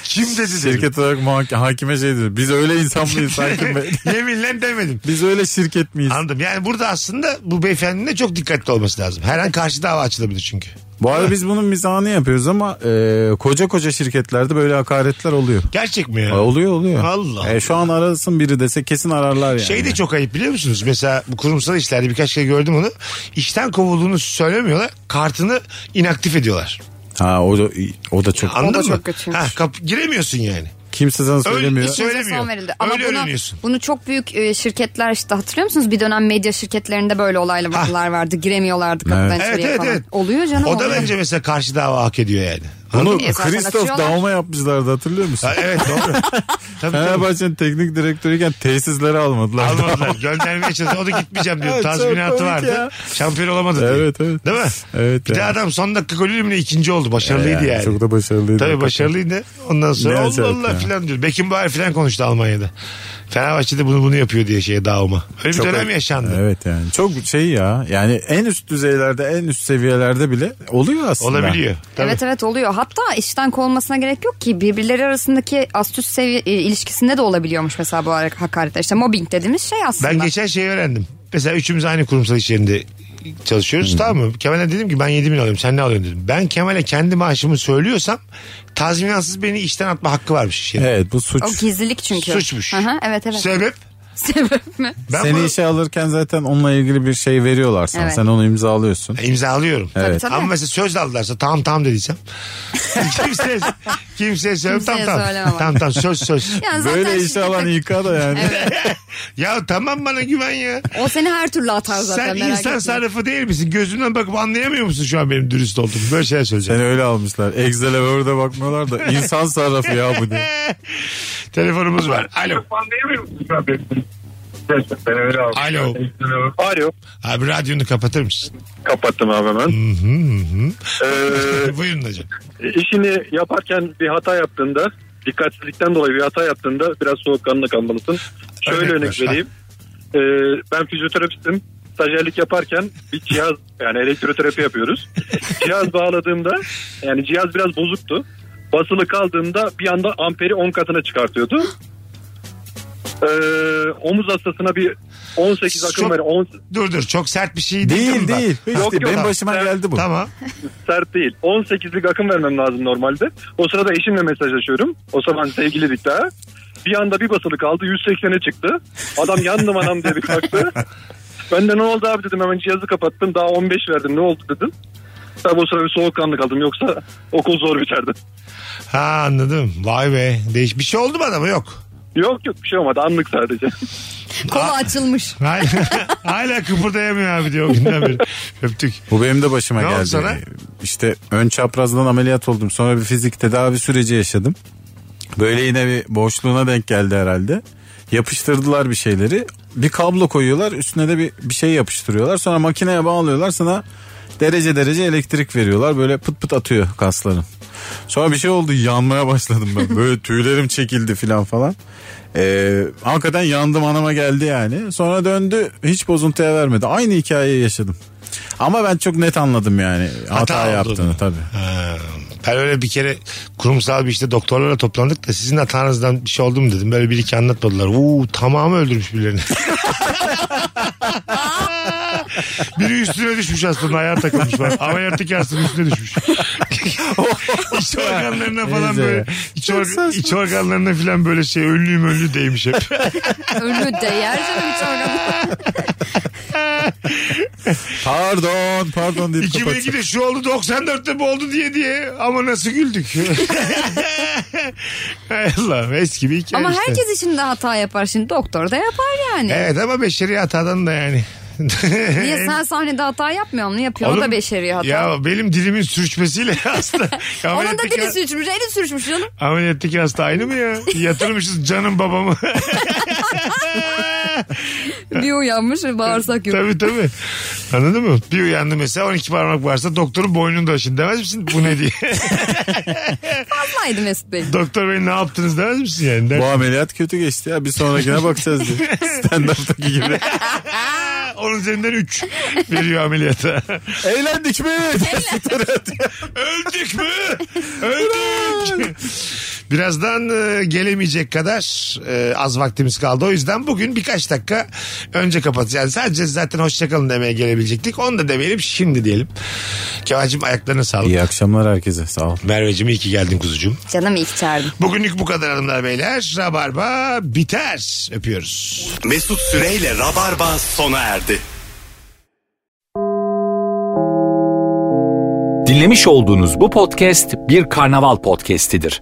[SPEAKER 3] Kim dedi dedim.
[SPEAKER 5] Şirket olarak muhak- hakime şey dedi. Biz öyle insan mıyız hakim bey?
[SPEAKER 3] Yeminle demedim.
[SPEAKER 5] Biz öyle şirket miyiz?
[SPEAKER 3] Anladım. Yani burada aslında bu beyefendinin de çok dikkatli olması lazım. Her an karşı dava açılabilir çünkü.
[SPEAKER 5] Bu arada biz bunun mizahını yapıyoruz ama e, koca koca şirketlerde böyle hakaretler oluyor.
[SPEAKER 3] Gerçek mi ya?
[SPEAKER 5] E, Oluyor oluyor.
[SPEAKER 3] Allah
[SPEAKER 5] E, şu an arasın biri dese kesin ararlar yani.
[SPEAKER 3] Şey de çok ayıp biliyor musunuz? Mesela bu kurumsal işlerde birkaç kere gördüm onu. İşten kovulduğunu söylemiyorlar. Kartını inaktif ediyorlar.
[SPEAKER 5] Ha o da, o da çok.
[SPEAKER 3] Anladın
[SPEAKER 4] O da
[SPEAKER 3] mı?
[SPEAKER 4] çok kötüymüş.
[SPEAKER 3] Ha, kap- giremiyorsun yani.
[SPEAKER 5] Kimse sana
[SPEAKER 3] Öyle-
[SPEAKER 5] söylemiyor.
[SPEAKER 3] hiç- söylemiyor.
[SPEAKER 4] Son verildi. Ama
[SPEAKER 3] Öyle
[SPEAKER 4] bunu,
[SPEAKER 3] öğreniyorsun.
[SPEAKER 4] bunu çok büyük e, şirketler işte hatırlıyor musunuz? Bir dönem medya şirketlerinde böyle olaylar vardı. Giremiyorlardı kapıdan
[SPEAKER 5] Evet.
[SPEAKER 4] içeriye
[SPEAKER 3] Evet, evet,
[SPEAKER 4] falan.
[SPEAKER 3] evet.
[SPEAKER 4] Olmuyor canım.
[SPEAKER 3] O da
[SPEAKER 4] oluyor.
[SPEAKER 3] bence mesela karşı dava hak ediyor yani.
[SPEAKER 5] Bunu
[SPEAKER 3] Anladın mı?
[SPEAKER 4] Niye zaten
[SPEAKER 5] Christoph
[SPEAKER 4] açıyorlar?
[SPEAKER 5] Daum'a yapmışlardı hatırlıyor musun?
[SPEAKER 3] Ha, evet doğru. tabii, tabii.
[SPEAKER 5] Fenerbahçe'nin teknik direktörüyken tesisleri almadılar.
[SPEAKER 3] Almadılar. Göndermeye çalışıyor. O da gitmeyeceğim diyor.
[SPEAKER 5] Evet, çok
[SPEAKER 3] Tazminatı
[SPEAKER 5] komik
[SPEAKER 3] vardı.
[SPEAKER 5] ya.
[SPEAKER 3] Şampiyon olamadı diyor.
[SPEAKER 5] Evet, evet.
[SPEAKER 3] Değil mi?
[SPEAKER 5] Evet
[SPEAKER 3] Bir de
[SPEAKER 5] ya.
[SPEAKER 3] adam son dakika golüyle mi ne ikinci oldu. Başarılıydı yani.
[SPEAKER 5] Çok da başarılıydı.
[SPEAKER 3] Tabii başarılıydı. Ondan
[SPEAKER 5] Ne
[SPEAKER 3] sonra Allah
[SPEAKER 5] acayip
[SPEAKER 3] Allah
[SPEAKER 5] ya.
[SPEAKER 3] filan diyor. Beckenbauer filan konuştu Almanya'da. Fenerbahçe'de bunu bunu yapıyor diye şeye dağılma. Öyle bir dönem yaşandı.
[SPEAKER 5] Evet yani. Çok şey ya. Yani en üst düzeylerde, en üst seviyelerde bile oluyor aslında.
[SPEAKER 3] Olabiliyor. Tabii.
[SPEAKER 4] Evet evet oluyor. Hatta işten kovulmasına gerek yok ki birbirleri arasındaki ast üst seviye e, ilişkisinde de olabiliyormuş mesela bu hak- hakaretler. İşte mobbing dediğimiz şey aslında.
[SPEAKER 3] Ben geçen şey öğrendim. Mesela üçümüz aynı kurumsal iş yerinde
[SPEAKER 5] Hmm.
[SPEAKER 3] çalışıyoruz tamam mı? Kemal'e dedim ki ben 7 bin alıyorum sen ne alıyorsun dedim. Ben Kemal'e kendi maaşımı söylüyorsam tazminatsız beni işten atma hakkı varmış. iş yerinde.
[SPEAKER 5] Evet bu suç.
[SPEAKER 4] O gizlilik çünkü.
[SPEAKER 3] Suçmuş.
[SPEAKER 4] Hı hı, evet evet.
[SPEAKER 3] Sebep
[SPEAKER 4] Sebep mi?
[SPEAKER 3] ben
[SPEAKER 5] Seni
[SPEAKER 3] bunu
[SPEAKER 5] işe alırken zaten onunla ilgili bir şey veriyorlar sana.
[SPEAKER 4] Evet.
[SPEAKER 5] Sen onu imzalıyorsun.
[SPEAKER 3] imzalıyorum.
[SPEAKER 5] Evet.
[SPEAKER 4] Tabii.
[SPEAKER 3] Ama mesela söz de aldılarsa tamam tamam dediysem kimseye, kimseye söyleme tamam
[SPEAKER 4] Kimseye
[SPEAKER 3] tamam.
[SPEAKER 4] söyleme bak.
[SPEAKER 3] Tamam tamam söz söz.
[SPEAKER 4] Yani zaten
[SPEAKER 5] Böyle işe
[SPEAKER 4] şirkette-
[SPEAKER 5] alan yıka da yani.
[SPEAKER 3] ya tamam bana güven ya.
[SPEAKER 4] O seni her türlü atar zaten
[SPEAKER 3] Sen
[SPEAKER 4] merak
[SPEAKER 3] insan
[SPEAKER 4] etme.
[SPEAKER 3] sarrafı değil misin? Gözümden bakıp anlayamıyor musun şu an benim dürüst olduğumu? Böyle şeyler söyleyeceğim.
[SPEAKER 5] Seni öyle almışlar. Excel'e Word'e bakmıyorlar da insan sarrafı ya bu diye.
[SPEAKER 3] Telefonumuz var. Alo. Alo.
[SPEAKER 12] Alo.
[SPEAKER 3] Abi radyonu kapatır mısın?
[SPEAKER 12] Kapattım abi hemen.
[SPEAKER 3] Hı hı hı.
[SPEAKER 12] Ee,
[SPEAKER 3] Buyurun hocam.
[SPEAKER 12] işini yaparken bir hata yaptığında dikkatsizlikten dolayı bir hata yaptığında biraz soğukkanlı kalmalısın. Şöyle
[SPEAKER 3] Örnek
[SPEAKER 12] örnek,
[SPEAKER 3] ver.
[SPEAKER 12] vereyim. Ee, ben fizyoterapistim. Stajyerlik yaparken bir cihaz yani elektroterapi yapıyoruz. cihaz bağladığımda yani cihaz biraz bozuktu. Basılı kaldığımda bir anda amperi 10 katına çıkartıyordu. Ee, omuz hastasına bir 18 akım
[SPEAKER 3] Çok-
[SPEAKER 12] veren 10
[SPEAKER 3] Dur dur çok sert bir şey değil.
[SPEAKER 5] Değil
[SPEAKER 3] mi bak?
[SPEAKER 5] değil. Hiç
[SPEAKER 12] Yok,
[SPEAKER 5] değil.
[SPEAKER 12] yok.
[SPEAKER 5] Benim başıma geldi bu.
[SPEAKER 3] Tamam.
[SPEAKER 12] sert değil. 18'lik akım vermem lazım normalde. O sırada eşimle mesajlaşıyorum. O zaman sevgililik daha. Bir anda bir basılı kaldı 180'e çıktı. Adam yandım anam diye bir kalktı. Ben de ne oldu abi dedim hemen cihazı kapattım. Daha 15 verdim ne oldu dedim. Tabi o sırada bir soğukkanlı kaldım yoksa okul zor biterdi.
[SPEAKER 3] Ha anladım. Vay be. Değiş bir şey oldu mu adama? Yok.
[SPEAKER 12] Yok yok bir şey olmadı anlık sadece.
[SPEAKER 4] Kolu açılmış.
[SPEAKER 3] Hala, hala kıpırdayamıyor abi diyor o günden beri. Öptük.
[SPEAKER 5] Bu benim de başıma
[SPEAKER 3] Ne oldu
[SPEAKER 5] geldi.
[SPEAKER 3] sana?
[SPEAKER 5] İşte ön çaprazdan ameliyat oldum. Sonra bir fizik tedavi süreci yaşadım. Böyle yine bir boşluğuna denk geldi herhalde. Yapıştırdılar bir şeyleri. Bir kablo koyuyorlar. Üstüne de bir, bir şey yapıştırıyorlar. Sonra makineye bağlıyorlar. Sana derece derece elektrik veriyorlar. Böyle pıt pıt atıyor kasların. Sonra bir şey oldu. Yanmaya başladım ben. Böyle tüylerim çekildi filan falan. Ee, hakikaten yandım anama geldi yani. Sonra döndü hiç bozuntuya vermedi. Aynı hikayeyi yaşadım. Ama ben çok net anladım yani hata,
[SPEAKER 3] Hata olduğunu.
[SPEAKER 5] yaptığını tabii.
[SPEAKER 3] Ha, Ben öyle bir kere kurumsal bir işte doktorlarla toplandık da sizin hatanızdan bir şey oldu mu dedim. Böyle bir iki anlatmadılar. Uuu tamamı öldürmüş birilerini. Biri üstüne düşmüş aslında ayağa takılmış falan. Ama yırtık yastığının üstüne düşmüş.
[SPEAKER 4] Oh.
[SPEAKER 3] iç organlarına falan
[SPEAKER 5] Neyse.
[SPEAKER 3] böyle iç, or- iç organlarına falan böyle şey önlüğüm önlü değmiş hep.
[SPEAKER 4] Ölü değer canım hiç orada.
[SPEAKER 5] Pardon pardon deyip kapatıyor.
[SPEAKER 3] 2002'de şu oldu 94'te bu oldu diye diye ama nasıl güldük. Hay Allah eski bir hikaye
[SPEAKER 4] Ama
[SPEAKER 3] işte.
[SPEAKER 4] herkes için de hata yapar şimdi. Doktor da yapar yani.
[SPEAKER 3] Evet ama beşeri hatadan da yani.
[SPEAKER 4] Niye sen sahnede hata yapmıyor mu? Yapıyor o da
[SPEAKER 3] Oğlum,
[SPEAKER 4] beşeri hata.
[SPEAKER 3] Ya benim dilimin sürçmesiyle hasta.
[SPEAKER 4] Onun da
[SPEAKER 3] Ameliyattaki-
[SPEAKER 4] dili sürçmüş, eli sürçmüş canım.
[SPEAKER 3] Ameliyattaki hasta aynı mı ya? Yatırmışız canım babamı.
[SPEAKER 4] Bir uyanmış ve bağırsak yok.
[SPEAKER 3] tabii tabii. Anladın mı? Bir uyandı mesela 12 parmak varsa doktorun boynunda aşın demez misin? Bu ne diye.
[SPEAKER 4] Fazlaydı Mesut Bey.
[SPEAKER 3] Doktor bey ne yaptınız demez misin yani? Der-
[SPEAKER 5] Bu ameliyat kötü geçti ya bir sonrakine bakacağız diye. Stand-up'taki gibi.
[SPEAKER 3] Onun üzerinden 3 veriyor ameliyata.
[SPEAKER 5] Eğlendik mi?
[SPEAKER 3] Öldük mü? Öldük. Birazdan e, gelemeyecek kadar e, az vaktimiz kaldı. O yüzden bugün birkaç dakika önce kapatacağız. Sadece zaten hoşçakalın demeye gelebilecektik. Onu da demeyelim şimdi diyelim. Kemal'cim ayaklarına sağlık.
[SPEAKER 5] İyi akşamlar herkese sağ ol.
[SPEAKER 3] Merveciğim iyi ki geldin kuzucuğum.
[SPEAKER 4] Canım iyi ki çağırdın.
[SPEAKER 3] Bugünlük bu kadar hanımlar beyler. Rabarba biter. Öpüyoruz.
[SPEAKER 13] Mesut Süreyle Rabarba sona erdi.
[SPEAKER 1] Dinlemiş olduğunuz bu podcast bir karnaval podcastidir.